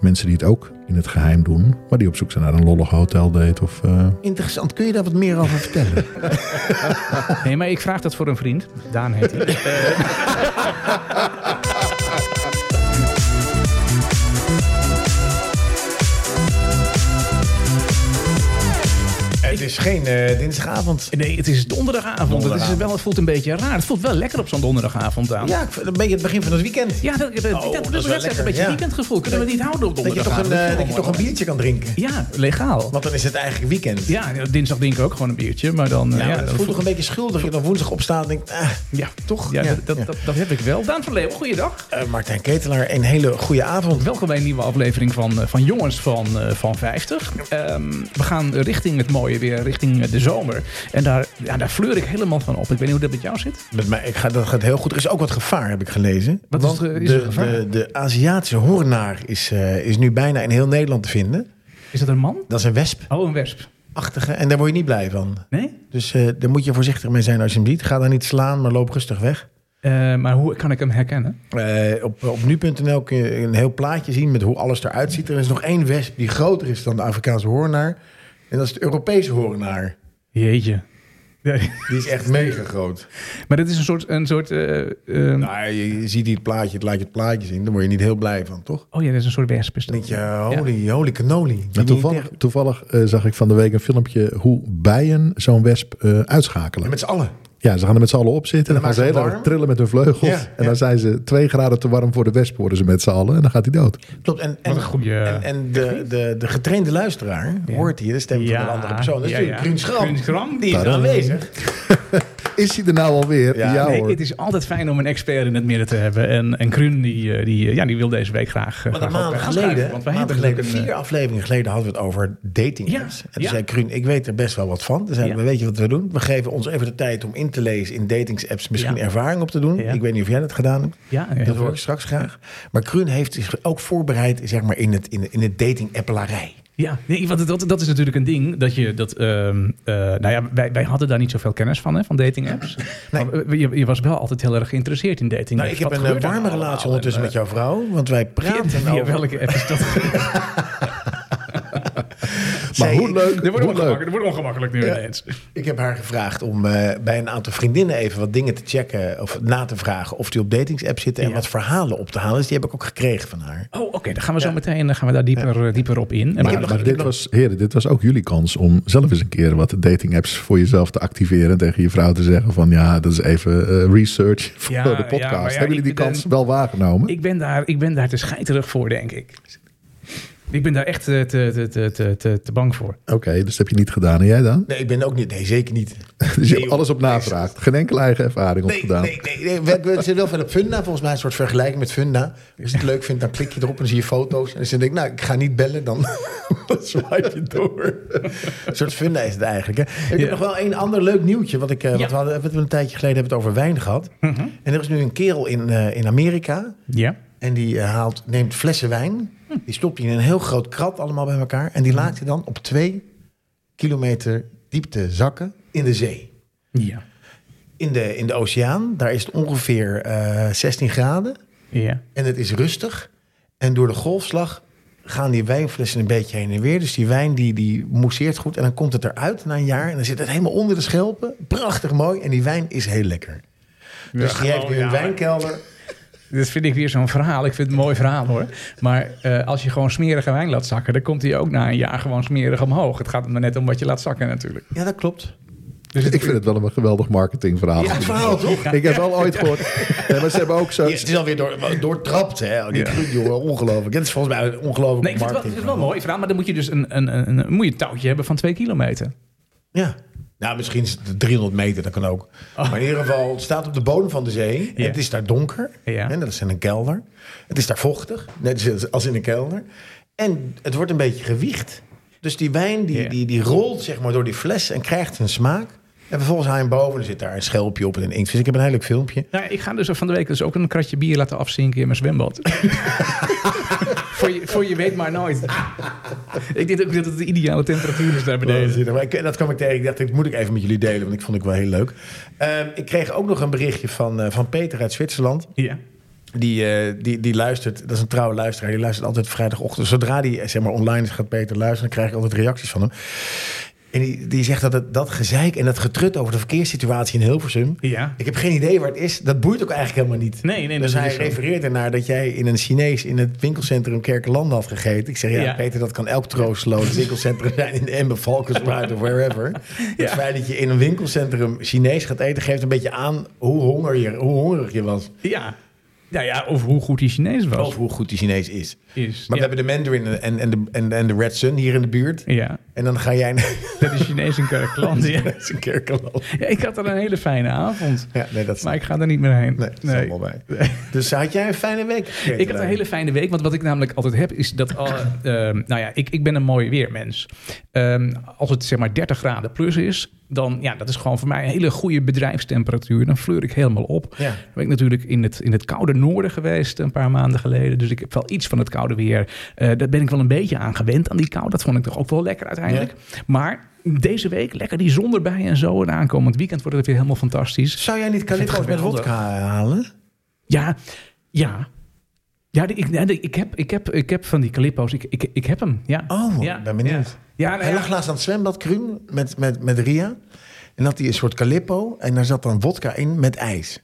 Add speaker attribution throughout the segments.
Speaker 1: mensen die het ook in het geheim doen, maar die op zoek zijn naar een lollige hoteldate of... eh,
Speaker 2: Interessant. Kun je daar wat meer over vertellen?
Speaker 3: Nee, maar ik vraag dat voor een vriend. Daan heet hij.
Speaker 4: Het is geen eh, dinsdagavond.
Speaker 3: Nee, het is donderdagavond. Het, is
Speaker 4: Donderdagavond.
Speaker 3: wel, het voelt een beetje raar. Het voelt wel lekker op zo'n donderdagavond aan.
Speaker 4: Ja, ik vind- een beetje het begin van het weekend.
Speaker 3: Ja, dat, dat, dat, dat,
Speaker 4: is
Speaker 3: dat,
Speaker 4: wel
Speaker 3: is echt een
Speaker 4: lekker,
Speaker 3: beetje
Speaker 4: ja.
Speaker 3: weekendgevoel. Kunnen we het niet houden op
Speaker 4: Dat je toch
Speaker 3: donderdagavond?
Speaker 4: een, eh, dat je toch een biertje kan drinken.
Speaker 3: Ja, legaal.
Speaker 4: Want dan is het eigenlijk weekend.
Speaker 3: Ja, dinsdag denk ik ook gewoon een biertje. Maar dan... eh,
Speaker 4: Ja, maar
Speaker 3: dat
Speaker 4: het voelt
Speaker 3: voel-
Speaker 4: toch een beetje schuldig. Je dan woensdag opstaat en denkt, ah,
Speaker 3: Ja, toch? Ja,
Speaker 4: Ja,
Speaker 3: dat, dat,
Speaker 4: ja.
Speaker 3: Dat, dat heb ik wel. Daan van Leeuwen, goeiedag.
Speaker 4: eh, Martijn Ketelaar, een hele goede avond.
Speaker 3: Welkom bij een nieuwe aflevering van, eh, van Jongens van, eh, van 50. Ehm, we gaan richting het mooie weer, richting eh, de zomer. En daar, ja, daar fleur ik helemaal van op. Ik weet niet hoe dat met jou zit.
Speaker 4: Met mij, ik ga, dat gaat heel goed. Er is ook wat gevaar, heb ik gelezen.
Speaker 3: Wat is
Speaker 4: Want
Speaker 3: er- is
Speaker 4: de,
Speaker 3: er gevaar?
Speaker 4: De, de Aziatische hoornaar is, eh, is nu bijna in heel Nederland te vinden.
Speaker 3: Is dat een man?
Speaker 4: Dat is een wespachtige
Speaker 3: Oh, een wesp.
Speaker 4: en daar word je niet blij van.
Speaker 3: Nee?
Speaker 4: Dus eh, daar moet je voorzichtig mee zijn als je hem ziet. Ga daar niet slaan, maar loop rustig weg.
Speaker 3: Eh, maar hoe kan ik hem herkennen?
Speaker 4: Eh, op, op nu.nl kun je een heel plaatje zien met hoe alles eruit ziet. Er is nog één wesp die groter is dan de Afrikaanse hoornaar. En dat is de Europese hoornaar.
Speaker 3: Jeetje.
Speaker 4: Die is echt mega groot.
Speaker 3: Maar dit is een soort... Een soort eh, eh,
Speaker 4: Nou, je, je ziet die het plaatje, het laat je het plaatje zien. Daar word je niet heel blij van, toch?
Speaker 3: Oh ja, dat is een soort wesp. is
Speaker 4: Dan
Speaker 3: dat.
Speaker 4: denk je, holy, holy cannoli. Die
Speaker 1: En
Speaker 4: niet
Speaker 1: toevallig,
Speaker 4: tegen-
Speaker 1: toevallig eh, zag ik van de week een filmpje hoe bijen zo'n wesp eh, uitschakelen.
Speaker 4: Ja, met z'n allen.
Speaker 1: Ja, ze gaan er met z'n allen op zitten.
Speaker 4: En
Speaker 1: En dan
Speaker 4: dan
Speaker 1: gaan ze
Speaker 4: maken
Speaker 1: heel erg
Speaker 4: ze warm.
Speaker 1: trillen met hun vleugels.
Speaker 4: Ja,
Speaker 1: en
Speaker 4: ja.
Speaker 1: dan zijn ze twee graden te warm voor de wesp worden ze met z'n allen. En dan gaat hij dood.
Speaker 4: Klopt. En,
Speaker 3: Wat
Speaker 4: en,
Speaker 3: een goeie-
Speaker 4: en, en de, de, de getrainde luisteraar hoort hier de stem van een andere persoon. Dat is natuurlijk Kruun Schram.
Speaker 3: Kruun Schram, die is
Speaker 4: Tadam.
Speaker 3: aanwezig.
Speaker 1: Is hij er nou alweer? Ja,
Speaker 4: Ja,
Speaker 3: Nee,
Speaker 1: hoor.
Speaker 3: het is altijd fijn om een expert in het midden te hebben. En, en Kruun, die, eh, die, eh, ja, die wil deze week graag. eh,
Speaker 4: Want een
Speaker 3: graag ook
Speaker 4: maand
Speaker 3: aanschuiven,
Speaker 4: geleden,
Speaker 3: want wij
Speaker 4: maand
Speaker 3: hebben
Speaker 4: geleden
Speaker 3: natuurlijk
Speaker 4: vier
Speaker 3: een, eh,
Speaker 4: afleveringen geleden, hadden we het over dating
Speaker 3: Ja,
Speaker 4: apps. En toen
Speaker 3: ja.
Speaker 4: zei Kruun, ik weet er best wel wat van. Toen zei
Speaker 3: Ja.
Speaker 4: we, weet je wat we doen? We geven ons even de tijd om in te lezen in dating apps, misschien
Speaker 3: Ja.
Speaker 4: ervaring op te doen.
Speaker 3: Ja.
Speaker 4: Ik weet niet of jij dat gedaan hebt.
Speaker 3: eh, ja, heel
Speaker 4: dat hoor
Speaker 3: veel.
Speaker 4: ik straks graag. Maar Kruun heeft zich ook voorbereid zeg maar, in het, in, het- in het dating appelarij.
Speaker 3: eh, Ja, nee, want dat, dat is natuurlijk een ding. Dat je dat. ehm, eh, nou ja, wij, wij hadden daar niet zoveel kennis van, hè, van dating apps.
Speaker 4: Nee.
Speaker 3: Maar, eh, je, je was wel altijd heel erg geïnteresseerd in dating
Speaker 4: Nou, ik
Speaker 3: apps.
Speaker 4: heb
Speaker 3: Wat
Speaker 4: een eh,
Speaker 3: gebeurt daar
Speaker 4: warme
Speaker 3: allemaal? Eh,
Speaker 4: relatie ondertussen
Speaker 3: En,
Speaker 4: met jouw vrouw, want wij
Speaker 3: eh,
Speaker 4: praten
Speaker 3: via- via
Speaker 4: over...
Speaker 3: welke app is dat? maar
Speaker 1: maar
Speaker 4: Zij-
Speaker 1: hoe leuk.
Speaker 3: Dat wordt
Speaker 1: Hoe
Speaker 3: ongemakkelijk,
Speaker 1: leuk.
Speaker 3: dat wordt ongemakkelijk nu
Speaker 4: Ja.
Speaker 3: ineens.
Speaker 4: Ik heb haar gevraagd om eh, bij een aantal vriendinnen even wat dingen te checken. Of na te vragen of die op datingsapps zitten. En
Speaker 3: Ja.
Speaker 4: wat verhalen op te halen. Dus die heb ik ook gekregen van haar.
Speaker 3: Oh, oké, dan gaan we zo meteen eh, gaan we daar dieper, eh, dieper op in. En
Speaker 1: Maar, maar dit was, heren, dit was ook jullie kans om zelf eens een keer wat dating apps voor jezelf te activeren. En tegen je vrouw te zeggen van ja, dat is even eh, research voor
Speaker 3: Ja,
Speaker 1: de
Speaker 3: ja,
Speaker 1: podcast.
Speaker 3: maar ja,
Speaker 1: Hebben jullie die
Speaker 3: ik ben-
Speaker 1: kans wel waargenomen?
Speaker 3: Ik ben, daar, ik ben daar te scheiterig voor, denk ik. Ik ben daar echt eh, te, te, te, te, te, te bang voor.
Speaker 1: Oké, dus dat heb je niet gedaan. En jij dan?
Speaker 4: Nee, ik ben ook niet. Nee, zeker
Speaker 1: Dus
Speaker 4: niet.
Speaker 1: je
Speaker 4: Nee,
Speaker 1: hebt
Speaker 4: joh.
Speaker 1: alles op navraagd. Geen enkele eigen ervaring
Speaker 4: Nee,
Speaker 1: opgedaan.
Speaker 4: nee, nee. nee. We, we zitten wel veel op Funda. Volgens mij een soort vergelijking met Funda. Als je het leuk vindt, dan klik je erop en dan zie je foto's. En als je denkt, nou, ik ga niet bellen, dan swipe je door. Een soort Funda is het eigenlijk. Hè? Ik
Speaker 3: Ja.
Speaker 4: heb nog wel een ander leuk nieuwtje. Wat ik, eh,
Speaker 3: Ja. Mhm.
Speaker 4: wat we, hadden, we hebben een tijdje geleden hebben het over wijn gehad. En er is nu een kerel in, eh, in Amerika.
Speaker 3: Ja?
Speaker 4: En die eh, haalt, neemt flessen wijn. Die stopt hij in een heel groot krat allemaal bij elkaar. En die laat hij dan op twee kilometer diepte zakken in de zee.
Speaker 3: Ja.
Speaker 4: In de, in de oceaan, daar is het ongeveer eh, 16 graden.
Speaker 3: Ja.
Speaker 4: En het is rustig. En door de golfslag gaan die wijnflessen een beetje heen en weer. Dus die wijn die, die mousseert goed. En dan komt het eruit na een jaar. En dan zit het helemaal onder de schelpen. Prachtig mooi. En die wijn is heel lekker. Dus die heeft nu een wijnkelder.
Speaker 3: Dit vind ik weer zo'n verhaal. Ik vind het een mooi verhaal hoor. Maar eh, als je gewoon smerige wijn laat zakken, dan komt hij ook na een jaar gewoon smerig omhoog. Het gaat er maar net om wat je laat zakken natuurlijk.
Speaker 4: Ja, dat klopt.
Speaker 3: Dus het-
Speaker 1: Ik vind het wel een geweldig marketingverhaal.
Speaker 4: Goed verhaal, toch?
Speaker 1: Ik heb wel ooit gehoord. Nee, maar ze hebben ook zo.
Speaker 4: Ja, het is alweer door, doortrapt, hè? Die
Speaker 3: Ja.
Speaker 4: truc, jongen, ongelooflijk. Dit is volgens mij een ongelooflijk
Speaker 3: Nee, ik vind het wel, het is wel een mooi verhaal, maar dan moet je dus een, een, een, een- moet je een touwtje hebben van twee kilometer.
Speaker 4: Ja. Nou, misschien is het 300 meter, dat kan ook. Maar in ieder geval, het staat op de bodem van de zee.
Speaker 3: Oh. Ja.
Speaker 4: Het is daar donker.
Speaker 3: Ja.
Speaker 4: Hè, dat is in een kelder. Het is daar vochtig, net als- als in een kelder. En het wordt een beetje gewiegd. Dus die wijn die,
Speaker 3: Ja.
Speaker 4: die, die rolt zeg maar, door die fles en krijgt een smaak. En vervolgens haal je hem boven en zit daar een schelpje op en een inktvis. Ik heb een heel leuk filmpje.
Speaker 3: Nou, ik ga dus van de week dus ook een kratje bier laten afzinken in mijn zwembad. voor, je, voor je weet maar nooit. ik denk ook dat het de ideale temperatuur is daar beneden.
Speaker 4: Waanzinnig. Maar ik, dat kwam ik tegen. Ik dacht, dit moet ik even met jullie delen, want ik vond ik wel heel leuk. Ehm, ik kreeg ook nog een berichtje van, eh, van Peter uit Zwitserland.
Speaker 3: Ja.
Speaker 4: Die, eh, die, die luistert, dat is een trouwe luisteraar, die luistert altijd vrijdagochtend. Zodra die eh, zeg maar, online is, gaat Peter luisteren, dan krijg ik altijd reacties van hem. En die, die zegt dat het, dat gezeik en dat getrut over de verkeerssituatie in Hilversum.
Speaker 3: Ja.
Speaker 4: Ik heb geen idee waar het is. Dat boeit ook eigenlijk helemaal niet.
Speaker 3: Nee, nee,
Speaker 4: dus
Speaker 3: dat
Speaker 4: hij
Speaker 3: is zo.
Speaker 4: refereert ernaar dat jij in een Chinees in het winkelcentrum Kerkenlanden had gegeten. Ik zeg, ja,
Speaker 3: Ja.
Speaker 4: Peter, dat kan elk troosteloos winkelcentrum zijn in Emmen, Valkenswaard of wherever. Het feit dat je in een winkelcentrum Chinees gaat eten, geeft een beetje aan hoe, honger je, hoe hongerig je was.
Speaker 3: Ja. Ja, ja, of hoe goed die Chinees was.
Speaker 4: Of hoe goed die Chinees is.
Speaker 3: Is,
Speaker 4: Maar
Speaker 3: ja.
Speaker 4: we hebben de Mandarin en, en, de, en, en de Red Sun hier in de buurt.
Speaker 3: Ja,
Speaker 4: En dan ga jij naar
Speaker 3: dat is Chinees in Kerkland. Ja.
Speaker 4: zijn kerkenland.
Speaker 3: Ja, ik had er een hele fijne avond.
Speaker 4: Ja, nee, dat is,
Speaker 3: Maar ik ga er niet meer heen.
Speaker 4: nee, dat is allemaal bij. Dus had jij een fijne week? gegeten,
Speaker 3: Ik had een
Speaker 4: Lara?
Speaker 3: hele fijne week, want wat ik namelijk altijd heb is dat... Al, ehm, nou ja, ik, ik ben een mooi weermens. Ehm, als het zeg maar 30 graden plus is, dan ja, dat is gewoon voor mij een hele goede bedrijfstemperatuur. Dan fleur ik helemaal op.
Speaker 4: Ja.
Speaker 3: Dan ben ik natuurlijk in het, in het koude noorden geweest een paar maanden geleden. Dus ik heb wel iets van het koude weer. Eh daar ben ik wel een beetje aan gewend, aan die kou. Dat vond ik toch ook wel lekker uiteindelijk. Maar deze week lekker die zon erbij en zo. En aankomend weekend wordt het weer helemaal fantastisch.
Speaker 4: Zou jij niet Calico's met
Speaker 3: geweldig.
Speaker 4: wodka halen?
Speaker 3: Ja, ja. Ja, die- ik, nee, die- ik, heb, ik, heb, ik heb van die Calippo's. Ik, ik, ik heb hem, ja.
Speaker 4: Oh,
Speaker 3: ja.
Speaker 4: ben benieuwd.
Speaker 3: Ja, nou
Speaker 4: Hij
Speaker 3: ja.
Speaker 4: lag laatst aan het zwembad, Kruun, met, met, met Ria. En had hij een soort calippo. En daar zat dan wodka in met ijs.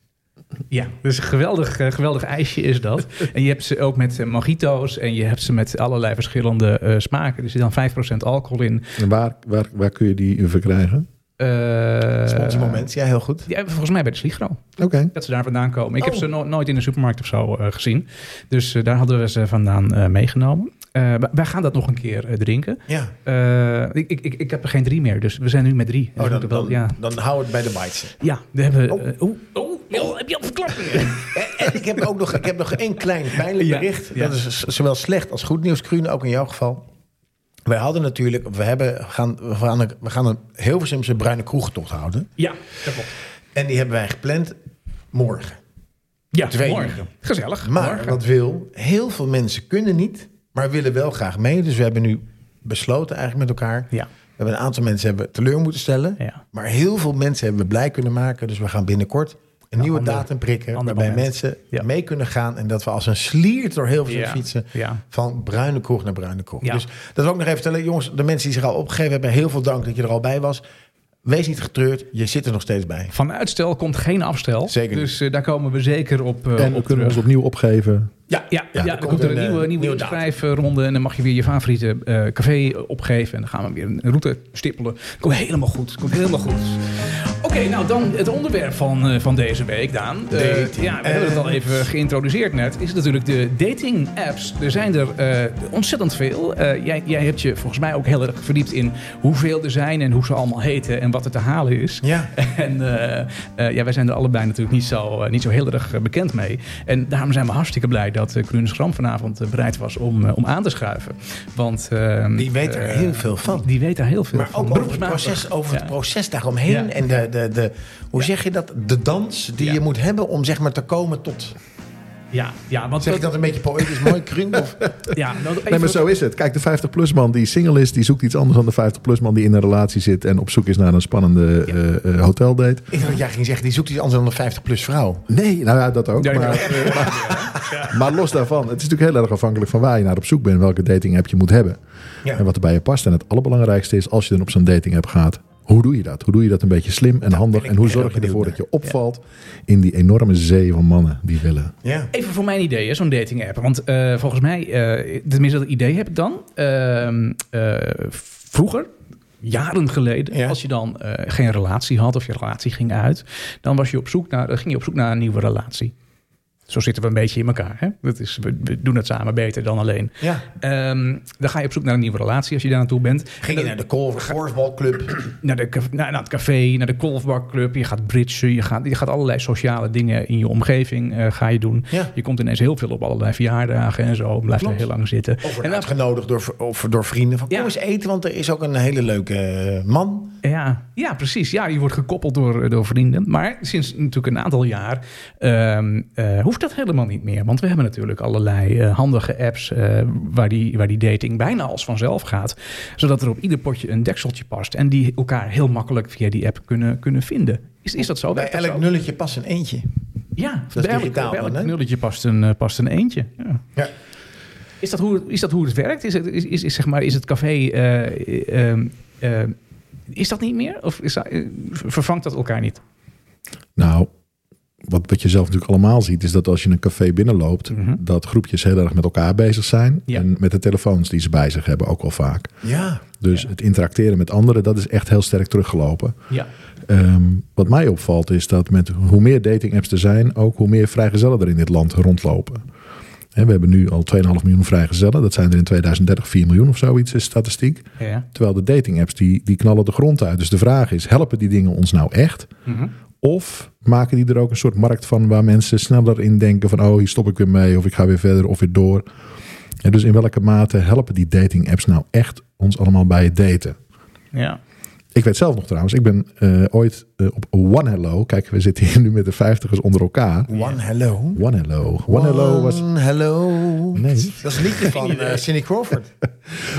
Speaker 3: Ja, dus een geweldig, eh, geweldig ijsje is dat. en je hebt ze ook met eh, mojito's en je hebt ze met allerlei verschillende eh, smaken. Er zit dan 5% alcohol in.
Speaker 1: En waar, waar, waar kun je die verkrijgen?
Speaker 3: Eh,
Speaker 4: Sponsormoment, ja, heel goed.
Speaker 3: Ja, volgens mij bij de Sligro.
Speaker 1: Oké.
Speaker 3: Dat ze daar vandaan komen. Ik heb
Speaker 4: Oh.
Speaker 3: ze no- nooit in de supermarkt of zo eh, gezien. Dus eh, daar hadden we ze vandaan eh, meegenomen. Eh, w- wij gaan dat nog een keer eh, drinken.
Speaker 4: Ja.
Speaker 3: Eh, ik, ik, ik, ik heb er geen drie meer, dus we zijn nu met drie. Dus we
Speaker 4: Oh, dan,
Speaker 3: moeten wel-
Speaker 4: dan, Oh.
Speaker 3: ja.
Speaker 4: dan hou het bij de bites.
Speaker 3: Ja, we hebben. eh, Oeh, oeh, joh, heb je al verklappingen?
Speaker 4: En, en ik, heb ook nog, ik heb nog één klein pijnlijk
Speaker 3: Ja,
Speaker 4: bericht.
Speaker 3: ja.
Speaker 4: Dat is z- zowel slecht als goed nieuws, Kruun, ook in jouw geval. Wij hadden natuurlijk, we, hebben, we, gaan, we, gaan, een- we gaan een Hilversumse bruine kroegtocht houden.
Speaker 3: ja, dat klopt.
Speaker 4: En die hebben wij gepland morgen.
Speaker 3: Ja,
Speaker 4: Twee
Speaker 3: morgen.
Speaker 4: uur.
Speaker 3: Gezellig.
Speaker 4: Maar
Speaker 3: morgen.
Speaker 4: dat wil, heel veel mensen kunnen niet, maar willen wel graag mee. Dus we hebben nu besloten eigenlijk met elkaar.
Speaker 3: Ja.
Speaker 4: We hebben een aantal mensen hebben teleur moeten stellen.
Speaker 3: Ja.
Speaker 4: Maar heel veel mensen hebben we blij kunnen maken. Dus we gaan binnenkort een nieuwe
Speaker 3: ander-
Speaker 4: datum prikken.
Speaker 3: ander
Speaker 4: Waarbij
Speaker 3: moment.
Speaker 4: mensen
Speaker 3: Ja.
Speaker 4: mee kunnen gaan. En dat we als een slier door heel veel
Speaker 3: Ja,
Speaker 4: fietsen.
Speaker 3: ja.
Speaker 4: Van bruine kroeg naar bruine kroeg.
Speaker 3: Ja.
Speaker 4: Dus dat wil ik nog even vertellen. Jongens, de mensen die zich al opgegeven hebben. Heel veel dank dat je er al bij was. Wees niet getreurd. Je zit er nog steeds bij.
Speaker 3: Van uitstel komt geen afstel.
Speaker 4: Zeker niet.
Speaker 3: Dus eh, daar komen we zeker op. eh,
Speaker 1: en we kunnen we
Speaker 3: op terug.
Speaker 1: ons opnieuw opgeven.
Speaker 4: Ja,
Speaker 3: Ja, ja, dan komt er een nieuwe, nieuwe inschrijfronde. En dan mag je weer je favoriete eh, café opgeven. En dan gaan we weer een route stippelen. Komt helemaal goed. Komt helemaal goed. Oké, nou dan het onderwerp van, eh, van deze week, Daan. Eh,
Speaker 4: Dating
Speaker 3: ja, we hebben het al even geïntroduceerd net. Is natuurlijk de dating apps. Er zijn er eh, ontzettend veel. Eh, jij, jij hebt je volgens mij ook heel erg verdiept in hoeveel er zijn en hoe ze allemaal heten en wat er te halen is.
Speaker 4: Ja.
Speaker 3: En eh, eh, ja, wij zijn er allebei natuurlijk niet zo, eh, niet zo heel erg eh, bekend mee. En daarom zijn we hartstikke blij dat eh Kruun Schram vanavond eh, bereid was om, eh, om aan te schuiven. Want, eh,
Speaker 4: Die weet er
Speaker 3: eh,
Speaker 4: heel veel van.
Speaker 3: Die weet daar heel veel
Speaker 4: Maar
Speaker 3: van.
Speaker 4: ook over het,
Speaker 3: Beroepsmatig.
Speaker 4: proces, over
Speaker 3: Ja.
Speaker 4: het proces daaromheen.
Speaker 3: Ja.
Speaker 4: En de, de, de, hoe zeg je dat? De dans die
Speaker 3: Ja.
Speaker 4: je moet hebben om zeg maar te komen tot.
Speaker 3: Ja, ja, want
Speaker 4: Zeg ik dat een beetje poëtisch mooi, kring? Of,
Speaker 3: Ja, nou, even-
Speaker 1: Nee, maar zo is het. Kijk, de 50-plus-man die single is, die zoekt iets anders dan de 50-plus-man die in een relatie zit en op zoek is naar een spannende eh, eh, hoteldate.
Speaker 4: ik dacht dat jij ging zeggen, die zoekt iets anders dan een 50-plus vrouw.
Speaker 1: Nee, nou ja, dat ook.
Speaker 3: Ja, ja.
Speaker 1: maar, maar los daarvan, het is natuurlijk heel erg afhankelijk van waar je naar op zoek bent, welke dating app je moet hebben
Speaker 4: Ja.
Speaker 1: en wat er bij je past. En het allerbelangrijkste is, als je dan op zo'n dating app gaat, hoe doe je dat? Hoe doe je dat een beetje slim en handig?
Speaker 4: ben
Speaker 1: En
Speaker 4: ik
Speaker 1: hoe
Speaker 4: heel
Speaker 1: zorg je ervoor dat
Speaker 4: benieuwd
Speaker 1: je opvalt in die enorme zee van mannen die willen?
Speaker 4: Ja.
Speaker 3: Even voor mijn idee, hè, zo'n dating app. Want eh, volgens mij, eh, tenminste dat idee heb ik dan. Ehm, eh, vroeger, jaren geleden,
Speaker 4: Ja.
Speaker 3: als je dan eh, geen relatie had of je relatie ging uit, dan was je op zoek naar, dan ging je op zoek naar een nieuwe relatie. Zo zitten we een beetje in elkaar. Hè? Dat is, we, we doen het samen beter dan alleen.
Speaker 4: ja.
Speaker 3: Ehm, dan ga je op zoek naar een nieuwe relatie als je daar naartoe bent.
Speaker 4: Ging je naar de golf- golfbalclub?
Speaker 3: naar, de, caf- naar, naar het café, naar de golfbarclub. Je gaat britsen, je gaat, je gaat allerlei sociale dingen in je omgeving eh, ga je doen.
Speaker 4: Ja.
Speaker 3: Je komt ineens heel veel op allerlei verjaardagen en zo. Blijft er
Speaker 4: Klopt.
Speaker 3: heel lang zitten.
Speaker 4: Of wordt
Speaker 3: En dan-
Speaker 4: uitgenodigd door, v- of door vrienden. Van,
Speaker 3: Ja.
Speaker 4: Kom eens eten, want er is ook een hele leuke eh, man.
Speaker 3: ja, ja, precies. Ja, je wordt gekoppeld door, eh, door vrienden. Maar sinds natuurlijk een aantal jaar ehm, eh, hoeft dat helemaal niet meer. Want we hebben natuurlijk allerlei eh, handige apps eh, waar, die, waar die dating bijna als vanzelf gaat. Zodat er op ieder potje een dekseltje past. En die elkaar heel makkelijk via die app kunnen, kunnen vinden. Is, is dat zo?
Speaker 4: Bij
Speaker 3: Werkt dat
Speaker 4: elk
Speaker 3: zo?
Speaker 4: nulletje past een eentje.
Speaker 3: Ja,
Speaker 4: is
Speaker 3: bij elk-
Speaker 4: digitaal
Speaker 3: bij elk
Speaker 4: dan, hè?
Speaker 3: knulletje past een, eh, past een eentje. Ja.
Speaker 4: Ja.
Speaker 3: Is, dat hoe, is dat hoe het werkt? Is het, is, is, is zeg maar, is het café... eh, eh, eh, is dat niet meer? Of is, dat- eh, ver- vervangt dat elkaar niet?
Speaker 1: Nou, wat, wat je zelf natuurlijk allemaal ziet, is dat als je in een café binnenloopt,
Speaker 3: Mhm.
Speaker 1: dat groepjes heel erg met elkaar bezig zijn.
Speaker 3: Ja.
Speaker 1: En met de telefoons die ze bij zich hebben ook wel vaak.
Speaker 4: Ja.
Speaker 1: Dus het interacteren met anderen, dat is echt heel sterk teruggelopen.
Speaker 3: Ja.
Speaker 1: Ehm, wat mij opvalt is dat met hoe meer dating apps er zijn, ook hoe meer vrijgezellen er in dit land rondlopen. Hè, we hebben nu al 2,5 miljoen vrijgezellen. Dat zijn er in 2030 4 miljoen of zoiets, is statistiek.
Speaker 3: ja.
Speaker 1: Terwijl de dating apps die, die knallen de grond uit. Dus de vraag is, helpen die dingen ons nou echt?
Speaker 3: Mhm.
Speaker 1: Of maken die er ook een soort markt van waar mensen sneller in denken van oh, hier stop ik weer mee of ik ga weer verder of weer door. En dus in welke mate helpen die dating apps nou echt ons allemaal bij het daten?
Speaker 3: ja.
Speaker 1: Ik weet zelf nog trouwens, ik ben eh, ooit eh, op One Hello. Kijk, we zitten hier nu met de vijftigers onder elkaar.
Speaker 4: One hello.
Speaker 1: One Hello. One Hello was.
Speaker 4: One hello.
Speaker 1: Nee.
Speaker 4: Dat is een liedje van eh Cindy Crawford.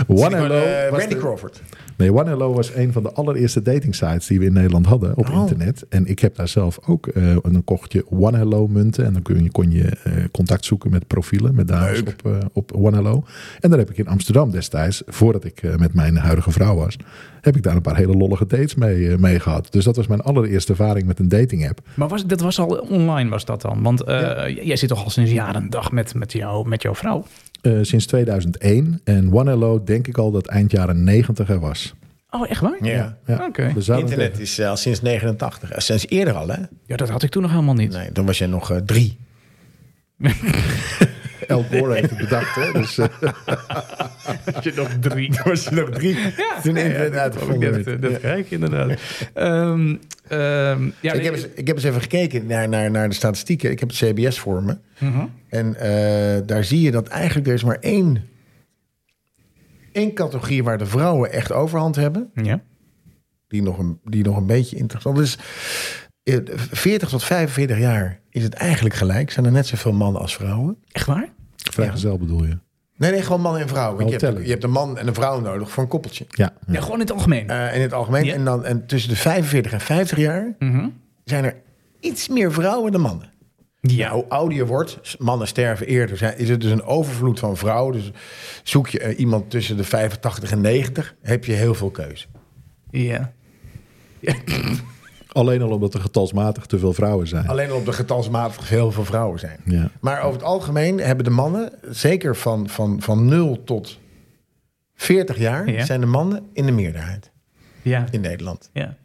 Speaker 1: One
Speaker 4: Van, eh,
Speaker 1: Hello. was
Speaker 4: Randy
Speaker 1: de-
Speaker 4: Crawford.
Speaker 1: Nee, OneHello was een van de allereerste datingsites die we in Nederland hadden op
Speaker 4: Oh.
Speaker 1: internet. En ik heb daar zelf ook, eh en dan kocht je OneHello munten. En dan kun je, kon je eh, contact zoeken met profielen, met dames
Speaker 4: Leuk.
Speaker 1: op, eh op OneHello. En daar heb ik in Amsterdam destijds, voordat ik eh, met mijn huidige vrouw was, heb ik daar een paar hele lollige dates mee, eh, mee gehad. Dus dat was mijn allereerste ervaring met een dating app.
Speaker 3: Maar was, dat was al online, was dat dan? Want eh, j- jij zit toch al sinds jaren en dag met, met, jou, met jouw vrouw?
Speaker 1: Eh, sinds 2001. En OneHello denk ik al dat eind jaren 90 er was.
Speaker 3: Oh, echt waar?
Speaker 4: Ja.
Speaker 1: Ja.
Speaker 3: Oké.
Speaker 1: We zouden-
Speaker 4: Internet is eh, al sinds 89. Eh, sinds eerder al, hè?
Speaker 3: Ja, dat had ik toen nog helemaal niet.
Speaker 4: Nee, toen was jij nog eh, drie.
Speaker 1: El Gore heeft het bedacht. Hè? Dus, eh,
Speaker 3: je nog drie.
Speaker 4: Toen was je nog drie.
Speaker 3: Ja,
Speaker 4: Toen
Speaker 3: nee,
Speaker 4: internet
Speaker 3: ja, dat,
Speaker 4: uitgevonden
Speaker 3: dat,
Speaker 4: werd.
Speaker 3: eh, dat
Speaker 4: Ja.
Speaker 3: krijg je inderdaad. Ehm, ehm, ja,
Speaker 4: ik, heb eens, ik heb eens even gekeken naar, naar, naar de statistieken. Ik heb het CBS voor me.
Speaker 3: Mhm.
Speaker 4: En eh, daar zie je dat eigenlijk er is maar één, één categorie waar de vrouwen echt overhand hebben.
Speaker 3: Ja.
Speaker 4: Die nog een, die nog een beetje interessant is. Eh, 40 tot 45 jaar is het eigenlijk gelijk. Zijn er net zoveel mannen als vrouwen?
Speaker 3: Echt waar?
Speaker 1: vrijgezel bedoel je?
Speaker 4: Nee, nee, gewoon man en vrouw. Want
Speaker 1: Oh,
Speaker 4: je, hebt,
Speaker 1: tellen.
Speaker 4: je hebt een man en een vrouw nodig voor een koppeltje.
Speaker 1: Ja.
Speaker 3: Ja, gewoon in het algemeen.
Speaker 4: Eh, in het algemeen.
Speaker 3: Ja.
Speaker 4: En, dan, en tussen de 45 en 50 jaar
Speaker 3: Mhm.
Speaker 4: zijn er iets meer vrouwen dan mannen. Ja,
Speaker 3: Ja.
Speaker 4: hoe ouder je wordt, s- mannen sterven eerder, zijn- is het dus een overvloed van vrouwen. Dus zoek je eh, iemand tussen de 85 en 90, heb je heel veel keuze.
Speaker 3: Ja.
Speaker 1: Alleen al omdat er getalsmatig te veel vrouwen zijn.
Speaker 4: Alleen al op de getalsmatig heel veel vrouwen zijn.
Speaker 1: Ja.
Speaker 4: Maar over het algemeen hebben de mannen, zeker van, van, van 0 tot 40 jaar,
Speaker 3: Ja.
Speaker 4: zijn de mannen in de meerderheid
Speaker 3: Ja.
Speaker 4: in Nederland.
Speaker 3: ja.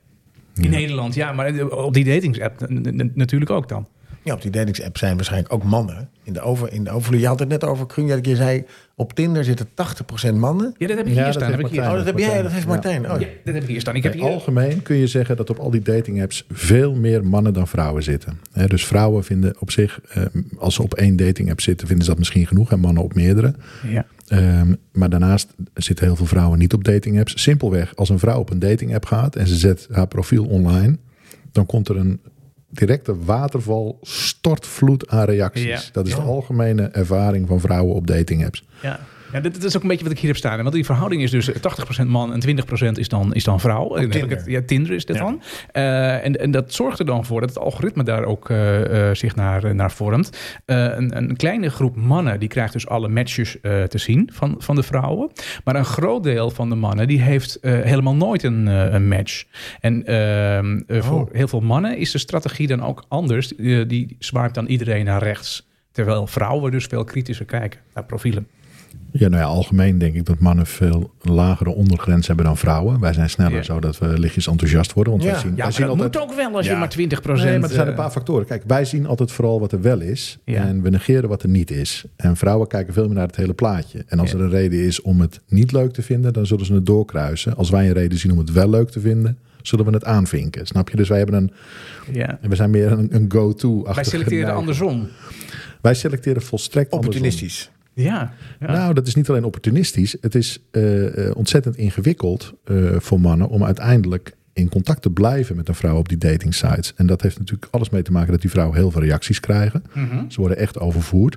Speaker 3: In Nederland, ja, maar eh, op die datingsapp n- n- n- natuurlijk ook dan.
Speaker 4: Ja, op die datingsapp zijn waarschijnlijk ook mannen in de, over, in de overvloed. Je had het net over, Kruun, dat je zei, op Tinder zitten 80% mannen.
Speaker 3: Ja, dat heb
Speaker 1: Ja,
Speaker 3: ik hier
Speaker 1: dat
Speaker 3: staan.
Speaker 1: heeft
Speaker 3: Heb ik hier.
Speaker 4: Oh, dat heb jij, dat heeft
Speaker 1: Ja.
Speaker 4: Martijn. Oh,
Speaker 3: Ja, dat heb ik hier staan. Ik heb
Speaker 1: In
Speaker 3: hier...
Speaker 1: algemeen kun je zeggen dat op al die dating apps veel meer mannen dan vrouwen zitten. Hè, dus vrouwen vinden op zich, eh, als ze op één dating app zitten, vinden ze dat misschien genoeg en mannen op meerdere.
Speaker 3: Ja.
Speaker 1: Ehm, maar daarnaast zitten heel veel vrouwen niet op dating apps. Simpelweg, als een vrouw op een dating app gaat en ze zet haar profiel online, dan komt er een directe waterval, stortvloed aan reacties.
Speaker 3: Ja.
Speaker 1: Dat is de algemene ervaring van vrouwen op dating apps.
Speaker 3: Ja. Ja, dit, dit is ook een beetje wat ik hier heb staan. Want die verhouding is dus 80% man en 20% is dan, is dan vrouw. En dan heb ik
Speaker 4: Oh, Tinder.
Speaker 3: het- ja, Tinder is dat
Speaker 4: Ja.
Speaker 3: dan. Eh, en, en dat zorgt er dan voor dat het algoritme daar ook eh, eh, zich naar, eh, naar vormt. Eh, een, een kleine groep mannen die krijgt dus alle matches eh, te zien van, van de vrouwen. Maar een groot deel van de mannen die heeft eh, helemaal nooit een, eh, een match. En ehm, eh,
Speaker 4: Oh.
Speaker 3: voor heel veel mannen is de strategie dan ook anders. Eh, die zwaart dan iedereen naar rechts. Terwijl vrouwen dus veel kritischer kijken naar profielen.
Speaker 1: Ja, nou ja, algemeen denk ik dat mannen veel lagere ondergrens hebben dan vrouwen. Wij zijn sneller,
Speaker 3: Ja.
Speaker 1: zodat we lichtjes enthousiast worden. Want
Speaker 4: Ja.
Speaker 1: wij zien,
Speaker 3: Ja,
Speaker 1: wij
Speaker 3: maar
Speaker 1: zien
Speaker 3: dat
Speaker 1: altijd...
Speaker 3: moet ook wel als je
Speaker 4: Ja.
Speaker 3: maar eh, 20
Speaker 1: Nee, maar er zijn een paar factoren. Kijk, wij zien altijd vooral wat er wel is.
Speaker 3: Ja.
Speaker 1: En we negeren wat er niet is. En vrouwen kijken veel meer naar het hele plaatje. En als
Speaker 3: Ja.
Speaker 1: er een reden is om het niet leuk te vinden, dan zullen ze het doorkruisen. Als wij een reden zien om het wel leuk te vinden, zullen we het aanvinken. Snap je? Dus wij hebben een,
Speaker 3: Ja.
Speaker 1: we zijn meer een, een go-to.
Speaker 3: Wij selecteren andersom.
Speaker 1: Wij selecteren volstrekt andersom.
Speaker 4: Opportunistisch.
Speaker 3: Ja. ja.
Speaker 1: Nou, dat is niet alleen opportunistisch. Het is eh, eh, ontzettend ingewikkeld eh, voor mannen om uiteindelijk in contact te blijven met een vrouw op die dating sites. En dat heeft natuurlijk alles mee te maken dat die vrouwen heel veel reacties krijgen. Ze worden echt overvoerd.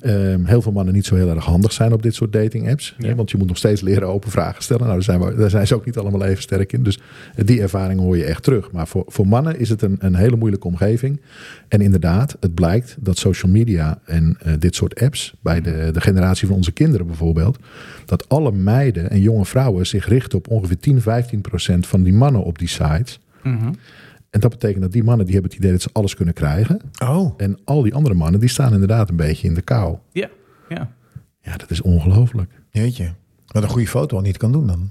Speaker 1: Ehm, heel veel mannen niet zo heel erg handig zijn op dit soort dating apps. Hè, want je moet nog steeds leren open vragen stellen. Nou, daar zijn, we, daar zijn ze ook niet allemaal even sterk in. Dus die ervaring hoor je echt terug. Maar voor, voor mannen is het een, een hele moeilijke omgeving. En inderdaad, het blijkt dat social media en eh, dit soort apps, bij de, de generatie van onze kinderen bijvoorbeeld, dat alle meiden en jonge vrouwen zich richten op ongeveer 10, 15 procent van die mannen op die sites. Mhm. En dat betekent dat die mannen die hebben het idee dat ze alles kunnen krijgen.
Speaker 4: Oh.
Speaker 1: En al die andere mannen die staan inderdaad een beetje in de kou.
Speaker 3: Ja, ja.
Speaker 1: Ja, dat is ongelooflijk.
Speaker 4: Jeetje. Wat een goede foto al niet kan doen dan.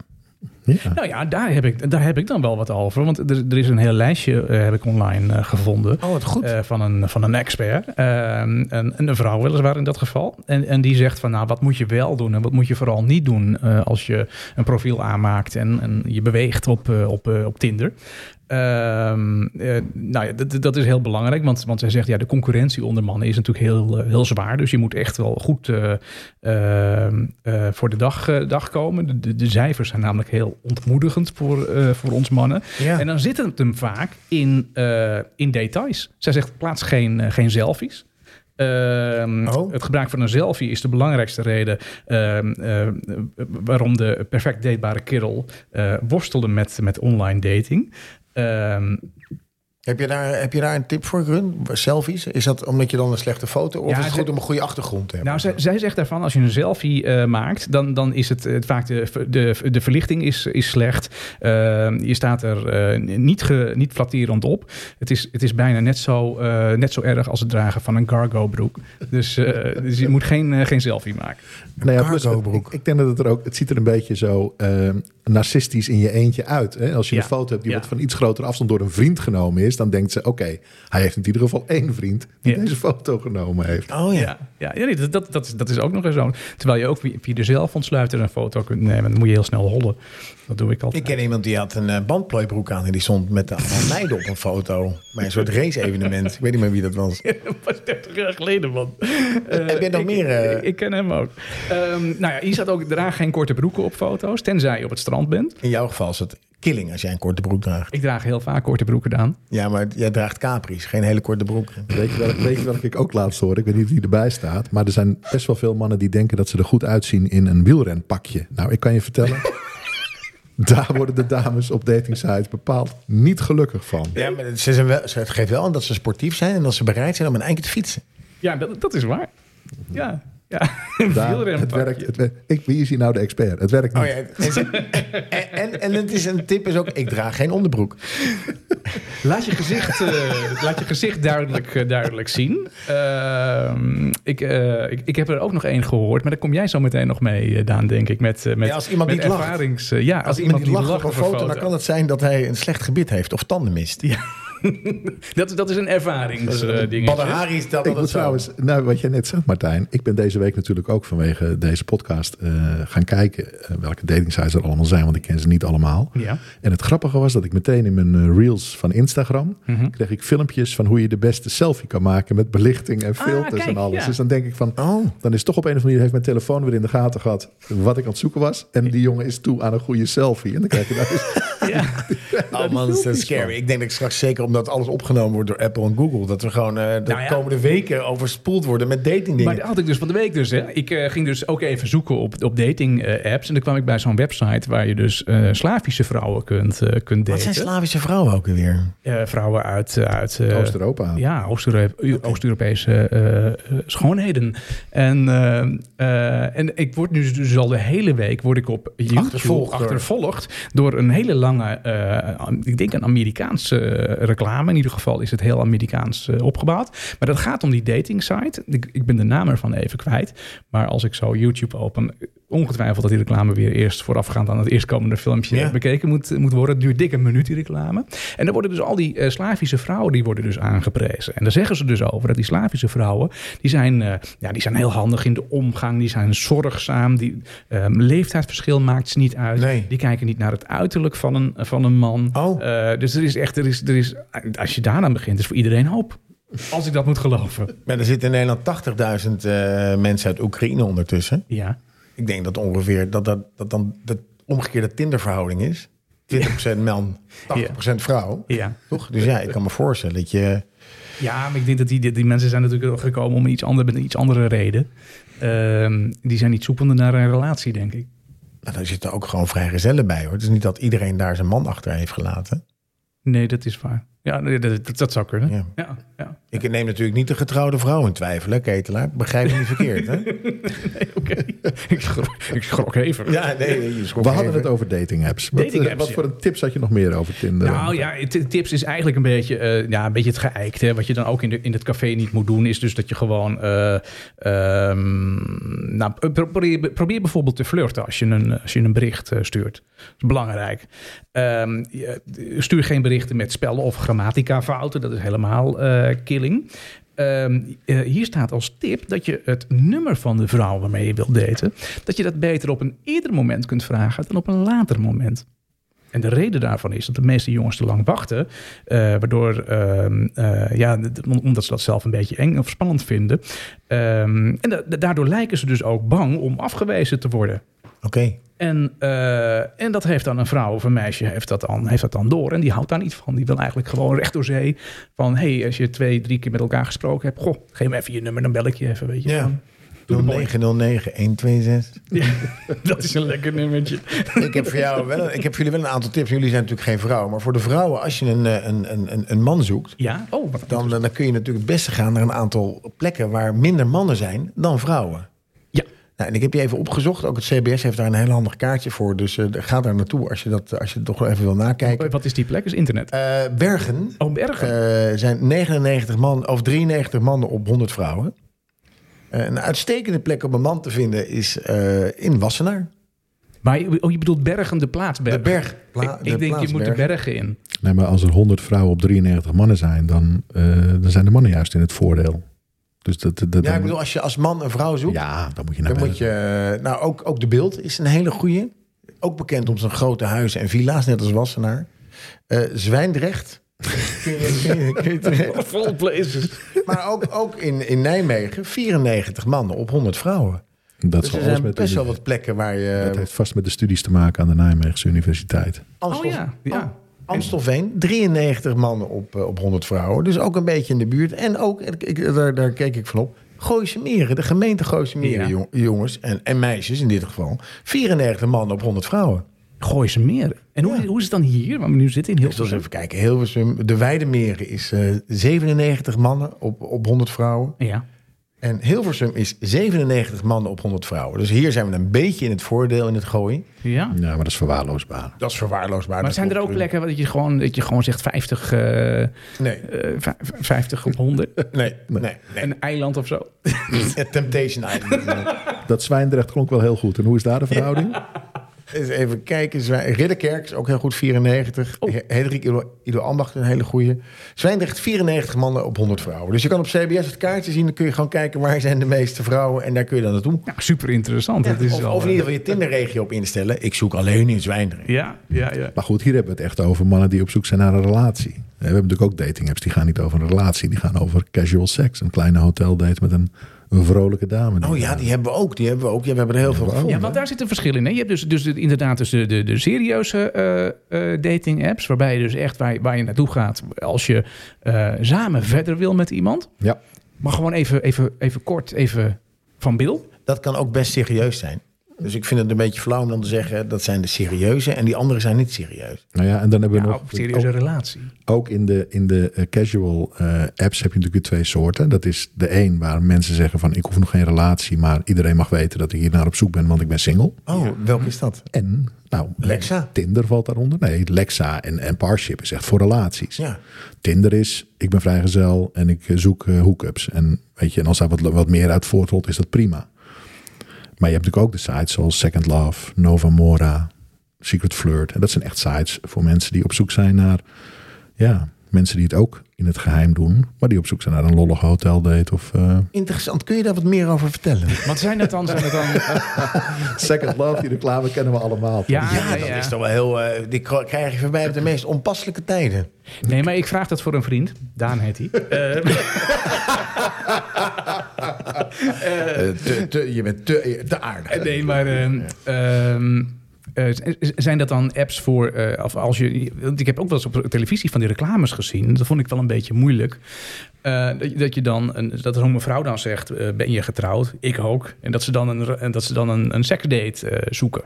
Speaker 1: Ja.
Speaker 3: Nou ja, daar heb, ik, daar heb ik dan wel wat over. Want er, er is een heel lijstje, eh, heb ik online eh, gevonden.
Speaker 4: Oh, wat goed.
Speaker 3: eh, van, een, van een expert. Eh, een, een vrouw weliswaar in dat geval. En, en die zegt van nou, wat moet je wel doen en wat moet je vooral niet doen eh, als je een profiel aanmaakt en, en je beweegt op, eh, op, eh, op Tinder. Ehm, eh, nou ja, dat, dat is heel belangrijk, want, want zij zegt ja, de concurrentie onder mannen is natuurlijk heel, eh, heel zwaar. Dus je moet echt wel goed eh, ehm, eh, voor de dag, eh, dag komen. De, de, de cijfers zijn namelijk heel ontmoedigend voor, eh, voor ons mannen.
Speaker 4: Ja.
Speaker 3: En dan zit het hem vaak in, eh, in details. Zij zegt, plaats geen, eh, geen selfies. Ehm,
Speaker 4: Oh.
Speaker 3: Het gebruik van een selfie is de belangrijkste reden ehm, eh, waarom de perfect datebare kerel eh, worstelde met, met online dating. Ehm,
Speaker 4: Heb je, daar, heb je daar een tip voor, Run? Selfies? Is dat omdat je dan een slechte foto... of
Speaker 3: Ja,
Speaker 4: is het
Speaker 3: ze-
Speaker 4: goed om een goede achtergrond te hebben?
Speaker 3: nou, zij, zij zegt daarvan, als je een selfie eh, maakt, dan, dan is het, eh, vaak de, de, de verlichting is, is slecht. Ehm, je staat er eh, niet, ge, niet flatterend op. Het is, het is bijna net zo, eh, net zo erg als het dragen van een cargo broek. Dus, eh, dus je moet geen, eh, geen selfie maken.
Speaker 1: Nou ja, plus,
Speaker 4: cargo broek.
Speaker 1: ik, ik denk dat het er ook, het ziet er een beetje zo ehm, narcistisch in je eentje uit. Hè? Als je
Speaker 3: Ja.
Speaker 1: een foto hebt die
Speaker 3: Ja.
Speaker 1: wat van iets grotere afstand door een vriend genomen is, dan denkt ze: oké, hij heeft in ieder geval één vriend die
Speaker 3: Ja.
Speaker 1: deze foto genomen heeft.
Speaker 4: oh ja.
Speaker 3: Ja, ja, ja nee, dat, dat, dat, is, dat is ook nog eens zo. Terwijl je ook via via de zelfontsluiter een foto kunt nemen. Dan moet je heel snel hollen. Dat doe ik
Speaker 4: Ik
Speaker 3: altijd.
Speaker 4: ken iemand die had een eh, bandplooibroek aan... en die stond met de allemaal meiden op een foto. Bij een soort race-evenement. Ik weet niet meer wie dat was.
Speaker 3: Dat was 30 jaar geleden, man. Eh,
Speaker 4: Heb jij nog
Speaker 3: ik-
Speaker 4: meer, eh?
Speaker 3: Ik, ik ken hem ook. Ehm, nou ja, hier staat ook, draag geen korte broeken op foto's, tenzij je op het strand bent.
Speaker 4: In jouw geval is het killing als jij een korte broek draagt.
Speaker 3: Ik draag heel vaak korte broeken aan.
Speaker 4: Ja, maar jij draagt Capri's. Geen hele korte broek.
Speaker 1: Weet je, wel, weet je welke ik ook laatst hoorde? Ik weet niet wie erbij staat. Maar er zijn best wel veel mannen die denken dat ze er goed uitzien in een wielrenpakje. Nou, ik kan je vertellen. daar worden de dames op datingsites bepaald niet gelukkig van.
Speaker 4: Ja, maar ze, zijn wel, ze geeft wel aan dat ze sportief zijn... en dat ze bereid zijn om een eindje te fietsen.
Speaker 3: Ja, dat, dat is waar. Ja, ja. Een
Speaker 1: Daar- het
Speaker 3: wielrenpakje.
Speaker 1: werkt, het werkt- ik, wie is hier nou de expert? Het werkt niet.
Speaker 4: Oh ja, en, ze- en, en, en het is een tip is ook, ik draag geen onderbroek.
Speaker 3: Laat je gezicht, eh, laat je gezicht duidelijk, eh, duidelijk zien. Ehm, ik, eh, ik, ik heb er ook nog één gehoord, maar daar kom jij zo meteen nog mee, eh, Daan, denk ik. Met, eh, met,
Speaker 4: Ja, als iemand
Speaker 3: met
Speaker 4: niet lacht.
Speaker 3: ervarings, eh, ja, als,
Speaker 4: Als iemand die lacht op een foto, dan kan het zijn dat hij een slecht gebit heeft of tanden mist.
Speaker 3: dat, dat is een eh, ervaringsding.
Speaker 4: Badr Hari is dat
Speaker 1: Ik
Speaker 4: altijd
Speaker 1: moet
Speaker 4: zo.
Speaker 1: trouwens, nou, wat jij net zegt, Martijn. Ik ben deze week natuurlijk ook vanwege deze podcast eh, gaan kijken eh, welke datingsites er allemaal zijn, want ik ken ze niet allemaal.
Speaker 3: Ja.
Speaker 1: En het grappige was dat ik meteen in mijn eh, reels van Instagram
Speaker 3: Mhm.
Speaker 1: kreeg ik filmpjes van hoe je de beste selfie kan maken met belichting en filters
Speaker 3: Ah, kijk,
Speaker 1: en alles.
Speaker 3: ja.
Speaker 1: Dus dan denk ik van,
Speaker 4: Oh.
Speaker 1: dan is toch op een of andere manier heeft mijn telefoon weer in de gaten gehad wat ik aan het zoeken was. En die jongen is toe aan een goede selfie. En dan krijg je daar eens-
Speaker 4: Oh man, dat is zo scary. Ik denk dat ik straks zeker omdat alles opgenomen wordt door Apple en Google... dat we gewoon eh, de
Speaker 3: Nou ja.
Speaker 4: komende weken overspoeld worden met datingdingen.
Speaker 3: Maar dat had ik dus van de week dus. Hè. Ik eh, ging dus ook even zoeken op, op dating eh, apps. En dan kwam ik bij zo'n website waar je dus eh, Slavische vrouwen kunt, eh, kunt
Speaker 4: Wat
Speaker 3: daten.
Speaker 4: zijn Slavische vrouwen ook weer?
Speaker 3: Eh, vrouwen uit... eh, uit eh,
Speaker 1: Oost-Europa.
Speaker 3: Ja, Oost-Euro- Eu- Oost-Europese eh, eh, schoonheden. En, eh, eh, en ik word nu dus al de hele week word ik op YouTube
Speaker 4: Achtervolgd
Speaker 3: achtervolgd,
Speaker 4: door-
Speaker 3: door een hele lange, eh, ik denk een Amerikaanse eh, reclame. In ieder geval is het heel Amerikaans eh, opgebouwd. Maar dat gaat om die dating site. Ik, ik ben de naam ervan even kwijt. Maar als ik zo YouTube open, ongetwijfeld dat die reclame weer eerst voorafgaand aan het eerstkomende filmpje
Speaker 4: Ja.
Speaker 3: bekeken moet, moet worden. Het duurt dik een minuut, die reclame. En dan worden dus al die eh, Slavische vrouwen, die worden dus aangeprezen. En daar zeggen ze dus over dat die Slavische vrouwen, die zijn, eh, ja, die zijn heel handig in de omgang. Die zijn zorgzaam. Die ehm, leeftijdsverschil maakt ze niet uit.
Speaker 4: Nee.
Speaker 3: Die kijken niet naar het uiterlijk van een, van een man.
Speaker 4: Oh.
Speaker 3: Eh, dus er is echt, er is, er is, als je daaraan begint, is voor iedereen hoop. Als ik dat moet geloven.
Speaker 4: Maar er zitten in Nederland 80.000 eh, mensen uit Oekraïne ondertussen.
Speaker 3: Ja.
Speaker 4: Ik denk dat ongeveer dat, dat, dat dan de omgekeerde Tinder-verhouding is. 20% man, 80% vrouw.
Speaker 3: Ja.
Speaker 4: Toch? Dus ja, ik kan me voorstellen dat je...
Speaker 3: Ja, maar ik denk dat die, die mensen zijn natuurlijk gekomen om iets ander, met een iets andere reden. Ehm, die zijn niet zoekende naar een relatie, denk ik.
Speaker 4: Nou, daar zitten ook gewoon vrijgezellen bij, hoor. Het is niet dat iedereen daar zijn man achter heeft gelaten.
Speaker 3: Nee, dat is waar. Ja, nee, dat, dat, dat zou kunnen.
Speaker 4: Ja.
Speaker 3: Ja, ja.
Speaker 4: Ik neem natuurlijk niet de getrouwde vrouw in twijfel, hè, Ketelaar? Begrijp me niet verkeerd, hè?
Speaker 3: Oké. ik, schrok, ik schrok even.
Speaker 4: Ja, nee, nee, je schrok
Speaker 1: We hadden
Speaker 4: even.
Speaker 1: het over dating apps. Wat,
Speaker 3: Dating
Speaker 1: eh,
Speaker 3: apps,
Speaker 1: wat
Speaker 3: ja.
Speaker 1: voor een tips had je nog meer over Tinder?
Speaker 3: Nou ja, het- tips is eigenlijk een beetje, eh, ja, een beetje het geëikt. Hè. Wat je dan ook in, de, in het café niet moet doen, is dus dat je gewoon. eh, ehm, nou, pro- probeer, probeer bijvoorbeeld te flirten als je een, als je een bericht eh, stuurt. Dat is belangrijk. Ehm, je- stuur geen berichten met spellen of grammatica fouten. Dat is helemaal eh, killing. Ehm, eh, hier staat als tip dat je het nummer van de vrouw waarmee je wilt daten, dat je dat beter op een eerder moment kunt vragen dan op een later moment. En de reden daarvan is dat de meeste jongens te lang wachten. eh, waardoor, ehm, eh, ja, d- om- omdat ze dat zelf een beetje eng of spannend vinden. Ehm, en da- da- daardoor lijken ze dus ook bang om afgewezen te worden.
Speaker 4: Oké.
Speaker 3: En, eh, en dat heeft dan een vrouw of een meisje heeft dat, dan, heeft dat dan door. En die houdt daar niet van. Die wil eigenlijk gewoon recht door zee. Van hé, hey, als je twee, drie keer met elkaar gesproken hebt. Goh, geef me even je nummer, dan bel ik je even. Weet je.
Speaker 4: Ja. 0909 126.
Speaker 3: Ja, dat is een lekker nummertje.
Speaker 4: Ik heb, voor jou wel een- ik heb voor jullie wel een aantal tips. Jullie zijn natuurlijk geen vrouw. Maar voor de vrouwen, als je een, eh, een, een, een- een man zoekt...
Speaker 3: Ja, oh, wat
Speaker 4: Dan, eh, dan kun je natuurlijk het beste gaan naar een aantal plekken... waar minder mannen zijn dan vrouwen.
Speaker 3: Ja.
Speaker 4: Nou, en ik heb je even opgezocht. Ook het CBS heeft daar een heel handig kaartje voor. Dus eh, ga daar naartoe als je, dat, als je het toch wel even wil nakijken.
Speaker 3: Wat is die plek? Is internet.
Speaker 4: Eh, Bergen
Speaker 3: Oh, Bergen.
Speaker 4: eh, zijn 99 man of 93 mannen op 100 vrouwen. Eh, een uitstekende plek om een man te vinden is eh, in Wassenaar.
Speaker 3: Maar je, oh, je bedoelt bergen, de plaats bergen.
Speaker 4: De berg. Pla-
Speaker 3: ik
Speaker 4: de
Speaker 3: ik denk, je
Speaker 4: plaats
Speaker 3: moet de
Speaker 4: Bergen.
Speaker 3: bergen in.
Speaker 1: Nee, maar als er 100 vrouwen op 93 mannen zijn, dan, eh, dan zijn de mannen juist in het voordeel. Dus dat, dat, dat-
Speaker 4: Ja, ik bedoel, als je als man een vrouw zoekt,
Speaker 1: ja, dan moet je naar
Speaker 4: dan moet
Speaker 1: buiten.
Speaker 4: je... eh, Nou, ook, ook de beeld is een hele goeie. Ook bekend om zijn grote huizen en villa's, net als Wassenaar. Eh Zwijndrecht. Kun je- kun je- kun je terecht.
Speaker 3: Full places.
Speaker 4: maar ook, ook in, in Nijmegen, 94 mannen op 100 vrouwen.
Speaker 1: Dat
Speaker 4: Dus
Speaker 1: zal
Speaker 4: er
Speaker 1: alles
Speaker 4: zijn
Speaker 1: met
Speaker 4: best
Speaker 1: de,
Speaker 4: wel wat plekken waar
Speaker 1: dat
Speaker 4: je...
Speaker 1: heeft vast met de studies te maken aan de Nijmeegse Universiteit.
Speaker 3: Oh ja, ja.
Speaker 4: Amstelveen, 93 mannen op, eh, op 100 vrouwen. Dus ook een beetje in de buurt. En ook, ik, ik- daar, daar keek ik van op, Gooise Meren. De gemeente Gooise Meren,
Speaker 3: Ja.
Speaker 4: jong- jongens en, en meisjes in dit geval. 94 mannen op 100 vrouwen.
Speaker 3: Gooi ze meer. En hoe,
Speaker 4: Ja.
Speaker 3: hoe is het dan hier? Want we nu zitten in
Speaker 4: Dus dat is
Speaker 3: Hilversum.
Speaker 4: even kijken. Hilversum, de Weide Meren is eh, 97 mannen op, op 100 vrouwen.
Speaker 3: Ja.
Speaker 4: En Hilversum is 97 mannen op 100 vrouwen. Dus hier zijn we een beetje in het voordeel in het gooien.
Speaker 3: ja. Maar,
Speaker 1: Ja, maar dat is verwaarloosbaar.
Speaker 4: Dat is verwaarloosbaar. dat
Speaker 3: zijn er ook
Speaker 4: klopt.
Speaker 3: plekken waar dat je gewoon, dat je gewoon zegt 50, eh, eh,
Speaker 4: Nee,
Speaker 3: vijf- 50 op 100?
Speaker 4: nee, nee. nee.
Speaker 3: een eiland of zo?
Speaker 4: Temptation Island.
Speaker 1: Dat Zwijndrecht klonk wel heel goed. En hoe is daar de verhouding?
Speaker 4: Eens even kijken. Zwij- Ridderkerk is ook heel goed, 94. He- Hendrik Ido, Ido Ambacht, een hele goeie. Zwijndrecht, 94 mannen op 100 vrouwen. Dus je kan op CBS het kaartje zien. Dan kun je gewoon kijken waar zijn de meeste vrouwen. En daar kun je dan naartoe. Dus
Speaker 3: Nou, super interessant. dat is
Speaker 4: Of,
Speaker 3: wel,
Speaker 4: of in
Speaker 3: eh,
Speaker 4: ieder geval je Tinder-regio op instellen. Ik zoek alleen in Zwijndrecht.
Speaker 3: Ja, ja, ja.
Speaker 1: Maar goed, hier hebben we het echt over mannen die op zoek zijn naar een relatie. Eh, We hebben natuurlijk ook dating apps, die gaan niet over een relatie. Die gaan over casual seks. Een kleine hoteldate met een, een vrolijke dame.
Speaker 4: Oh ja, die hebben we ook. Die hebben we ook. Ja, we hebben er heel veel gevonden.
Speaker 3: Ja, want daar zit een verschil in. Hè? Je hebt dus, dus het- inderdaad dus de, de, de serieuze eh, eh, dating apps, waarbij je dus echt waar, je- waar je naartoe gaat als je eh, samen verder wil met iemand.
Speaker 1: Ja.
Speaker 3: Maar gewoon even, even, even kort, even van Bill.
Speaker 4: Dat kan ook best serieus zijn. Dus ik vind het een beetje flauw om dan te zeggen... dat zijn de serieuze en die anderen zijn niet serieus.
Speaker 1: Nou ja, en dan hebben we
Speaker 3: Ja,
Speaker 1: nog...
Speaker 3: op serieuze relatie.
Speaker 1: ook in de, in de eh, casual eh, apps heb je natuurlijk weer twee soorten. Dat is de een waar mensen zeggen van ik hoef nog geen relatie, maar iedereen mag weten dat ik hier naar op zoek ben, want ik ben single.
Speaker 4: Oh, welke is dat?
Speaker 1: En nou,
Speaker 4: Lexa.
Speaker 1: Tinder valt daaronder. Nee, Lexa en, en Parship is echt voor relaties.
Speaker 4: Ja.
Speaker 1: Tinder is, ik ben vrijgezel en ik eh, zoek eh, hookups. En weet je, en als daar wat, wat meer uit voortrolt, is dat prima. Maar je hebt natuurlijk ook de sites zoals Second Love, Nova Mora, Secret Flirt. En dat zijn echt sites voor mensen die op zoek zijn naar, ja, mensen die het ook in het geheim doen, maar die op zoek zijn naar een lollige hoteldate of eh,
Speaker 4: Interessant. Kun je daar wat meer over vertellen?
Speaker 3: Wat zijn dat dan? Zijn dat dan
Speaker 1: Second Love. Die reclame kennen we allemaal.
Speaker 3: ja,
Speaker 4: Ja,
Speaker 3: ja,
Speaker 4: dat
Speaker 3: Ah, ja.
Speaker 4: is toch wel heel. eh, die k- krijg je voorbij op de meest onpasselijke tijden.
Speaker 3: Nee, maar ik vraag dat voor een vriend. Daan heet hij.
Speaker 4: je bent Eh, te, aardig.
Speaker 3: Eh, Nee, maar ehm, ehm, Eh, z- z- zijn dat dan apps voor, eh, of als je, want ik heb ook wel eens op televisie van die reclames gezien. Dat vond ik wel een beetje moeilijk. Eh, dat, je- dat je dan, een, dat er een mevrouw dan zegt, eh, ben je getrouwd? Ik ook. En dat ze dan een, en dat ze dan een, een seksdate eh, zoeken.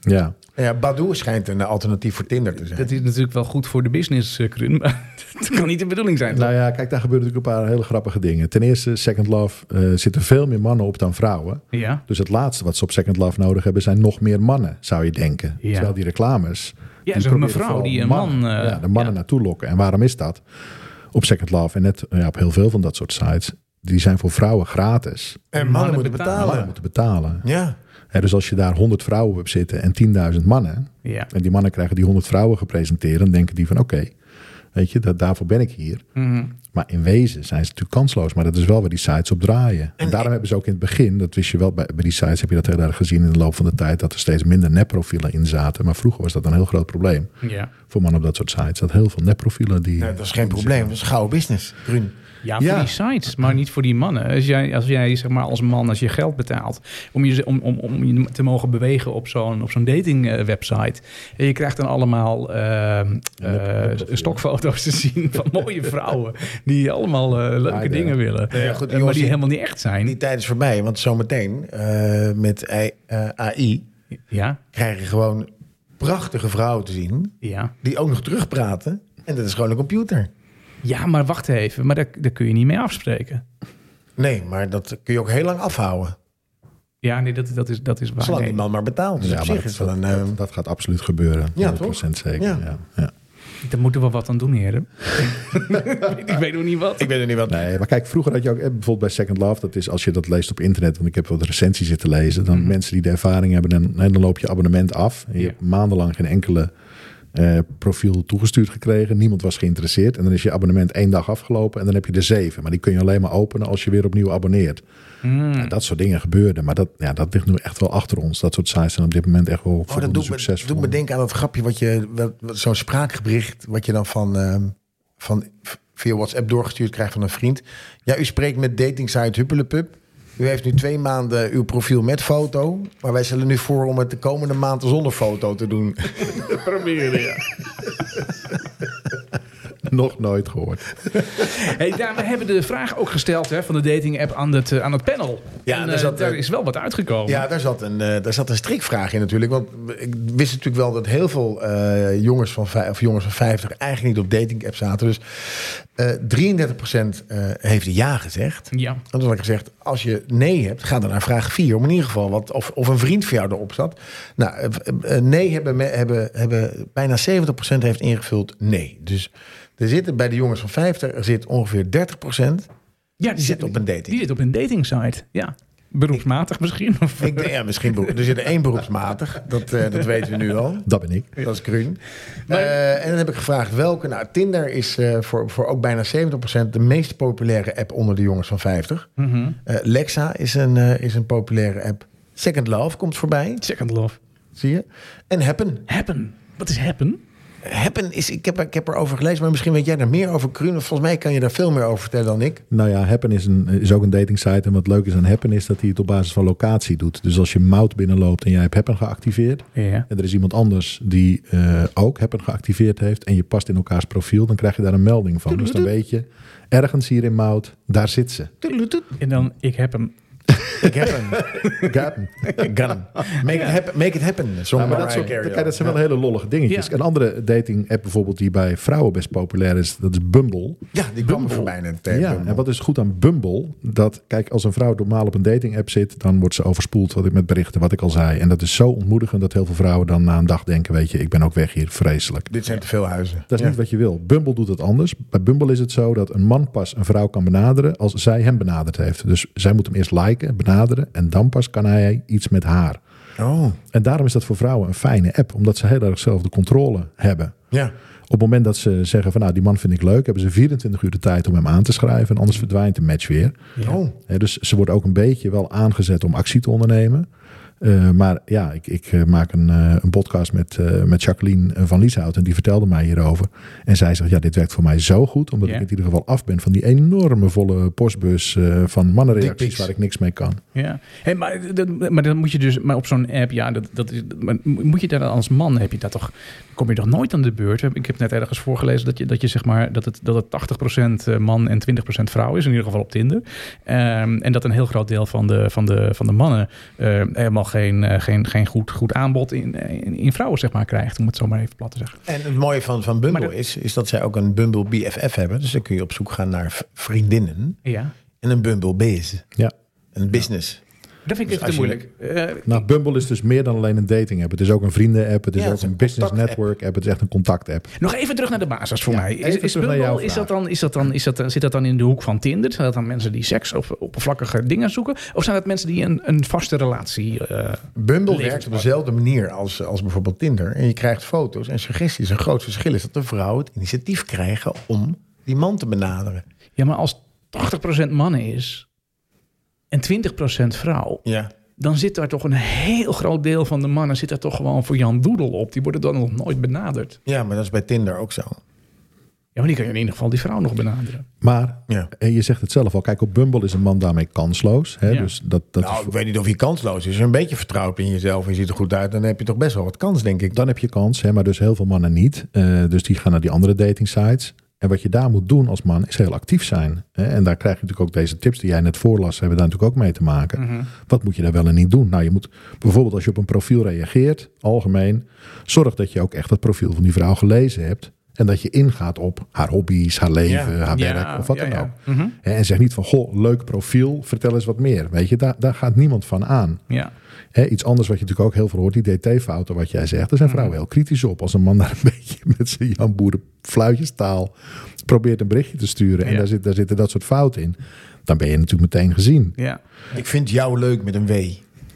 Speaker 1: Ja.
Speaker 4: Nou ja, Badoo schijnt een alternatief voor Tinder te zijn.
Speaker 3: Dat is natuurlijk wel goed voor de business, eh, Krun, maar dat kan niet de bedoeling zijn.
Speaker 1: Nou ja, kijk, daar gebeuren natuurlijk een paar hele grappige dingen. Ten eerste, Second Love eh, zitten veel meer mannen op dan vrouwen.
Speaker 3: Ja,
Speaker 1: Dus het laatste wat ze op Second Love nodig hebben zijn nog meer mannen, zou je denken.
Speaker 3: Ja.
Speaker 1: Terwijl die reclames. die
Speaker 3: ja zo'n
Speaker 1: proberen
Speaker 3: mevrouw
Speaker 1: vooral
Speaker 3: die een man...
Speaker 1: mannen-
Speaker 3: eh,
Speaker 1: ja, de mannen naartoe lokken. En waarom is dat? Op Second Love en net eh, ja, op heel veel van dat soort sites. Die zijn voor vrouwen gratis.
Speaker 4: En mannen moeten
Speaker 3: betalen.
Speaker 1: Mannen
Speaker 4: betalen.
Speaker 1: moeten betalen.
Speaker 4: Ja.
Speaker 1: Hè, dus als je daar 100 vrouwen op hebt zitten en 10.000 mannen.
Speaker 3: ja.
Speaker 1: En die mannen krijgen die 100 vrouwen gepresenteerd. Dan denken die van oké, weet je, dat, daarvoor ben ik hier.
Speaker 3: Mhm.
Speaker 1: Maar in wezen zijn ze natuurlijk kansloos. Maar dat is wel waar die sites op draaien. En, daarom hebben ze ook in het begin, dat wist je wel, bij, bij die sites heb je dat heel erg gezien in de loop van de tijd, dat er steeds minder nepprofielen in zaten. Maar vroeger was dat een heel groot probleem
Speaker 3: ja.
Speaker 1: voor mannen op dat soort sites. Dat heel veel nepprofielen die.
Speaker 4: Nee, Nou, dat is geen probleem. Dat is gouden business. Brun.
Speaker 3: Ja, voor
Speaker 1: Ja.
Speaker 3: die sites, maar niet voor die mannen. Als jij, als jij zeg maar als man, als je geld betaalt om je, om, om, om je te mogen bewegen op zo'n, op zo'n dating eh, website. En je krijgt dan allemaal eh, eh, stokfoto's te zien van mooie vrouwen die allemaal eh, leuke
Speaker 1: ja.
Speaker 3: dingen willen.
Speaker 4: Ja, goed,
Speaker 3: Eh, maar
Speaker 4: jongens,
Speaker 3: die
Speaker 4: die-
Speaker 3: helemaal niet echt zijn.
Speaker 4: Die tijd is voorbij, want zometeen eh, met AI, eh, AI
Speaker 3: Ja,
Speaker 4: krijg je gewoon prachtige vrouwen te zien
Speaker 3: ja.
Speaker 4: die ook nog terugpraten. En dat is gewoon een computer.
Speaker 3: ja, maar wacht even, maar daar, daar kun je niet mee afspreken.
Speaker 4: Nee, maar dat kun je ook heel lang afhouden.
Speaker 3: Ja, nee, dat, dat, is, dat is waar.
Speaker 4: Zolang
Speaker 3: Nee.
Speaker 4: die man maar betaalt. Dus
Speaker 1: Ja,
Speaker 4: op
Speaker 1: maar
Speaker 4: zich
Speaker 1: dat,
Speaker 4: is wel
Speaker 1: dat,
Speaker 4: een... eh,
Speaker 1: dat, dat gaat absoluut gebeuren.
Speaker 4: Ja,
Speaker 1: 100% zeker.
Speaker 4: Ja.
Speaker 1: Ja. Ja.
Speaker 3: Daar moeten we wat aan doen, heren. ik weet nog niet wat.
Speaker 4: ik weet er niet wat...
Speaker 1: Nee, maar kijk, vroeger had je ook eh, bijvoorbeeld bij Second Love, dat is als je dat leest op internet, want ik heb wat recensies zitten lezen, dan mensen die de ervaring hebben, en, en dan loop je abonnement af. En je
Speaker 3: Ja.
Speaker 1: hebt maandenlang geen enkele eh, profiel toegestuurd gekregen. Niemand was geïnteresseerd. En dan is je abonnement één dag afgelopen en dan heb je er zeven. Maar die kun je alleen maar openen als je weer opnieuw abonneert. Ja, dat soort dingen gebeurden. Maar dat, ja, dat ligt nu echt wel achter ons. Dat soort sites zijn op dit moment echt wel
Speaker 4: Oh, dat
Speaker 1: voldoende
Speaker 4: doet me,
Speaker 1: succesvol.
Speaker 4: doet me denken aan dat grapje wat je... wat- wat- Zo'n spraakbericht wat je dan van, ehm, van via WhatsApp doorgestuurd krijgt van een vriend. Ja, u spreekt met datingsite Huppelepup. U heeft nu twee maanden uw profiel met foto. Maar wij stellen nu voor om het de komende maand zonder foto te doen.
Speaker 3: proberen, ja.
Speaker 1: Nog nooit gehoord.
Speaker 3: Hey, daar, we hebben de vraag ook gesteld hè, van de dating app aan het, eh, aan het panel.
Speaker 4: Ja,
Speaker 3: en,
Speaker 4: daar
Speaker 3: eh,
Speaker 4: zat,
Speaker 3: daar
Speaker 4: eh,
Speaker 3: is wel wat uitgekomen.
Speaker 4: Ja, daar zat, een, eh, daar zat een strikvraag in natuurlijk. Want ik wist natuurlijk wel dat heel veel eh, jongens, van vij- of jongens van 50 eigenlijk niet op dating apps zaten. Dus eh 33% eh, heeft ja gezegd.
Speaker 3: Ja.
Speaker 4: En toen had ik gezegd, als je nee hebt, ga dan naar vraag 4. Om in ieder geval, wat, of, of een vriend van jou erop zat. Nou, eh, eh, nee hebben, me- hebben, hebben bijna 70% heeft ingevuld nee. Dus er zitten bij de jongens van 50, er zit ongeveer 30%.
Speaker 3: Ja,
Speaker 4: Die zit op een dating.
Speaker 3: Die zit op een datingsite, ja. Beroepsmatig misschien. Of,
Speaker 4: Ik, denk, ja, misschien, beroep- er zit één beroepsmatig, dat, eh, dat weten we nu al.
Speaker 1: Dat ben ik.
Speaker 4: Dat is groen. Eh, en dan heb ik gevraagd welke. Nou, Tinder is eh, voor, voor ook bijna 70% de meest populaire app onder de jongens van 50.
Speaker 3: Mhm.
Speaker 4: Eh, Lexa is een, eh, is een populaire app. Second Love komt voorbij,
Speaker 3: Second love.
Speaker 4: zie je. En Happen.
Speaker 3: Happen. Wat is happen?
Speaker 4: Happen is, ik heb, ik heb erover gelezen, maar misschien weet jij er meer over, Kruun. Volgens mij kan je daar veel meer over vertellen dan ik.
Speaker 1: Nou ja, Happen is, een, is ook een datingsite. En wat leuk is aan Happen is dat hij het op basis van locatie doet. Dus als je Mout binnenloopt en jij hebt Happen geactiveerd.
Speaker 3: Ja.
Speaker 1: En er is iemand anders die eh, ook Happen geactiveerd heeft. En je past in elkaars profiel. Dan krijg je daar een melding van. Dus dan weet je, ergens hier in Mout, daar zit ze.
Speaker 3: En dan, ik heb hem.
Speaker 4: Ik heb hem.
Speaker 1: Happen.
Speaker 4: Gun hem. Make, it happen, make it happen. Zong
Speaker 1: Ja, maar dat,
Speaker 4: Mariah
Speaker 1: soort,
Speaker 4: Carey
Speaker 1: kijk,
Speaker 4: ook.
Speaker 1: dat zijn wel hele lollige dingetjes.
Speaker 3: Ja.
Speaker 1: Een andere dating app bijvoorbeeld die bij vrouwen best populair is. Dat is Bumble.
Speaker 4: Ja, die kwam er voorbij net. eh,
Speaker 1: Ja,
Speaker 4: Bumble.
Speaker 1: en wat is goed aan Bumble? Dat, kijk, als een vrouw normaal op een dating app zit, dan wordt ze overspoeld wat ik met berichten, wat ik al zei. En dat is zo ontmoedigend dat heel veel vrouwen dan na een dag denken, weet je, ik ben ook weg hier, vreselijk.
Speaker 4: Dit zijn te veel huizen.
Speaker 1: Dat is
Speaker 4: Ja.
Speaker 1: niet wat je wil. Bumble doet het anders. Bij Bumble is het zo dat een man pas een vrouw kan benaderen als zij hem benaderd heeft. Dus zij moet hem eerst liken, benaderen en dan pas kan hij iets met haar.
Speaker 4: Oh,
Speaker 1: En daarom is dat voor vrouwen een fijne app, omdat ze heel erg zelf de controle hebben.
Speaker 4: ja.
Speaker 1: Op het moment dat ze zeggen van nou, die man vind ik leuk, hebben ze 24 uur de tijd om hem aan te schrijven. En anders verdwijnt de match weer.
Speaker 4: Oh.
Speaker 1: Hè, dus ze wordt ook een beetje wel aangezet om actie te ondernemen. Eh, maar ja, ik, ik eh, maak een, eh, een podcast met, eh, met Jacqueline eh, van Lieshout. En die vertelde mij hierover. En zij zegt, ja, dit werkt voor mij zo goed. Omdat
Speaker 3: Ja.
Speaker 1: ik in ieder geval af ben van die enorme volle postbus eh, van mannenreacties
Speaker 4: Dickpics.
Speaker 1: waar ik niks mee kan.
Speaker 3: Ja, hey, maar, dat- maar dan moet je dus, maar op zo'n app, ja, dat, dat is, maar moet je daar dan als man, heb je dat toch, kom je toch nooit aan de beurt? Ik heb net ergens voorgelezen dat je, dat je zeg maar, dat het, dat het 80% man en 20% vrouw is, in ieder geval op Tinder. Ehm, en dat een heel groot deel van de, van de, van de mannen eh, helemaal geen, eh, geen, geen goed, goed aanbod in, in, in vrouwen, zeg maar, krijgt, om het zo maar even plat te zeggen.
Speaker 4: En het mooie van, van Bumble
Speaker 3: Maar dat-
Speaker 4: is, is dat zij ook een Bumble BFF hebben. Dus dan kun je op zoek gaan naar v- vriendinnen.
Speaker 3: Ja,
Speaker 4: En een Bumble Biz.
Speaker 1: Ja.
Speaker 4: Een business.
Speaker 3: dat vind ik
Speaker 4: Dus
Speaker 3: even te
Speaker 4: als je-
Speaker 3: moeilijk. Eh,
Speaker 1: Nou, Bumble is dus meer dan alleen een dating app. Het is ook een vrienden app. Het is
Speaker 4: Ja, het
Speaker 1: ook
Speaker 4: is
Speaker 1: een
Speaker 4: een
Speaker 1: business
Speaker 4: contact-app.
Speaker 1: network app. Het is echt een contact app.
Speaker 3: Nog even terug naar de basis voor
Speaker 1: Ja,
Speaker 3: mij. Is,
Speaker 1: even
Speaker 3: is
Speaker 1: terug naar
Speaker 3: Bumble,
Speaker 1: jouw
Speaker 3: is
Speaker 1: vraag.
Speaker 3: dat dan, is dat dan, is dat, zit dat dan in de hoek van Tinder? Zijn dat dan mensen die seks of oppervlakkige dingen zoeken? Of zijn dat mensen die een, een vaste relatie... eh,
Speaker 4: Bumble
Speaker 3: Levenspartner.
Speaker 4: werkt op dezelfde manier als, als bijvoorbeeld Tinder. En je krijgt foto's en suggesties. Een groot verschil is dat de vrouwen het initiatief krijgen om die man te benaderen.
Speaker 3: Ja, maar als 80% mannen is en 20% vrouw...
Speaker 4: Ja.
Speaker 3: dan zit daar toch een heel groot deel van de mannen... zit daar toch gewoon voor Jan Doedel op. Die worden dan nog nooit benaderd.
Speaker 4: ja, maar dat is bij Tinder ook zo.
Speaker 3: Ja, maar die kan je in ieder geval die vrouw nog benaderen.
Speaker 1: Maar
Speaker 4: Ja.
Speaker 1: eh, je zegt het zelf al. Kijk, op Bumble is een man daarmee kansloos. Hè?
Speaker 3: Ja.
Speaker 1: Dus dat, dat is-
Speaker 4: Nou, ik weet niet of je kansloos is. Als je een beetje vertrouwd in jezelf en je ziet er goed uit... dan heb je toch best wel wat kans, denk ik.
Speaker 1: dan heb je kans. Hè? Maar dus heel veel mannen niet. Eh, dus die gaan naar die andere dating sites. En wat je daar moet doen als man is heel actief zijn. Hè? En daar krijg je natuurlijk ook deze tips die jij net voorlas. Hebben daar natuurlijk ook mee te maken. Wat moet je daar wel en niet doen? Nou, je moet bijvoorbeeld als je op een profiel reageert, algemeen. Zorg dat je ook echt het profiel van die vrouw gelezen hebt. En dat je ingaat op haar hobby's, haar leven,
Speaker 4: Ja.
Speaker 1: haar werk
Speaker 3: Ja,
Speaker 1: of wat
Speaker 3: ja,
Speaker 1: dan
Speaker 3: ja.
Speaker 1: ook. Hè, En zeg niet van, goh, leuk profiel, vertel eens wat meer. Weet je, daar, daar gaat niemand van aan.
Speaker 3: Ja.
Speaker 1: Hè, iets anders wat je natuurlijk ook heel veel hoort, die DT-fouten, wat jij zegt. Daar zijn vrouwen heel kritisch op. Als een man daar een beetje met zijn jamboeren fluitjestaal probeert een berichtje te sturen... en
Speaker 3: Ja.
Speaker 1: daar, zit, daar zitten dat soort fouten in, dan ben je natuurlijk meteen gezien.
Speaker 3: Ja.
Speaker 4: Ik vind jou leuk met een W.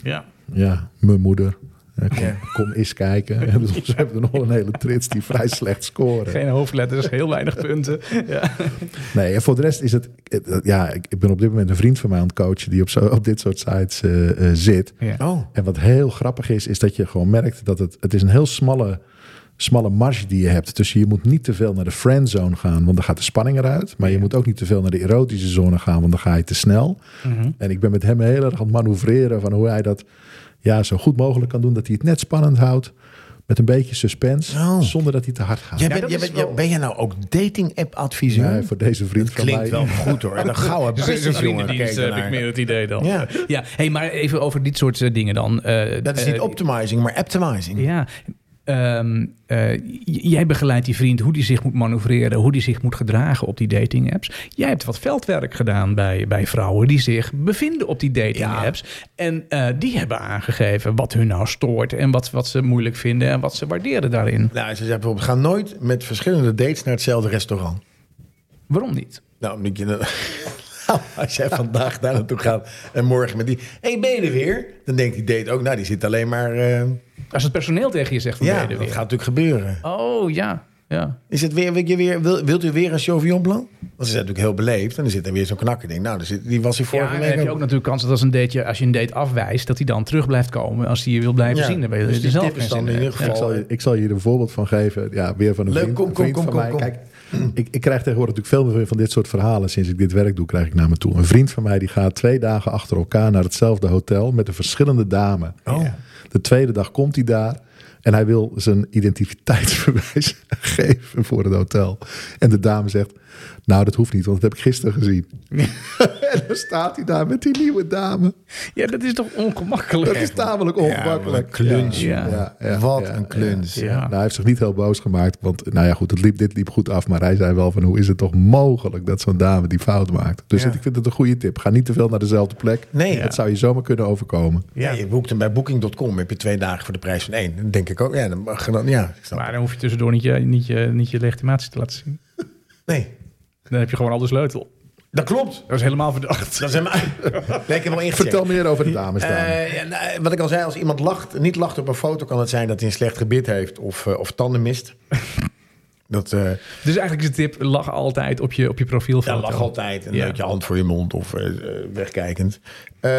Speaker 3: Ja.
Speaker 1: Ja, mijn moeder... hè, Kom,
Speaker 4: Ja.
Speaker 1: kom eens kijken. Ze hebben we hebben nog een hele trits die vrij slecht scoren.
Speaker 3: Geen hoofdletters, heel weinig punten. Ja.
Speaker 1: Nee, en voor de rest is het... het- het- Ja, ik ik ben op dit moment een vriend van mij aan het coachen... die op, zo, op dit soort sites eh, eh, zit.
Speaker 3: Ja.
Speaker 4: Oh.
Speaker 1: En wat heel grappig is, is dat je gewoon merkt dat het, het is een heel smalle, smalle marge die je hebt. Dus je moet niet te veel naar de friendzone gaan, want dan gaat de spanning eruit. Maar je moet ook niet te veel naar de erotische zone gaan, want dan ga je te snel.
Speaker 4: Mhm.
Speaker 1: En ik ben met hem heel erg aan het manoeuvreren van hoe hij dat ja, zo goed mogelijk kan doen. Dat hij het net spannend houdt, met een beetje suspense,
Speaker 4: Oh.
Speaker 1: zonder dat hij te hard gaat.
Speaker 4: Jij
Speaker 3: dat
Speaker 4: bent, jij
Speaker 3: is
Speaker 4: bent,
Speaker 3: wel-
Speaker 4: jij- ben jij nou ook dating-app-adviseur?
Speaker 1: Ja, voor deze vriend van mij.
Speaker 4: Klinkt wel goed hoor. En een gouden
Speaker 3: Dus is een
Speaker 4: business, jongen.
Speaker 3: vriendendienst,
Speaker 4: Kijk
Speaker 3: heb ik
Speaker 4: ernaar.
Speaker 3: meer het idee dan.
Speaker 4: Ja.
Speaker 3: ja. Hey, maar even over dit soort eh, dingen dan. Eh,
Speaker 4: Dat is niet
Speaker 3: eh,
Speaker 4: optimizing, maar optimizing.
Speaker 3: Ja. Ehm, eh, j- jij begeleidt die vriend hoe die zich moet manoeuvreren, hoe die zich moet gedragen op die dating apps. Jij hebt wat veldwerk gedaan bij, bij vrouwen die zich bevinden op die dating
Speaker 4: Ja.
Speaker 3: apps. En eh, die hebben aangegeven wat hun nou stoort en wat, wat ze moeilijk vinden en wat ze waarderen daarin.
Speaker 4: Nou, ze zei bijvoorbeeld, ga nooit met verschillende dates naar hetzelfde restaurant.
Speaker 3: Waarom niet?
Speaker 4: Nou, omdat je... Nou, Als jij vandaag daar naartoe gaat en morgen met die... Hé, hey, ben je er weer? Dan denkt die date ook, nou, die zit alleen maar... eh,
Speaker 3: Als het personeel tegen je zegt, van
Speaker 4: ja,
Speaker 3: ben je
Speaker 4: dat
Speaker 3: er weer?
Speaker 4: gaat natuurlijk gebeuren.
Speaker 3: Oh ja, ja.
Speaker 4: Is het weer, wil je weer wil- wilt u weer een Sauvignon Blanc? Want ze zijn natuurlijk heel beleefd. En dan zit er weer zo'n knakker. Denk, nou, dan zit- die was hier vorige
Speaker 3: Ja, en dan
Speaker 4: week
Speaker 3: heb je
Speaker 4: ook.
Speaker 3: ook natuurlijk kans dat als, een date, als je een date afwijst, dat hij dan terug blijft komen als hij je wil blijven
Speaker 4: Ja,
Speaker 3: zien. Dan ben je
Speaker 4: dus
Speaker 3: er
Speaker 4: die
Speaker 3: zelf
Speaker 4: tip is
Speaker 3: geen zin
Speaker 4: dan
Speaker 3: in.
Speaker 4: in ieder
Speaker 3: Ja.
Speaker 1: Ik
Speaker 4: geval-
Speaker 1: zal, je, ik zal je er een voorbeeld van geven. Ja, weer van een
Speaker 4: Leuk,
Speaker 1: vriend,
Speaker 4: kom,
Speaker 1: een
Speaker 4: kom,
Speaker 1: vriend
Speaker 4: kom,
Speaker 1: van
Speaker 4: kom,
Speaker 1: mij.
Speaker 4: kom.
Speaker 1: Kijk, ik, ik krijg tegenwoordig natuurlijk veel meer van dit soort verhalen sinds ik dit werk doe, krijg ik naar me toe. Een vriend van mij die gaat twee dagen achter elkaar naar hetzelfde hotel met een verschillende dame.
Speaker 4: Oh.
Speaker 1: De tweede dag komt hij daar en hij wil zijn identiteitsbewijs geven voor het hotel. En de dame zegt, nou dat hoeft niet, want dat heb ik gisteren gezien. en dan staat hij daar met die nieuwe dame.
Speaker 3: Ja, dat is toch ongemakkelijk?
Speaker 1: Dat is tamelijk ongemakkelijk.
Speaker 4: Ja, wat een kluns,
Speaker 3: Ja.
Speaker 1: Ja, ja,
Speaker 4: Wat
Speaker 1: ja,
Speaker 4: een kluns.
Speaker 3: ja.
Speaker 1: nou, hij heeft zich niet heel boos gemaakt. Want nou ja, goed, het liep, dit liep goed af. Maar hij zei wel van hoe is het toch mogelijk dat zo'n dame die fout maakt. Dus
Speaker 4: Ja.
Speaker 1: het- ik vind het een goede tip. Ga niet te veel naar dezelfde plek.
Speaker 4: Nee.
Speaker 1: Dat zou je zomaar kunnen overkomen.
Speaker 4: Ja, je boekt hem bij booking.com. Heb je twee dagen voor de prijs van één. Dan denk ik ook, ja, dan mag je dan, ja, ik snap.
Speaker 3: Maar dan hoef je tussendoor niet je, niet, je, niet je legitimatie te laten zien.
Speaker 4: Nee,
Speaker 3: Dan heb je gewoon al de sleutel.
Speaker 4: dat klopt.
Speaker 3: Dat is helemaal verdacht.
Speaker 4: Dat zijn maar. Lekker wel ingecheckt.
Speaker 1: Vertel meer over de dames dan.
Speaker 4: Eh, ja, nou, wat ik al zei, als iemand lacht, niet lacht op een foto, kan het zijn dat hij een slecht gebit heeft of, eh, of tanden mist. dat eh
Speaker 3: Dus eigenlijk is de tip, lach altijd op je, op je
Speaker 4: ja,
Speaker 3: profielfoto.
Speaker 4: lach altijd en
Speaker 3: Ja.
Speaker 4: met je hand Ehm, voor je mond of eh, eh, wegkijkend. Eh,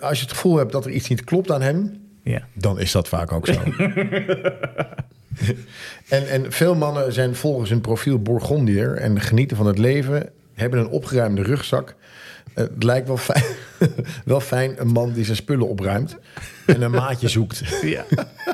Speaker 4: als je het gevoel hebt dat er iets niet klopt aan hem,
Speaker 3: Ja.
Speaker 4: dan is dat vaak ook zo. en, en veel mannen zijn volgens hun profiel Bourgondier en genieten van het leven, hebben een opgeruimde rugzak. Eh, Het lijkt wel fijn, wel fijn een man die zijn spullen opruimt en een maatje zoekt.
Speaker 3: Ja.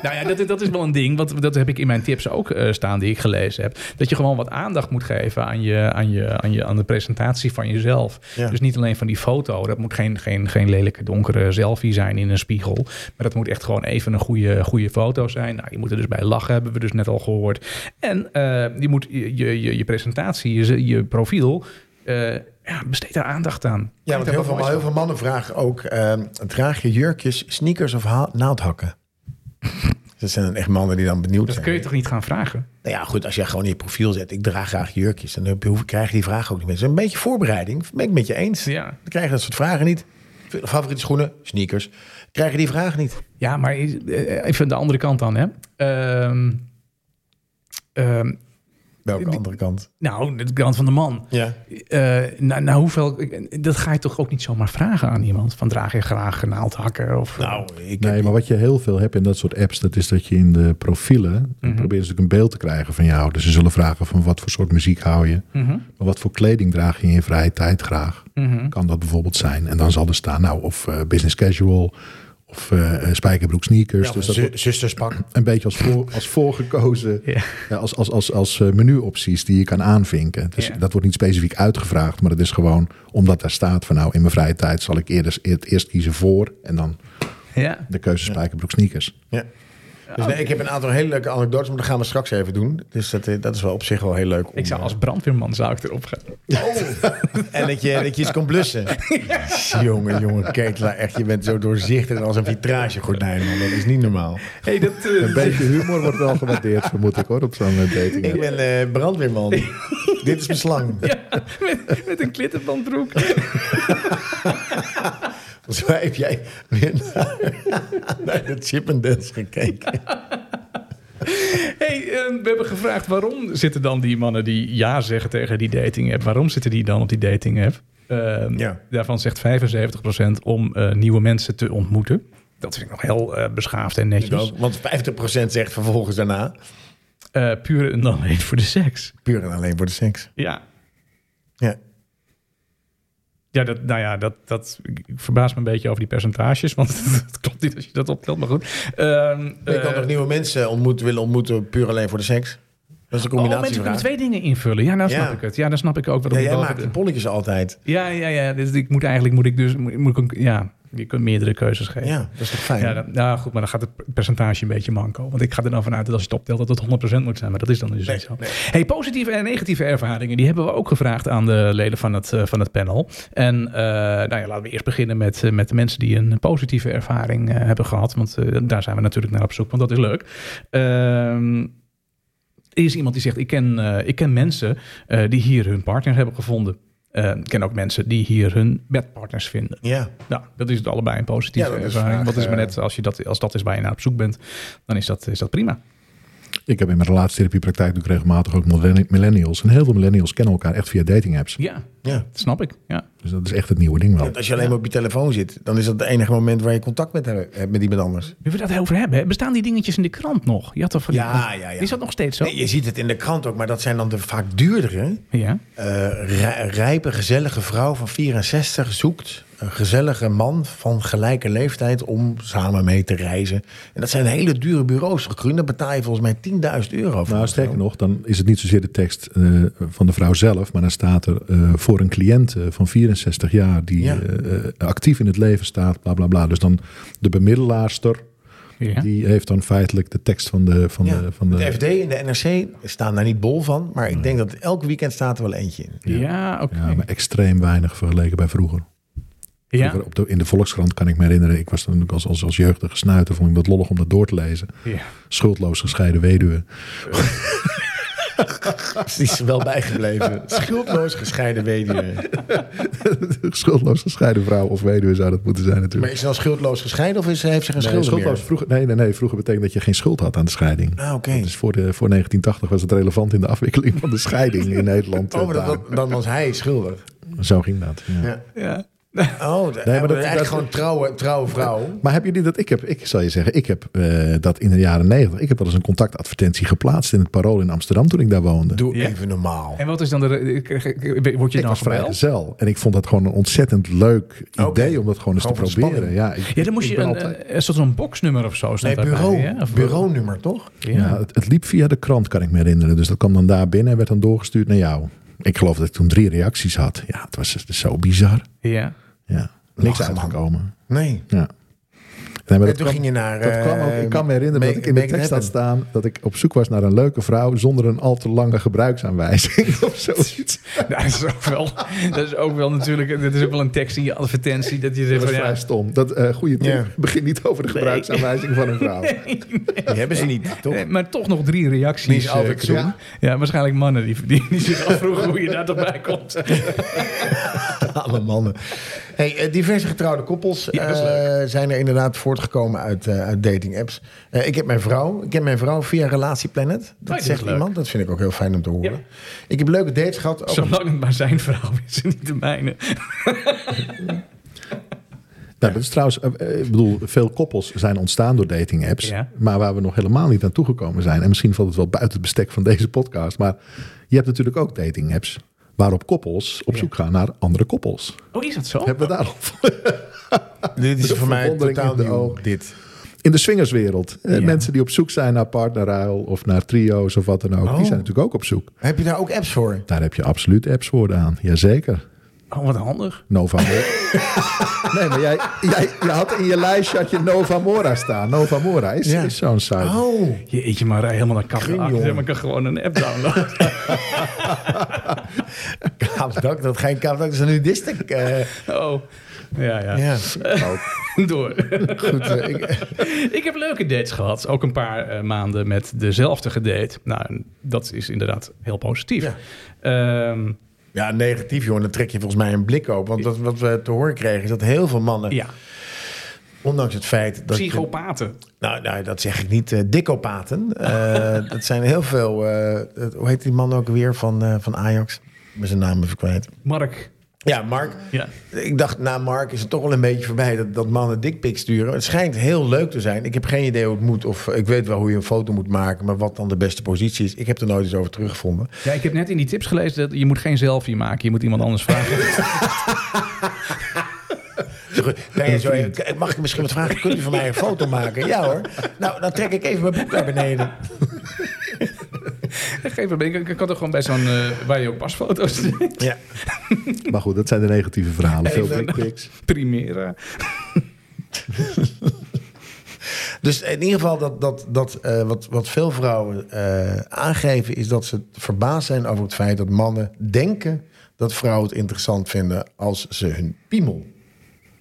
Speaker 3: nou ja, dat, is- dat is wel een ding. Want dat heb ik in mijn tips ook eh, staan die ik gelezen heb. Dat je gewoon wat aandacht moet geven aan, je, aan, je, aan, je, aan de presentatie van jezelf.
Speaker 4: Ja.
Speaker 3: Dus niet alleen van die foto. Dat moet geen, geen, geen lelijke donkere selfie zijn in een spiegel. Maar dat moet echt gewoon even een goede, goede foto zijn. Nou, je moet er dus bij lachen, hebben we dus net al gehoord. En eh, je moet je, je, je, je presentatie, je, je profiel... eh, ja, besteed daar aandacht aan.
Speaker 4: Ja,
Speaker 3: Maak
Speaker 4: want
Speaker 3: daar
Speaker 4: heel
Speaker 3: wat moois
Speaker 4: veel, heel veel mannen vragen ook: eh, draag je jurkjes, sneakers of haal- naaldhakken? Dat zijn dan echt mannen die dan benieuwd
Speaker 3: Dat
Speaker 4: zijn.
Speaker 3: kun je toch niet gaan vragen?
Speaker 4: Nou ja, goed, als jij gewoon in je profiel zet, ik draag graag jurkjes, dan heb je- hoef- krijg je die vraag ook niet meer. Dus een beetje voorbereiding, ben ik met je eens.
Speaker 3: Ja.
Speaker 4: Dan krijg je dat soort vragen niet. Favoriete schoenen, sneakers, krijg je die vragen niet.
Speaker 3: Ja, maar is- eh, even de andere kant dan, hè. Ehm, ehm,
Speaker 4: Welke andere kant?
Speaker 3: nou, de kant van de man.
Speaker 4: Ja.
Speaker 3: Eh, nou, nou, hoeveel... Dat ga je toch ook niet zomaar vragen aan iemand? Van draag je graag naaldhakken? Of, eh,
Speaker 4: Nou, ik
Speaker 1: Nee, maar wat je heel veel hebt in dat soort apps, dat is dat je in de profielen
Speaker 3: Mhm.
Speaker 1: dan proberen ze natuurlijk een beeld te krijgen van jou. Dus ze zullen vragen van wat voor soort muziek hou je,
Speaker 3: Mhm,
Speaker 1: maar wat voor kleding draag je in je vrije tijd graag.
Speaker 3: mhm.
Speaker 1: Kan dat bijvoorbeeld zijn? En dan zal er staan, nou, of eh, business casual, of eh, spijkerbroek sneakers. dus dat
Speaker 4: zu-
Speaker 1: wordt
Speaker 4: zusterspak.
Speaker 1: een beetje als, voor, als voorgekozen,
Speaker 3: Ja.
Speaker 1: ja, als, als, als, als eh, menuopties die je kan aanvinken. Dus
Speaker 3: Ja.
Speaker 1: dat wordt niet specifiek uitgevraagd, maar het is gewoon omdat daar staat van, nou, in mijn vrije tijd zal ik eerder, het eerst kiezen voor en dan
Speaker 3: Ja.
Speaker 1: de keuze spijkerbroek sneakers.
Speaker 4: Ja. Dus nee, ik heb een aantal hele leuke anekdotes, maar dat gaan we straks even doen. Dus dat, eh, dat is wel op zich wel heel leuk. om,
Speaker 3: Ik zou
Speaker 4: eh,
Speaker 3: als brandweerman zou ik erop gaan.
Speaker 4: Oh. En dat je, dat je iets kon blussen. Jongen, jongen, Ketelaar, echt, je bent zo doorzichtig als een vitragegordijn, man. Dat is niet normaal.
Speaker 3: Hey, dat, eh,
Speaker 1: Een beetje humor wordt wel gewaardeerd, vermoed ik hoor, op zo'n eh, dating.
Speaker 4: Ik
Speaker 1: app.
Speaker 4: ben eh, brandweerman. Dit is mijn slang.
Speaker 3: ja, met, met een klittenbandbroek.
Speaker 4: Volgens mij heb jij weer naar, naar de Chippendales gekeken.
Speaker 3: Hey, eh, we hebben gevraagd waarom zitten dan die mannen die ja zeggen tegen die dating app, waarom zitten die dan op die dating app? Ehm,
Speaker 4: Ja.
Speaker 3: Daarvan zegt 75% om eh, nieuwe mensen te ontmoeten. Dat vind ik nog heel eh, beschaafd en netjes.
Speaker 4: Want 50% zegt vervolgens daarna...
Speaker 3: Eh, puur en alleen voor de seks.
Speaker 4: puur en alleen voor de seks.
Speaker 3: Ja,
Speaker 4: Ja.
Speaker 3: ja, dat, nou ja dat, dat, ik verbaas me een beetje over die percentages, want het klopt niet als je dat optelt, maar goed. Ehm,
Speaker 4: Je kan
Speaker 3: eh,
Speaker 4: nog nieuwe mensen ontmoeten, willen ontmoeten puur alleen voor de seks? Dat is de
Speaker 3: Oh,
Speaker 4: combinatie
Speaker 3: mensen kunnen twee dingen invullen. Ja, nou
Speaker 4: Ja.
Speaker 3: snap ik het. Ja, dan snap ik ook
Speaker 4: ja,
Speaker 3: waarom
Speaker 4: jij
Speaker 3: het
Speaker 4: maakt
Speaker 3: boven
Speaker 4: de
Speaker 3: de-
Speaker 4: polletjes altijd.
Speaker 3: Ja, ja, ja. Dus ik moet eigenlijk moet ik dus moet, moet ik een- ja, je kunt meerdere keuzes geven.
Speaker 4: Ja, dat is toch fijn?
Speaker 3: Ja, dan- nou goed, maar dan gaat het percentage een beetje manco. Want ik ga er dan vanuit dat als je het optelt dat het 100% moet zijn. Maar dat is dan dus niet zo. Hey, positieve en negatieve ervaringen, die hebben we ook gevraagd aan de leden van het, eh, van het panel. En eh, nou ja, laten we eerst beginnen met, eh, met de mensen die een positieve ervaring eh, hebben gehad. Want eh, daar zijn we natuurlijk naar op zoek, want dat is leuk. Ehm, er is iemand die zegt, ik ken, eh, ik ken mensen eh, die hier hun partner hebben gevonden. Eh, ik ken ook mensen die hier hun bedpartners vinden.
Speaker 4: Ja.
Speaker 3: Nou, dat is het allebei een positieve
Speaker 4: Ja, dat is
Speaker 3: ervaring.
Speaker 4: vaak,
Speaker 3: Want het is maar
Speaker 4: eh,
Speaker 3: net, als, je dat, als dat is waar je naar op zoek bent, dan is dat, is dat prima.
Speaker 1: Ik heb in mijn relatietherapiepraktijk natuurlijk regelmatig ook millenni- millennials. En heel veel millennials kennen elkaar echt via dating apps.
Speaker 3: Ja,
Speaker 4: ja.
Speaker 3: dat snap ik. Ja.
Speaker 1: Dus dat is echt het nieuwe ding wel.
Speaker 4: Want als je alleen maar op je telefoon zit, dan is dat het enige moment waar je contact met hem- hebt met iemand anders.
Speaker 3: Nu we dat over hebben, hè, bestaan die dingetjes in de krant nog? Je had toch van die-
Speaker 4: Ja, ja, ja.
Speaker 3: Is dat nog steeds zo?
Speaker 4: Nee, je ziet het in de krant ook, maar dat zijn dan de vaak duurdere.
Speaker 3: Ja.
Speaker 4: Eh, rij- rijpe, gezellige vrouw van 64 zoekt een gezellige man van gelijke leeftijd om samen mee te reizen. En dat zijn hele dure bureaus. Groen, daar betaal je volgens mij 10.000 euro voor.
Speaker 1: Nou, sterker nog, dan is het niet zozeer de tekst eh, van de vrouw zelf, maar dan staat er eh, voor een cliënt eh, van 64 jaar die
Speaker 4: Ja.
Speaker 1: eh, eh, actief in het leven staat, bla bla bla. Dus dan de bemiddelaarster,
Speaker 3: ja.
Speaker 1: die heeft dan feitelijk de tekst van de. Van
Speaker 4: Ja,
Speaker 1: de, van de,
Speaker 4: de FD en de NRC staan daar niet bol van, maar ik denk dat elk weekend staat er wel eentje in.
Speaker 3: ja. oké.
Speaker 1: ja, maar extreem weinig vergeleken bij vroeger.
Speaker 3: Ja,
Speaker 1: Vroeger op de, in de Volkskrant kan ik me herinneren, ik was dan als, als, als jeugdige snuiter, vond ik dat lollig om dat door te lezen.
Speaker 3: ja.
Speaker 1: Schuldloos gescheiden weduwe.
Speaker 4: Dat is wel bijgebleven. Schuldloos gescheiden weduwe.
Speaker 1: schuldloos gescheiden vrouw of weduwe zou dat moeten zijn
Speaker 4: Maar
Speaker 1: natuurlijk.
Speaker 4: is ze dan schuldloos gescheiden of is, heeft ze geen schuld meer?
Speaker 1: schuldloos vroeger, nee, nee, nee, vroeger betekent dat je geen schuld had aan de scheiding.
Speaker 4: Ah, oké.
Speaker 1: Dus voor, de, voor 1980 was het relevant in de afwikkeling van de scheiding in Nederland.
Speaker 4: Oh, maar
Speaker 1: eh,
Speaker 4: dat- dat- dan was hij schuldig.
Speaker 1: daar. Zo ging dat. Ja.
Speaker 4: Ja.
Speaker 3: ja.
Speaker 4: Oh, nee, maar dat,
Speaker 1: dat-
Speaker 4: eigenlijk
Speaker 1: dat-
Speaker 4: gewoon trouwe, trouwe vrouw.
Speaker 1: Maar hebben jullie dat? Ik heb, ik zal je zeggen, ik heb eh, dat in de jaren negentig. Ik heb wel eens een contactadvertentie geplaatst in het Parool in Amsterdam toen ik daar woonde.
Speaker 4: Doe
Speaker 3: Ja.
Speaker 4: even normaal.
Speaker 3: En wat is dan de... re- krijg ik- Word je
Speaker 1: ik
Speaker 3: dan
Speaker 1: was
Speaker 3: gebeld?
Speaker 1: vrijgezel en ik vond dat gewoon een ontzettend leuk idee
Speaker 4: Oké.
Speaker 1: om dat gewoon eens
Speaker 4: Gewoon
Speaker 1: te
Speaker 4: voor de
Speaker 1: proberen. Ja, ik-
Speaker 3: Ja, dan moest
Speaker 1: ik
Speaker 3: je
Speaker 1: ben
Speaker 3: een, eh,
Speaker 1: altijd-
Speaker 3: een, een soort van boxnummer of zo. staat
Speaker 4: Nee,
Speaker 3: daarbij,
Speaker 4: bureau,
Speaker 3: hè? Of-
Speaker 4: bureaunummer toch?
Speaker 1: ja. het, het liep via de krant, kan ik me herinneren. Dus dat kwam dan daar binnen en werd dan doorgestuurd naar jou. Ik geloof dat ik toen drie reacties had. Ja, het was zo bizar.
Speaker 3: Ja.
Speaker 1: Ja, niks
Speaker 4: Lachen,
Speaker 1: uitgekomen.
Speaker 4: Nee.
Speaker 1: Ja. Nee, maar
Speaker 4: En
Speaker 1: dat
Speaker 4: toen
Speaker 1: kwam,
Speaker 4: ging je naar... eh,
Speaker 1: dat kwam ook, ik kan me herinneren dat ik in de tekst had staan dat ik op zoek was naar een leuke vrouw zonder een al te lange gebruiksaanwijzing of zoiets.
Speaker 3: Nou, dat, is ook wel, dat is ook wel natuurlijk... Dat is ook wel een tekst in je advertentie. Dat je
Speaker 1: Dat
Speaker 3: zegt
Speaker 1: was
Speaker 3: van ja...
Speaker 1: vrij stom. Dat eh goede tip.
Speaker 4: Ja.
Speaker 1: Begin niet over de gebruiksaanwijzing van een vrouw.
Speaker 4: Die hebben ze niet, toch?
Speaker 3: Nee, Eh, maar toch nog drie reacties.
Speaker 4: Die is altijd
Speaker 3: eh, Koen.
Speaker 4: zo.
Speaker 3: ja. waarschijnlijk mannen die, die, die zich afvroegen hoe je daar toch bij komt.
Speaker 4: Alle mannen. Hey, eh, diverse getrouwde koppels
Speaker 3: Ja, dat is
Speaker 4: eh, zijn er inderdaad voortgekomen uit, eh, uit dating apps. Eh, ik heb mijn vrouw. Ik ken mijn vrouw via Relatieplanet. Dat
Speaker 3: dat Oh, is
Speaker 4: zegt
Speaker 3: leuk.
Speaker 4: iemand. Dat vind ik ook heel fijn om te horen.
Speaker 3: Ja.
Speaker 4: Ik heb leuke dates gehad. Ook
Speaker 3: Zolang het maar zijn verhaal is en niet de mijne.
Speaker 1: Nou, dat is trouwens, eh, eh, ik bedoel, veel koppels zijn ontstaan door dating apps.
Speaker 3: Ja.
Speaker 1: Maar waar we nog helemaal niet aan toegekomen zijn. En misschien valt het wel buiten het bestek van deze podcast. Maar je hebt natuurlijk ook dating apps. Waarop koppels op zoek gaan naar andere koppels.
Speaker 3: Oh, is dat zo?
Speaker 1: Hebben we daar al van?
Speaker 4: dit is
Speaker 1: de
Speaker 4: voor mij
Speaker 1: verwondering
Speaker 4: totaal
Speaker 1: in de
Speaker 4: nieuw,
Speaker 1: ogen.
Speaker 4: Dit.
Speaker 1: In de swingerswereld. Eh,
Speaker 3: Ja.
Speaker 1: Mensen die op zoek zijn naar partnerruil of naar trio's of wat dan ook.
Speaker 4: Oh.
Speaker 1: Die zijn natuurlijk ook op zoek.
Speaker 4: Heb je daar ook apps voor?
Speaker 1: Daar heb je absoluut appswoorden aan. Jazeker.
Speaker 3: Oh, wat handig.
Speaker 1: Nova Mora. nee, maar jij, jij, je had in je lijstje had je Nova Mora staan. Nova Mora is,
Speaker 4: Ja.
Speaker 1: is zo'n site.
Speaker 4: Oh,
Speaker 3: Jeetje, maar rij helemaal naar kappen
Speaker 4: Ging,
Speaker 3: achter.
Speaker 4: jongen.
Speaker 3: Maar ik kan gewoon een app downloaden.
Speaker 4: kaapdak. Dat geen kaapdak. Dat is een nudistic. eh
Speaker 3: Oh, ja, ja.
Speaker 4: ja.
Speaker 3: Door.
Speaker 4: Goed, eh, ik,
Speaker 3: Ik heb leuke dates gehad. Ook een paar eh, maanden met dezelfde gedate. Nou, en dat is inderdaad heel positief.
Speaker 4: Ja.
Speaker 3: Ehm,
Speaker 4: ja, negatief, jongen. Dan trek je volgens mij een blik op. Want dat, wat we te horen kregen is dat heel veel mannen,
Speaker 3: ja.
Speaker 4: ondanks het feit dat je-
Speaker 3: psychopaten.
Speaker 4: Nou, nou, dat zeg ik niet. eh dikkopaten. Eh, dat zijn heel veel. eh, het- hoe heet die man ook weer van, eh, van Ajax? Ik ben zijn naam even kwijt.
Speaker 3: Mark.
Speaker 4: Ja, Mark.
Speaker 3: Ja.
Speaker 4: Ik dacht, na Mark is het toch wel een beetje voorbij dat, dat mannen dikpik sturen. Het schijnt heel leuk te zijn. Ik heb geen idee hoe het moet. Of eh, ik weet wel hoe je een foto moet maken. Maar wat dan de beste positie is. Ik heb er nooit eens over teruggevonden.
Speaker 3: Ja, ik heb net in die tips gelezen dat je moet geen selfie maken. Je moet iemand anders vragen.
Speaker 4: Zo goed, nee, zo, eh, mag ik misschien wat vragen? Kunt u van mij een foto maken? Ja hoor. Nou, dan trek ik even mijn boek naar beneden.
Speaker 3: Geef een beetje. Ik kan toch gewoon bij zo'n... eh, waar je ook pasfoto's deed.
Speaker 4: Ja.
Speaker 1: Maar goed, dat zijn de negatieve verhalen. Veel
Speaker 4: Even-
Speaker 1: dickpics.
Speaker 3: Primera.
Speaker 4: Dus in ieder geval, dat, dat, dat, eh, wat, wat veel vrouwen eh, aangeven, is dat ze verbaasd zijn over het feit dat mannen denken dat vrouwen het interessant vinden als ze hun piemel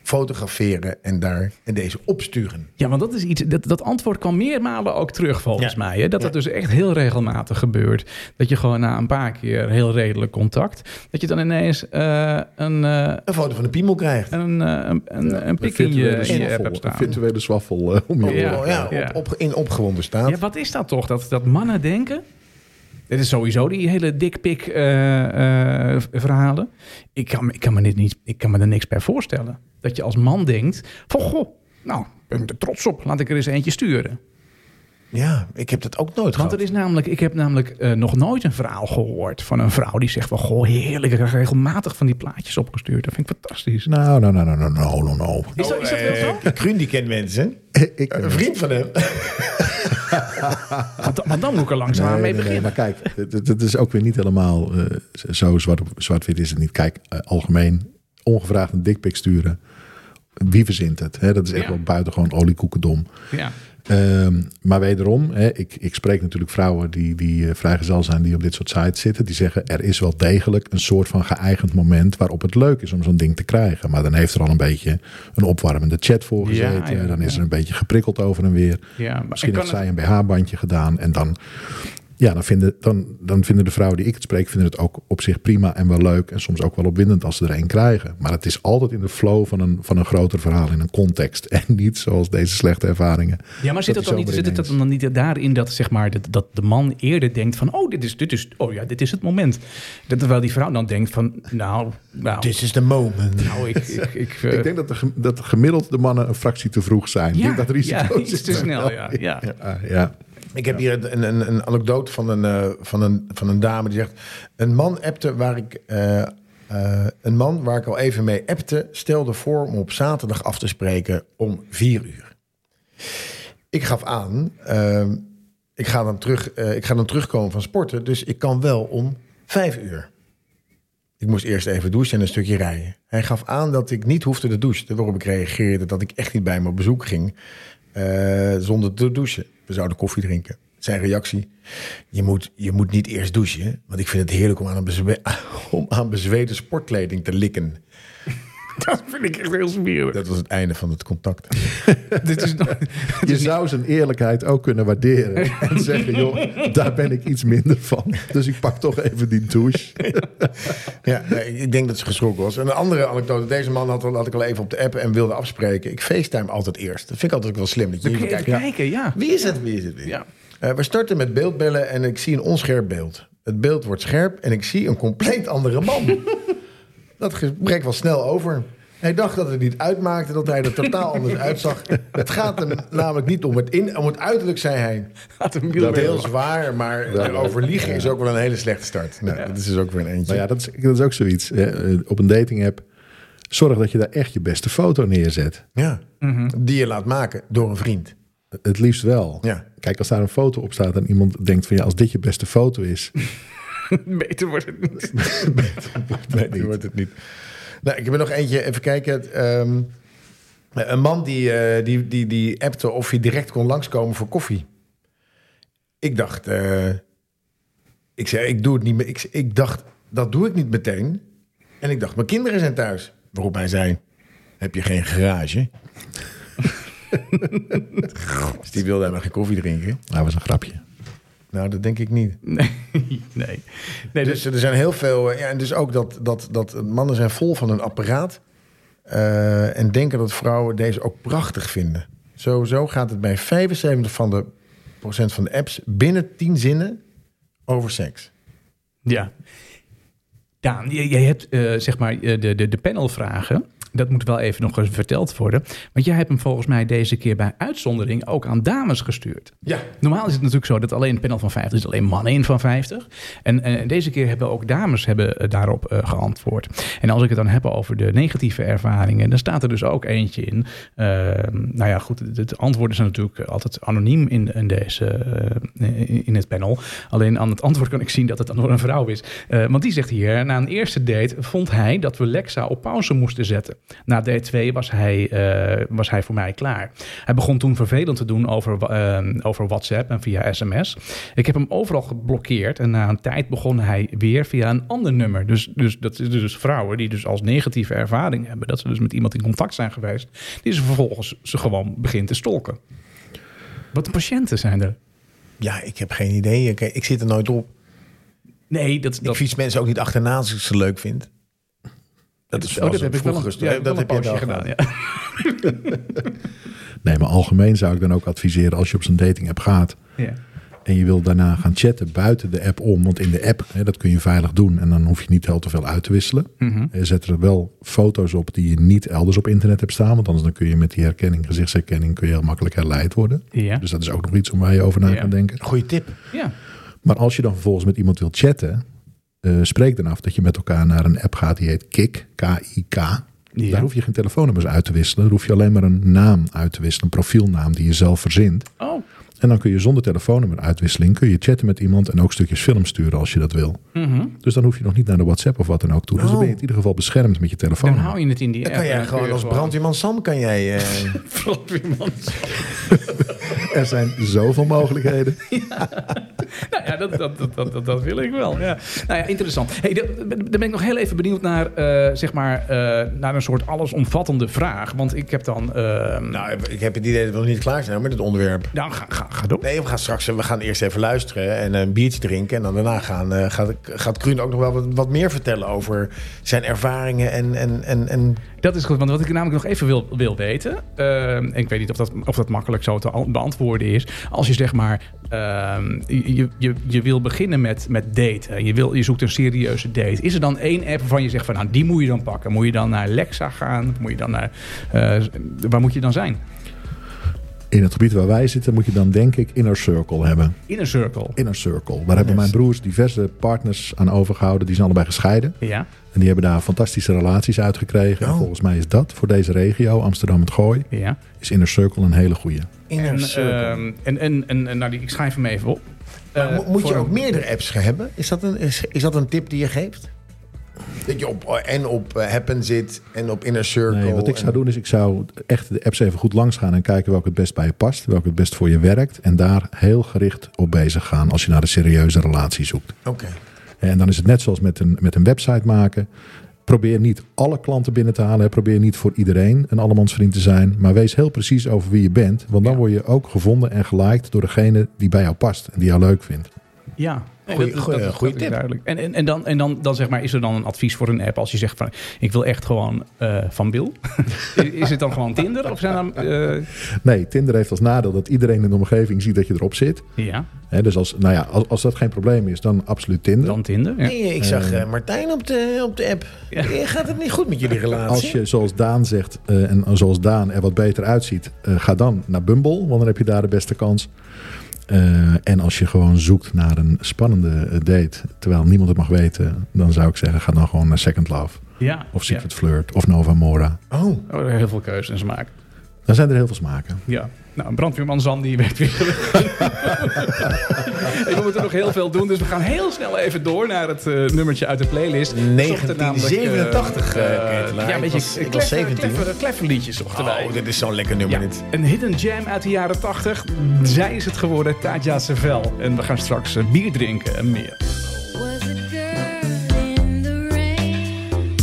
Speaker 4: fotograferen en, daar, en deze opsturen.
Speaker 3: Ja, want dat is iets. Dat, dat antwoord kwam meermalen ook terug, volgens
Speaker 4: Ja.
Speaker 3: mij. Hè? Dat dat dus echt heel regelmatig gebeurt. Dat je gewoon na een paar keer heel redelijk contact. dat je dan ineens eh, een, eh,
Speaker 4: Een foto van de piemel krijgt.
Speaker 3: een, eh, een, een, een pik in je,
Speaker 1: virtuele
Speaker 3: in je app
Speaker 1: zwaffel, een
Speaker 3: hebt staan.
Speaker 1: virtuele zwaffel eh, om je
Speaker 4: Op-
Speaker 1: oren.
Speaker 3: Ja.
Speaker 4: ja, Op, op- in opgewonden staat.
Speaker 3: Ja, wat is dat toch? Dat, dat mannen denken. Dit is sowieso die hele dikpik eh, eh, v- verhalen. Ik kan, me- ik, kan me dit niet, ik kan me er niks bij voorstellen. Dat je als man denkt: van goh, nou, ben ik er trots op. Laat ik er eens eentje sturen.
Speaker 4: Ja, ik heb dat ook nooit
Speaker 3: Want
Speaker 4: gehad.
Speaker 3: er is namelijk, ik heb namelijk eh, nog nooit een verhaal gehoord van een vrouw die zegt van goh, heerlijk, ik krijg regelmatig van die plaatjes opgestuurd. Dat vind ik fantastisch.
Speaker 1: Nou, nou, nou, nou, nou, nou, nou, nou.
Speaker 3: Is dat, is
Speaker 4: Oh,
Speaker 3: dat wel zo?
Speaker 4: Kruun die kent mensen.
Speaker 1: Ik,
Speaker 4: Een vriend van hem.
Speaker 3: Want, dan- want dan moet ik er langzaam
Speaker 1: Nee, nee,
Speaker 3: mee
Speaker 1: nee,
Speaker 3: beginnen.
Speaker 1: maar kijk, het- het het is ook weer niet helemaal eh, zo zwart op- zwart-wit is het niet. Kijk, eh, algemeen ongevraagd een dikpik sturen. Wie verzint het? Hè? Dat is echt
Speaker 3: Ja.
Speaker 1: wel buitengewoon oliekoekendom.
Speaker 3: ja.
Speaker 1: Ehm, maar wederom, hè, ik, ik spreek natuurlijk vrouwen die, die eh, vrijgezel zijn, die op dit soort sites zitten. Die zeggen, er is wel degelijk een soort van geëigend moment waarop het leuk is om zo'n ding te krijgen. Maar dan heeft er al een beetje een opwarmende chat voor
Speaker 3: Ja,
Speaker 1: gezeten.
Speaker 3: ja,
Speaker 1: dan is
Speaker 3: ja.
Speaker 1: er een beetje geprikkeld over en weer.
Speaker 3: Ja, maar
Speaker 1: Misschien
Speaker 3: ik
Speaker 1: heeft
Speaker 3: kan
Speaker 1: zij een BH-bandje gedaan en dan Ja, dan vinden, dan, dan vinden de vrouwen die ik het spreek, vinden het ook op zich prima en wel leuk. En soms ook wel opwindend als ze er een krijgen. Maar het is altijd in de flow van een, van een groter verhaal, in een context. En niet zoals deze slechte ervaringen.
Speaker 3: Ja, maar
Speaker 1: Dat
Speaker 3: zit, het
Speaker 1: is
Speaker 3: dan niet,
Speaker 1: zomaar
Speaker 3: zit het
Speaker 1: ineens.
Speaker 3: dan niet daarin dat, zeg maar, dat, dat de man eerder denkt van... oh, dit is, dit is, oh ja, dit is het moment. Dat, terwijl die vrouw dan denkt van... nou, nou,
Speaker 4: This is the moment.
Speaker 3: nou ik... ik, ik, eh,
Speaker 1: Ik denk dat, de, gem- dat gemiddeld de mannen een fractie te vroeg zijn.
Speaker 3: ja,
Speaker 1: Ik denk dat risico
Speaker 3: ja, iets te snel, ja. ja.
Speaker 1: Ja, ja.
Speaker 4: Ik heb hier een, een, een anekdote van een, eh, van, een, van een dame die zegt... Een man appte waar ik... eh, eh, een man waar ik al even mee appte... stelde voor om op zaterdag af te spreken om vier uur. Ik gaf aan... ehm, ik, ga dan terug, eh, ik ga dan terugkomen van sporten... dus ik kan wel om vijf uur. Ik moest eerst even douchen en een stukje rijden. Hij gaf aan dat ik niet hoefde te douchen. Waarop ik reageerde dat ik echt niet bij hem op bezoek ging eh, zonder te douchen. We zouden koffie drinken. Zijn reactie: je moet, je moet niet eerst douchen, want ik vind het heerlijk om aan, een bezwe- om aan bezweten sportkleding te likken.
Speaker 3: Dat vind ik echt heel smerig.
Speaker 4: Dat was het einde van het contact.
Speaker 3: dit is nog-
Speaker 1: Je zou zijn eerlijkheid ook kunnen waarderen. En zeggen, joh, daar ben ik iets minder van. Dus ik pak toch even die douche.
Speaker 4: Ja, nee, ik denk dat ze geschrokken was. En een andere anekdote. Deze man had, al- had ik al even op de app en wilde afspreken. Ik facetime altijd eerst. Dat vind ik altijd ook wel slim. Dat je
Speaker 3: Kun
Speaker 4: even
Speaker 3: je even
Speaker 4: kijkt.
Speaker 3: kijken, ja.
Speaker 4: Wie is het? Wie is het? Wie is het?
Speaker 3: Ja.
Speaker 4: Eh, we starten met beeldbellen en ik zie een onscherp beeld. Het beeld wordt scherp en ik zie een compleet andere man. dat gesprek was snel over. Hij dacht dat het niet uitmaakte dat hij er totaal anders uitzag. Het gaat hem namelijk niet om het, in, om het uiterlijk, zei hij.
Speaker 3: Gaat een
Speaker 4: Dat
Speaker 3: wielrenner.
Speaker 4: heel zwaar, maar over liegen is ook wel een hele slechte start. Nou, Dat is dus ook weer een eentje.
Speaker 1: Nou ja, dat is, dat is ook zoiets. hè. Eh, Op een dating app, zorg dat je daar echt je beste foto neerzet.
Speaker 4: Ja. Mhm. Die je laat maken door een vriend.
Speaker 1: Het liefst wel.
Speaker 4: Ja.
Speaker 1: Kijk, als daar een foto op staat en iemand denkt van... ja, als dit je beste foto is... Nou,
Speaker 3: Beter wordt het niet.
Speaker 4: Nee, die wordt het niet. Nou, ik heb er nog eentje. Even kijken. Ehm, een man die, eh, die, die, die appte of hij direct kon langskomen voor koffie. Ik dacht... eh, ik zei, ik doe het niet meer. Ik, ik dacht, dat doe ik niet meteen. En ik dacht, mijn kinderen zijn thuis. Waarop hij zei, heb je geen garage? dus die wilde helemaal geen koffie drinken.
Speaker 1: Nou, was een grapje.
Speaker 4: Nou, dat denk ik niet.
Speaker 3: Nee, nee. nee dus,
Speaker 4: Dus er zijn heel veel. eh, Ja, en dus ook dat, dat, dat mannen zijn vol van een apparaat. eh, en denken dat vrouwen deze ook prachtig vinden. Sowieso gaat het bij 75 van de procent van de apps binnen 10 zinnen over seks.
Speaker 3: ja. Daan, j- jij hebt eh, zeg maar eh, de, de, de panelvragen. Dat moet wel even nog eens verteld worden. Want jij hebt hem volgens mij deze keer bij uitzondering ook aan dames gestuurd.
Speaker 4: Ja.
Speaker 3: Normaal is het natuurlijk zo dat alleen een panel van 50 is alleen mannen in van 50. En eh, deze keer hebben ook dames hebben, eh, daarop eh, geantwoord. En als ik het dan heb over de negatieve ervaringen, dan staat er dus ook eentje in. Eh, nou ja, goed, de, de antwoorden zijn natuurlijk altijd anoniem in, in deze, eh, in het panel. Alleen aan het antwoord kan ik zien dat het dan door een vrouw is. Eh, want die zegt hier, na een eerste date vond hij dat we Lexa op pauze moesten zetten. Na date 2 was hij, eh, was hij voor mij klaar. Hij begon toen vervelend te doen over, wa- eh, over WhatsApp en via sms. Ik heb hem overal geblokkeerd en na een tijd begon hij weer via een ander nummer. Dus, dus dat is dus vrouwen die dus als negatieve ervaring hebben... dat ze dus met iemand in contact zijn geweest... die ze vervolgens ze gewoon begint te stalken. Wat een patiënten zijn er.
Speaker 4: Ja, ik heb geen idee. Ik, ik zit er nooit op.
Speaker 3: Nee, dat,
Speaker 4: Ik
Speaker 3: dat,
Speaker 4: fiets mensen ook niet achterna als ik ze leuk vind. Dat is
Speaker 3: Oh,
Speaker 4: was
Speaker 3: dat heb ik wel
Speaker 4: vroeger
Speaker 3: een,
Speaker 4: rustig.
Speaker 3: ja,
Speaker 4: dat
Speaker 3: dat heb je
Speaker 4: wel
Speaker 3: gedaan. ja.
Speaker 1: Nee, maar algemeen zou ik dan ook adviseren... als je op zo'n dating app gaat...
Speaker 3: Ja.
Speaker 1: en je wil daarna gaan chatten buiten de app om. Want in de app, hè, dat kun je veilig doen. En dan hoef je niet heel te veel uit te wisselen.
Speaker 3: Mhm.
Speaker 1: Je Zet er wel foto's op die je niet elders op internet hebt staan. Want anders dan kun je met die herkenning, gezichtsherkenning... kun je heel makkelijk herleid worden.
Speaker 3: Ja.
Speaker 1: Dus dat is ook nog iets om waar je over na
Speaker 3: Ja.
Speaker 1: kan denken.
Speaker 4: Goeie tip.
Speaker 3: Ja.
Speaker 1: Maar als je dan vervolgens met iemand wil chatten... eh, spreek dan af dat je met elkaar naar een app gaat die heet Kik, K-I-K. Daar hoef je geen telefoonnummers uit te wisselen. Daar hoef je alleen maar een naam uit te wisselen, een profielnaam die je zelf verzint.
Speaker 3: Oh,
Speaker 1: En dan kun je zonder telefoonnummer uitwisseling kun je chatten met iemand en ook stukjes film sturen als je dat wil.
Speaker 3: Mhm.
Speaker 1: Dus dan hoef je nog niet naar de WhatsApp of wat dan ook toe. Dus dan ben je in ieder geval beschermd met je telefoon.
Speaker 3: Oh. dan hou je het in die
Speaker 4: Dan
Speaker 3: app.
Speaker 4: kan
Speaker 3: en
Speaker 4: jij
Speaker 3: dan kun
Speaker 4: gewoon
Speaker 3: je
Speaker 4: als brandweerman Sam kan jij... eh,
Speaker 3: brandweerman.
Speaker 1: Er zijn zoveel mogelijkheden.
Speaker 3: nou ja, dat, dat, dat, dat, dat, dat wil ik wel. Ja. Nou ja, interessant. Hey, dan dan ben ik nog heel even benieuwd naar, eh, zeg maar, eh, naar een soort allesomvattende vraag. Want ik heb dan... eh,
Speaker 4: Nou, ik heb het idee dat we nog niet klaar zijn met het onderwerp.
Speaker 3: nou, ga, ga, ga door.
Speaker 4: Nee, we gaan straks we gaan eerst even luisteren en een biertje drinken. En dan daarna gaan, eh, gaat, gaat Kruun ook nog wel wat, wat meer vertellen over zijn ervaringen. En, en, en, en
Speaker 3: Dat is goed, want wat ik namelijk nog even wil, wil weten, ehm, en ik weet niet of dat, of dat makkelijk zo te al- beantwoorden is, als je zeg maar, ehm, je, je, je wil beginnen met, met daten, je, wil, je zoekt een serieuze date, is er dan één app waarvan je zegt van nou die moet je dan pakken? Moet je dan naar Lexa gaan? Moet je dan naar, eh, waar moet je dan zijn?
Speaker 1: In het gebied waar wij zitten moet je dan denk ik Inner Circle hebben.
Speaker 3: Inner Circle.
Speaker 1: Inner Circle. Daar hebben mijn broers diverse partners aan overgehouden. Die zijn allebei gescheiden.
Speaker 3: Ja,
Speaker 1: En die hebben daar fantastische relaties uit gekregen. En
Speaker 4: Oh.
Speaker 1: volgens mij is dat voor deze regio, Amsterdam het Gooi,
Speaker 3: ja.
Speaker 1: is Inner Circle een hele goeie.
Speaker 4: inner
Speaker 3: En,
Speaker 4: circle.
Speaker 3: ehm, en, en, en, en nou, die, ik schrijf hem even op.
Speaker 4: Maar
Speaker 3: Eh,
Speaker 4: mo- moet
Speaker 3: voor
Speaker 4: je
Speaker 3: een-
Speaker 4: ook meerdere apps gaan hebben? Is dat een, is, is dat een tip die je geeft? Dat je op, eh, en op eh, Happen zit en op Inner Circle.
Speaker 1: Nee, wat ik zou
Speaker 4: en-
Speaker 1: doen is ik zou echt de apps even goed langs gaan en kijken welke het best bij je past, welke het best voor je werkt. En daar heel gericht op bezig gaan als je naar een serieuze relatie zoekt.
Speaker 4: Oké.
Speaker 1: En dan is het net zoals met een, met een website maken. Probeer niet alle klanten binnen te halen. hè. Probeer niet voor iedereen een allemansvriend te zijn. Maar wees heel precies over wie je bent. Want dan word je ook gevonden en geliked door degene die bij jou past en die jou leuk vindt.
Speaker 3: Ja, Nee,
Speaker 4: Goeie-
Speaker 3: is-
Speaker 4: goeie-
Speaker 3: is-
Speaker 4: goeie
Speaker 3: is
Speaker 4: tip.
Speaker 3: Duidelijk. En, en, en, dan, en dan, dan zeg maar, is er dan een advies voor een app als je zegt van ik wil echt gewoon eh, van Bill? is, is het dan gewoon Tinder? Of zijn dan. eh,
Speaker 1: Nee, Tinder heeft als nadeel dat iedereen in de omgeving ziet dat je erop zit.
Speaker 3: ja,
Speaker 1: Hè, dus als, nou ja, als, als dat geen probleem is, dan absoluut Tinder.
Speaker 3: dan Tinder. Ja.
Speaker 4: Nee, ik zag eh, Martijn op de, op de app. Eh, Gaat het niet goed met jullie relatie?
Speaker 1: Als je, zoals Daan zegt, eh, en zoals Daan er wat beter uitziet, eh, ga dan naar Bumble, want dan heb je daar de beste kans. Eh, en als je gewoon zoekt naar een spannende eh, date, terwijl niemand het mag weten, dan zou ik zeggen, ga dan gewoon naar Second Love
Speaker 3: ja.
Speaker 1: of Secret Flirt of Nova Mora.
Speaker 4: Oh,
Speaker 3: Ja. Oh, heel veel keuzes en smaak.
Speaker 1: Dan zijn er heel veel smaken.
Speaker 3: Ja. Nou, een brandweerman Zan die werd weer gelukkig. Hey, we moeten nog heel veel doen, dus we gaan heel snel even door naar het eh, nummertje uit de playlist.
Speaker 4: 1987, eh,
Speaker 3: Uh,
Speaker 4: Ketelaar.
Speaker 3: eh, ja, een
Speaker 4: Ik
Speaker 3: beetje
Speaker 4: was- ik was
Speaker 3: kleffer-
Speaker 4: 17.
Speaker 3: kleffer- klefferliedjes zochten wij.
Speaker 4: oh, dit is zo'n lekker nummer.
Speaker 3: Ja,
Speaker 4: Dit.
Speaker 3: een hidden jam uit de jaren 80. Zij is het geworden, Tatja Sevel. En we gaan straks eh, bier drinken en meer.
Speaker 5: Was a girl in the rain.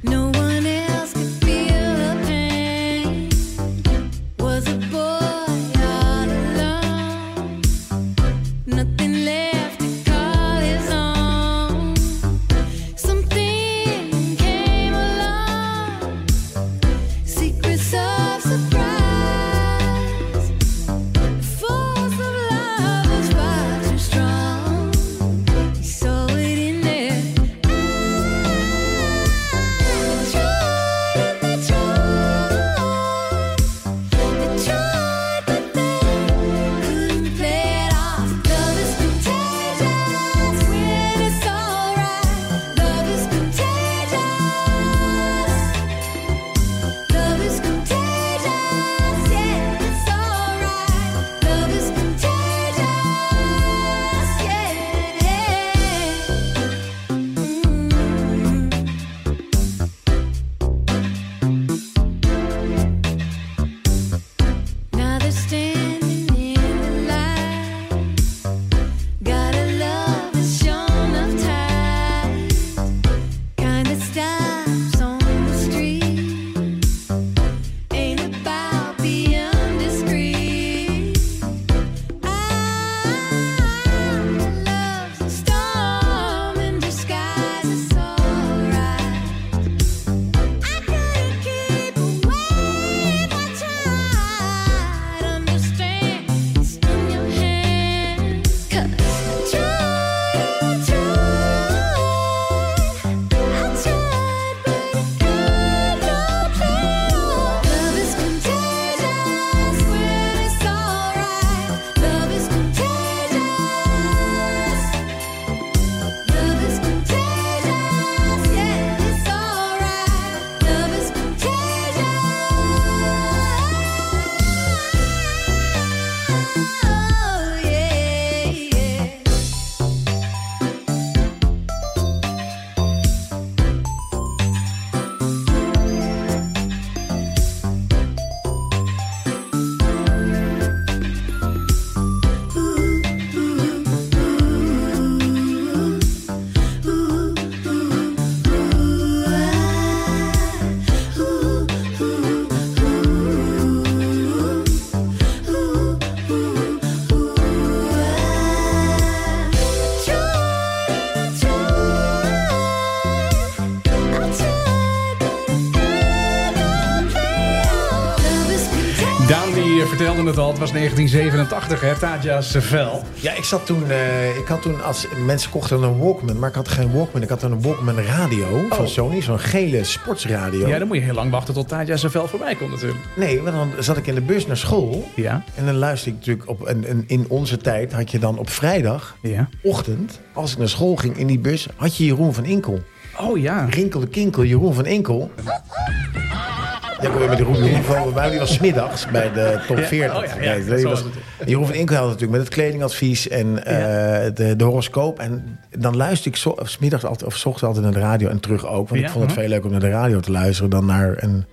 Speaker 5: No one else could feel the pain. Was a boy all alone. Nothing left to call his own. Something came along. Secrets of surprise. Force of love was far too strong. Oh,
Speaker 3: vertelde het al, het was 1987, hè? Taja Sevel.
Speaker 4: Ja, ik zat toen. eh, ik had toen als mensen kochten een Walkman, maar ik had geen Walkman. Ik had een Walkman radio van Sony, zo'n gele sportsradio.
Speaker 3: Oh. Ja, dan moet je heel lang wachten tot Taja Sevel voorbij komt natuurlijk.
Speaker 4: Nee, want dan zat ik in de bus naar school.
Speaker 3: Ja,
Speaker 4: En dan luister ik natuurlijk op. En, en in onze tijd had je dan op vrijdagochtend,
Speaker 3: ja.
Speaker 4: als ik naar school ging in die bus, had je Jeroen van Inkel.
Speaker 3: Oh ja.
Speaker 4: Rinkel de Kinkel, Jeroen van Inkel. Ja, ik weer met Jeroen, Jeroen van bij die was 's middags bij de top 40.
Speaker 3: oh ja, ja,
Speaker 4: Nee,
Speaker 3: dat
Speaker 4: die
Speaker 3: zal
Speaker 4: was-
Speaker 3: het.
Speaker 4: Jeroen van Inkel had natuurlijk met het kledingadvies en eh, de, de horoscoop. En dan luister ik zo, of 's middags altijd, of 's ochtends altijd naar de radio en terug ook. Want
Speaker 3: Ja,
Speaker 4: ik vond het
Speaker 3: mhm.
Speaker 4: veel leuker om naar de radio te luisteren dan naar een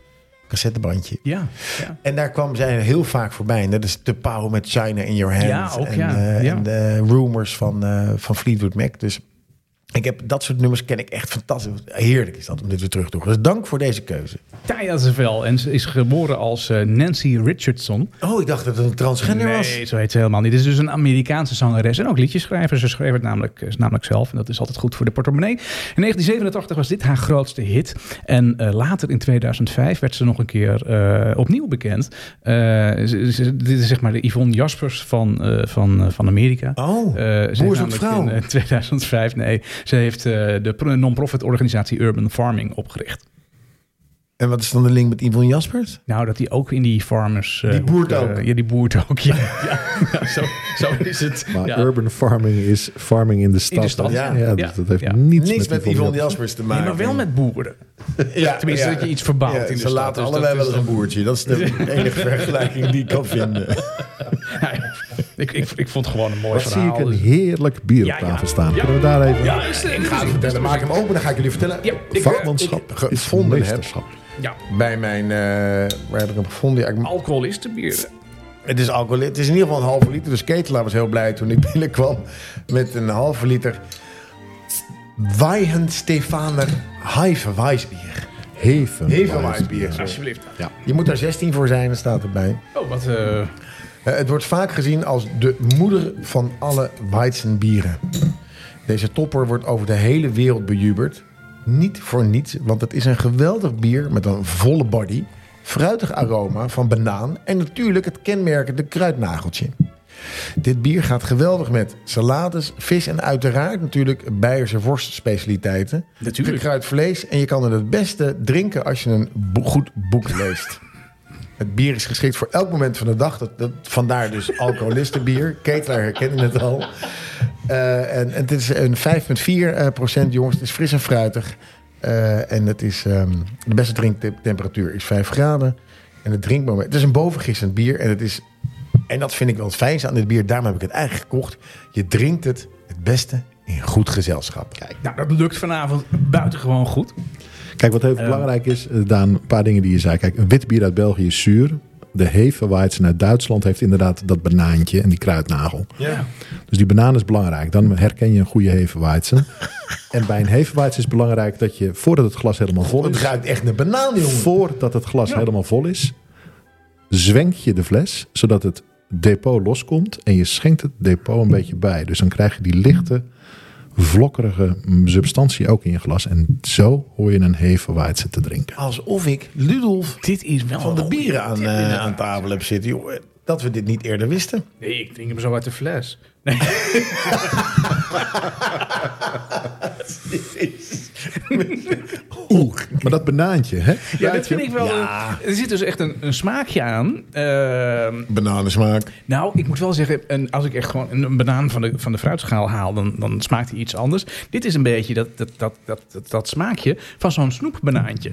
Speaker 4: cassettebandje.
Speaker 3: Ja, ja.
Speaker 4: En daar kwam zij heel vaak voorbij. En dat is de pauw met China in Your Hand.
Speaker 3: Ja, ook,
Speaker 4: en,
Speaker 3: ja.
Speaker 4: eh,
Speaker 3: Ja.
Speaker 4: en de rumors van, eh, van Fleetwood Mac. Dus ik heb dat soort nummers ken ik echt fantastisch. Heerlijk is dat om dit weer terug te doen. Dus dank voor deze keuze.
Speaker 3: Taja Sevel. En ze is geboren als eh, Nancy Richardson.
Speaker 4: Oh, ik dacht dat het een transgender was.
Speaker 3: Nee, zo heet ze helemaal niet. Het is dus een Amerikaanse zangeres en ook liedjeschrijver. Ze schreef het namelijk, is namelijk zelf en dat is altijd goed voor de portemonnee. In 1987 was dit haar grootste hit. En eh, later in 2005 werd ze nog een keer eh, opnieuw bekend. Eh, ze- ze- dit is zeg maar de Yvonne Jaspers van, eh, van, eh, van Amerika.
Speaker 4: Oh,
Speaker 3: Eh, ze heeft
Speaker 4: Boer zoekt
Speaker 3: namelijk
Speaker 4: vrouw.
Speaker 3: In eh, 2005, nee. Ze heeft eh, de pro- non-profit organisatie Urban Farming opgericht.
Speaker 4: En wat is dan de link met Yvonne Jaspers?
Speaker 3: Nou, dat die ook in die farmers... eh,
Speaker 4: Die boert
Speaker 3: hoek, eh,
Speaker 4: ook.
Speaker 3: ja, die boert ook, ja. ja, ja, zo, zo is het.
Speaker 1: Maar
Speaker 3: ja.
Speaker 1: urban farming is farming in de stad.
Speaker 3: stad,
Speaker 1: ja,
Speaker 4: ja.
Speaker 1: ja,
Speaker 3: Ja.
Speaker 1: Dus dat heeft
Speaker 3: Ja.
Speaker 1: niets,
Speaker 4: Niks
Speaker 1: met
Speaker 4: met Yvonne Jaspers te
Speaker 3: Nee,
Speaker 4: maken.
Speaker 3: maar wel met boeren.
Speaker 4: Ja,
Speaker 3: Tenminste, dat je iets verbouwt in de
Speaker 4: Ze
Speaker 3: stad,
Speaker 4: laten
Speaker 3: dus
Speaker 4: allebei
Speaker 3: dat
Speaker 4: wel
Speaker 3: is
Speaker 4: eens een boertje. Dat is de enige vergelijking die ik kan vinden.
Speaker 3: ik, ik, ik vond het gewoon een mooi
Speaker 1: Wat zie
Speaker 3: verhaal.
Speaker 1: ik een
Speaker 3: dus-
Speaker 1: heerlijk bier op
Speaker 3: Ja, ja.
Speaker 1: tafel staan.
Speaker 3: Ja.
Speaker 1: Kunnen we daar even...
Speaker 3: Ja, is,
Speaker 4: Ik ga het vertellen. Dus Maak hem open, dan ga ik jullie vertellen.
Speaker 3: Ja, ik,
Speaker 1: Vakmanschap
Speaker 4: ik-
Speaker 1: is
Speaker 4: gevonden heb.
Speaker 1: meesterschap.
Speaker 3: ja,
Speaker 4: Bij mijn... eh, waar heb ik hem gevonden? Ja, ik-
Speaker 3: alcoholistenbier.
Speaker 4: Het is alcohol. Het is in ieder geval een halve liter. Dus Ketelaar was heel blij toen ik binnenkwam met een halve liter Weihen Stefaner Heife Weissbier.
Speaker 1: Heven.
Speaker 4: Heven Weissbier. sorry.
Speaker 3: Alsjeblieft.
Speaker 4: Je moet daar 16 voor zijn, dat staat erbij.
Speaker 3: Oh, wat... eh,
Speaker 4: Eh, Het wordt vaak gezien als de moeder van alle Weizenbieren. Deze topper wordt over de hele wereld bejubeld. Niet voor niets, want het is een geweldig bier met een volle body, fruitig aroma van banaan en natuurlijk het kenmerkende kruidnageltje. Dit bier gaat geweldig met salades, vis en uiteraard natuurlijk Beierse worstspecialiteiten.
Speaker 3: Natuurlijk.
Speaker 4: Gekruid vlees en je kan het het beste drinken als je een bo- goed boek leest. Het bier is geschikt voor elk moment van de dag. Dat, dat, vandaar dus alcoholistenbier. Ketelaar herkende het al. Eh, en, en het is een 5,4 eh, procent, jongens. Het is fris en fruitig. Eh, en het is, ehm, de beste drinktemperatuur is 5 graden. En het drinkmoment... Het is een bovengissend bier. En, het is, en dat vind ik wel het fijnste aan dit bier. Daarom heb ik het eigenlijk gekocht. Je drinkt het het beste in goed gezelschap.
Speaker 3: nou, dat lukt vanavond buitengewoon goed.
Speaker 1: Kijk, wat heel belangrijk is, eh, Daan, een paar dingen die je zei. Kijk, een wit bier uit België is zuur. De Hefeweizen uit Duitsland heeft inderdaad dat banaantje en die kruidnagel.
Speaker 4: Ja.
Speaker 1: Dus die banaan is belangrijk. Dan herken je een goede Hefeweizen. en bij een Hefeweizen is belangrijk dat je, voordat het glas helemaal vol
Speaker 4: Het
Speaker 1: is...
Speaker 4: ruikt echt naar banaan, jongen.
Speaker 1: Voordat het glas helemaal vol is, zwenk je de fles zodat het depot loskomt en je schenkt het depot een beetje bij. Dus dan krijg je die lichte, vlokkerige mm, substantie ook in je glas. En zo hoor je een hefeweizen te drinken.
Speaker 4: Alsof ik Ludolf
Speaker 3: Dit is wel...
Speaker 4: van de
Speaker 3: een
Speaker 4: bieren
Speaker 3: goeie
Speaker 4: aan,
Speaker 3: tip,
Speaker 4: eh,
Speaker 3: inderdaad.
Speaker 4: aan tafel heb zitten. Joh, dat we dit niet eerder wisten.
Speaker 3: Nee, ik drink hem zo uit de fles. Nee.
Speaker 1: Oeh, maar dat banaantje, hè?
Speaker 3: Ja, dat vind ik wel...
Speaker 4: Ja.
Speaker 3: een- er zit dus echt een, een smaakje aan. Ehm,
Speaker 4: Bananensmaak.
Speaker 3: Nou, ik moet wel zeggen, een, als ik echt gewoon een, een banaan van de, van de fruitschaal haal, dan, dan smaakt hij iets anders. Dit is een beetje dat, dat, dat, dat, dat, dat smaakje van zo'n snoepbanaantje.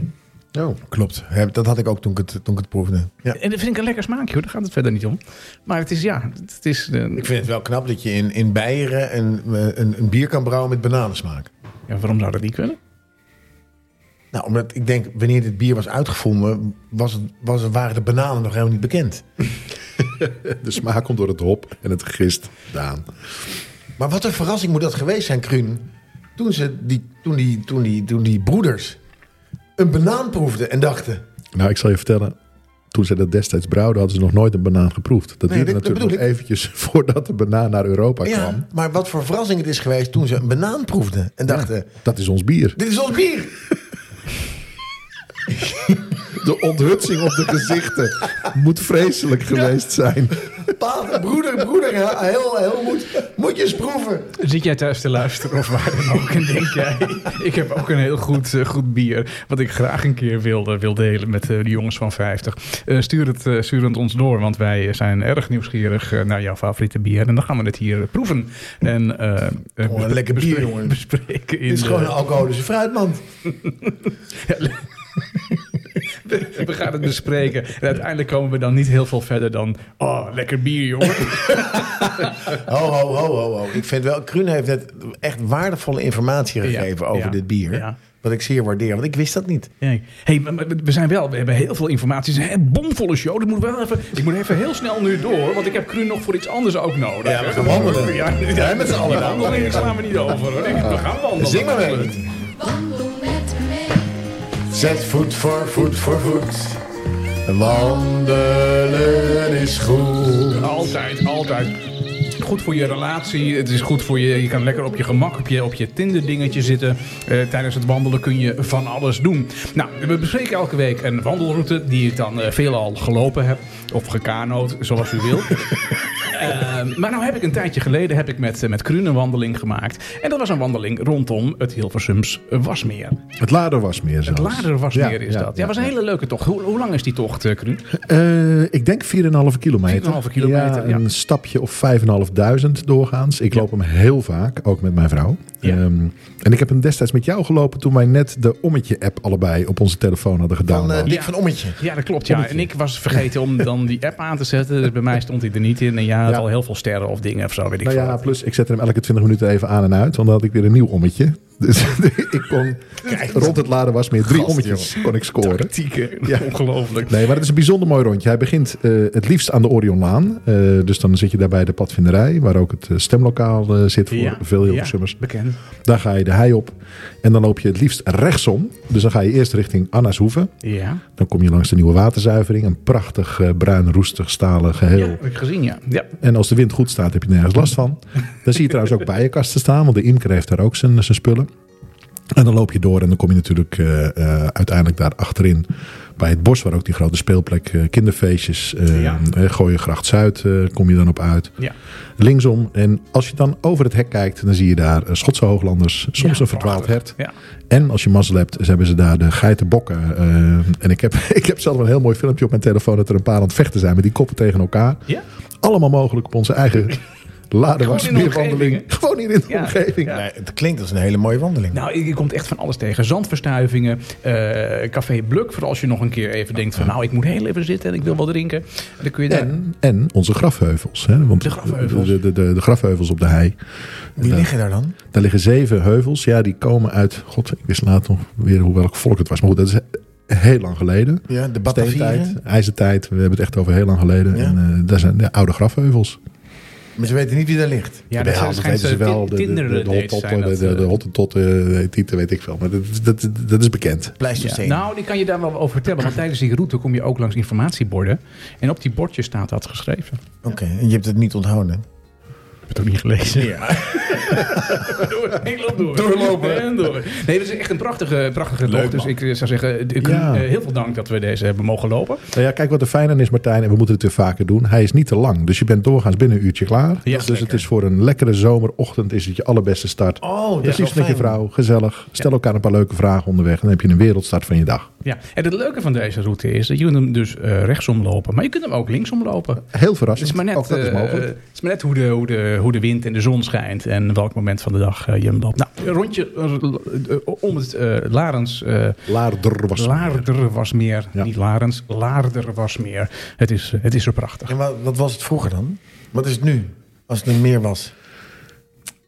Speaker 4: Oh. Klopt. Heb- Dat had ik ook toen ik het, toen ik het proefde. Ja.
Speaker 3: En dat vind ik een lekker smaakje hoor, daar gaat het verder niet om. Maar het is, ja, het het is... eh,
Speaker 4: Ik vind het wel knap dat je in, in Beieren een, eh, een, een bier kan brouwen met bananensmaak.
Speaker 3: ja, waarom zou dat niet kunnen?
Speaker 4: Nou, omdat ik denk, wanneer dit bier was uitgevonden, was het, was het, waren de bananen nog helemaal niet bekend.
Speaker 1: De smaak komt door het hop en het gist, Daan.
Speaker 4: Maar wat een verrassing moet dat geweest zijn, Kruun. Toen, ze die, toen, die, toen, die, toen die broeders een banaan proefden en dachten...
Speaker 1: Nou, ik zal je vertellen. Toen ze dat destijds brouwden, hadden ze nog nooit een banaan geproefd. Dat
Speaker 4: Nee,
Speaker 1: duurde
Speaker 4: dat- dat
Speaker 1: natuurlijk nog
Speaker 4: bedoel
Speaker 1: eventjes voordat de banaan naar Europa kwam.
Speaker 4: Ja, maar wat voor verrassing het is geweest toen ze een banaan proefden en dachten...
Speaker 1: Dat is ons bier.
Speaker 4: Dit is ons bier.
Speaker 1: De onthutsing op de gezichten moet vreselijk geweest zijn.
Speaker 4: Pater, broeder, broeder, he- heel, heel moet. Moet je eens proeven.
Speaker 3: Zit jij thuis te luisteren of waar dan ook? En denk jij, ik heb ook een heel goed, eh, goed bier. Wat ik graag een keer wilde, wil delen met eh, de jongens van 50. Eh, stuur, het, eh, stuur het ons door, want wij eh, zijn erg nieuwsgierig eh, naar jouw favoriete bier. En dan gaan we het hier eh, proeven. En, eh, eh,
Speaker 4: Oh, een lekker bier, jongen.
Speaker 3: Bespreken in eh,
Speaker 4: Dit is
Speaker 3: de-
Speaker 4: gewoon een alcoholische fruitmand.
Speaker 3: we, we gaan het bespreken. En uiteindelijk komen we dan niet heel veel verder dan... Oh, lekker bier, jongen.
Speaker 4: Ho, ho, ho, ho, ho. Ik vind wel, Kruun heeft net echt waardevolle informatie gegeven
Speaker 3: Ja,
Speaker 4: over
Speaker 3: ja,
Speaker 4: dit bier.
Speaker 3: ja.
Speaker 4: Wat ik zeer waardeer, want ik wist dat niet.
Speaker 3: Hey, hey, maar- maar we zijn wel, we hebben heel veel informatie. Het is een bomvolle show. Dat moet wel even, ik moet even heel snel nu door, want ik heb Kruun nog voor iets anders ook nodig.
Speaker 4: Ja, we gaan wandelen.
Speaker 3: Ja,
Speaker 4: Ja, met z'n allen.
Speaker 3: Die wandeling slaan we niet over. Hoor. Ik- We gaan wandelen.
Speaker 4: Zing maar mee.
Speaker 5: Wandel met me,
Speaker 4: Zet voet voor voet voor voet. Wandelen is goed.
Speaker 3: Altijd, altijd. Goed voor je relatie. Het is goed voor je. Je kan lekker op je gemak, op je, op je Tinder dingetje zitten. Eh, tijdens het wandelen kun je van alles doen. Nou, we bespreken elke week een wandelroute die ik dan eh, veelal gelopen heb. Of gekanoot, zoals u wil. Eh, maar nou heb ik een tijdje geleden heb ik met, eh, met Kruun een wandeling gemaakt. En dat was een wandeling rondom het Hilversums Wasmeer.
Speaker 1: Het lader was meer zelfs.
Speaker 3: Later Wasmeer is dat. Ja,
Speaker 1: ja.
Speaker 3: was een hele leuke tocht. Hoe, hoe lang is die tocht, eh, Kruun?
Speaker 1: Eh, ik denk 4,5 kilometer.
Speaker 3: 4,5 kilometer, ja.
Speaker 1: een stapje of 5.500 doorgaans. Ik loop hem heel vaak, ook met mijn vrouw.
Speaker 3: Ja.
Speaker 1: Ehm, en ik heb hem destijds met jou gelopen toen wij net de Ommetje-app allebei op onze telefoon hadden
Speaker 4: Van eh
Speaker 1: gedownload.
Speaker 4: Dick
Speaker 3: Ja.
Speaker 4: van Ommetje.
Speaker 3: Ja, dat klopt. Ja. En ik was vergeten om dan die app aan te zetten. Dus bij mij stond hij er niet in. En jij had
Speaker 1: Ja.
Speaker 3: al heel veel sterren of dingen of zo, weet ik
Speaker 1: nou
Speaker 3: veel.
Speaker 1: ja, plus ik zette hem elke 20 minuten even aan en uit, want dan had ik weer een nieuw Ommetje. Dus ik kon rond het laden was meer drie
Speaker 4: Gast,
Speaker 1: ommetjes kon ik scoren.
Speaker 3: Tactieken.
Speaker 1: Ja.
Speaker 3: Ongelooflijk.
Speaker 1: Nee, maar het is een bijzonder mooi rondje. Hij begint eh, het liefst aan de Orionlaan. Eh, dus dan zit je daar bij de padvinderij, waar ook het eh, stemlokaal eh, zit voor
Speaker 3: Ja.
Speaker 1: veel
Speaker 3: Ja,
Speaker 1: Hilversummers.
Speaker 3: Bekend.
Speaker 1: Daar ga je de hei op. En dan loop je het liefst rechtsom. Dus dan ga je eerst richting Annashoeve.
Speaker 3: Ja.
Speaker 1: Dan kom je langs de nieuwe waterzuivering. Een prachtig eh, bruin, roestig, stalen
Speaker 3: ja,
Speaker 1: geheel.
Speaker 3: heb ik gezien, ja. ja.
Speaker 1: En als de wind goed staat, heb je er nergens last van. Dan zie je trouwens ook bijenkasten staan. Want de imker heeft daar ook zijn, zijn spullen. En dan loop je door en dan kom je natuurlijk eh, eh, uiteindelijk daar achterin bij het bos, waar ook die grote speelplek, eh, kinderfeestjes, eh
Speaker 3: Ja.
Speaker 1: eh, Gooiengracht Zuid, eh, kom je dan op uit.
Speaker 3: Ja.
Speaker 1: Linksom. En als je dan over het hek kijkt, dan zie je daar eh, Schotse hooglanders, soms
Speaker 3: Ja,
Speaker 1: een verdwaald hert.
Speaker 3: Ja.
Speaker 1: En als je mazzel hebt, ze hebben ze daar de geitenbokken. eh, en ik heb, ik heb zelf een heel mooi filmpje op mijn telefoon dat er een paar aan het vechten zijn met die koppen tegen elkaar.
Speaker 3: Ja.
Speaker 1: Allemaal mogelijk op onze eigen
Speaker 3: omgeving,
Speaker 1: laderwasmeerwandeling. Gewoon hier in de
Speaker 3: Ja.
Speaker 1: omgeving.
Speaker 3: Ja.
Speaker 4: Nee, het klinkt als een hele mooie wandeling.
Speaker 3: Nou, je komt echt van alles tegen. Zandverstuivingen, eh, Café Bluk, voor als je nog een keer even denkt van... nou, ik moet heel even zitten en ik wil wat drinken. Dan kun je daar...
Speaker 1: En, en onze grafheuvels. Hè? Want
Speaker 3: De grafheuvels.
Speaker 1: De, de, de, de grafheuvels op de hei.
Speaker 4: Wie liggen daar dan?
Speaker 1: Daar liggen zeven heuvels. Ja, die komen uit. God, ik wist later nog weer hoe welk volk het was. Maar goed, dat is he- heel lang geleden.
Speaker 4: Ja, de
Speaker 1: Steentijd,
Speaker 4: Batavieren.
Speaker 1: ijzertijd. We hebben het echt over heel lang geleden.
Speaker 4: Ja.
Speaker 1: En eh, daar zijn ja, oude grafheuvels.
Speaker 4: Maar ze weten niet wie daar ligt.
Speaker 3: Ja,
Speaker 1: Bij
Speaker 3: zijn
Speaker 1: Haas weten ze wel. De, de, de, de,
Speaker 3: Tinder-dates
Speaker 1: Hottentotten,
Speaker 3: zijn dat,
Speaker 1: de,
Speaker 3: eh.
Speaker 1: de Hottentotten, eh, Tieten, weet ik veel. Maar dat, dat, dat, dat is bekend.
Speaker 4: Pleistocene.
Speaker 3: Ja, nou, die kan je daar wel over vertellen. Want tijdens die route kom je ook langs informatieborden. En op die bordjes staat dat geschreven.
Speaker 4: Oké, en je hebt het niet onthouden.
Speaker 3: Ik heb het ook niet gelezen. door, ik loop door. Doorlopen. En door. Nee, dat is echt een prachtige, prachtige tocht. Dus ik eh, zou zeggen, ik,
Speaker 1: Ja.
Speaker 3: eh, heel veel dank dat we deze hebben mogen lopen.
Speaker 1: Nou ja, kijk wat er fijn aan is, Martijn. En we moeten het weer vaker doen. Hij is niet te lang. Dus je bent doorgaans binnen een uurtje klaar. dus het is voor een lekkere zomerochtend is het je allerbeste start.
Speaker 4: Oh, dat
Speaker 1: Precies
Speaker 4: is wel
Speaker 1: met je
Speaker 4: fijn.
Speaker 1: vrouw. Gezellig. Stel elkaar een paar leuke vragen onderweg. En dan heb je een wereldstart van je dag.
Speaker 3: Ja. En het leuke van deze route is dat je kunt hem dus eh, rechtsom lopen. Maar je kunt hem ook linksom lopen.
Speaker 1: Heel
Speaker 3: Het
Speaker 1: verrassend.
Speaker 3: is maar net,
Speaker 1: Ook dat is
Speaker 3: eh,
Speaker 1: mogelijk.
Speaker 3: het is maar net hoe, de, hoe, de, hoe de wind en de zon schijnt en welk moment van de dag eh, je hem loopt. Nou, een rondje eh, eh, om het eh, Larens eh,
Speaker 1: Laarder was
Speaker 3: Laarder was meer.
Speaker 1: Ja.
Speaker 3: Niet Larens, Laarder was meer. Het is, eh, het is zo prachtig.
Speaker 4: En wat, wat was het vroeger dan? Wat is het nu? Als het een meer was.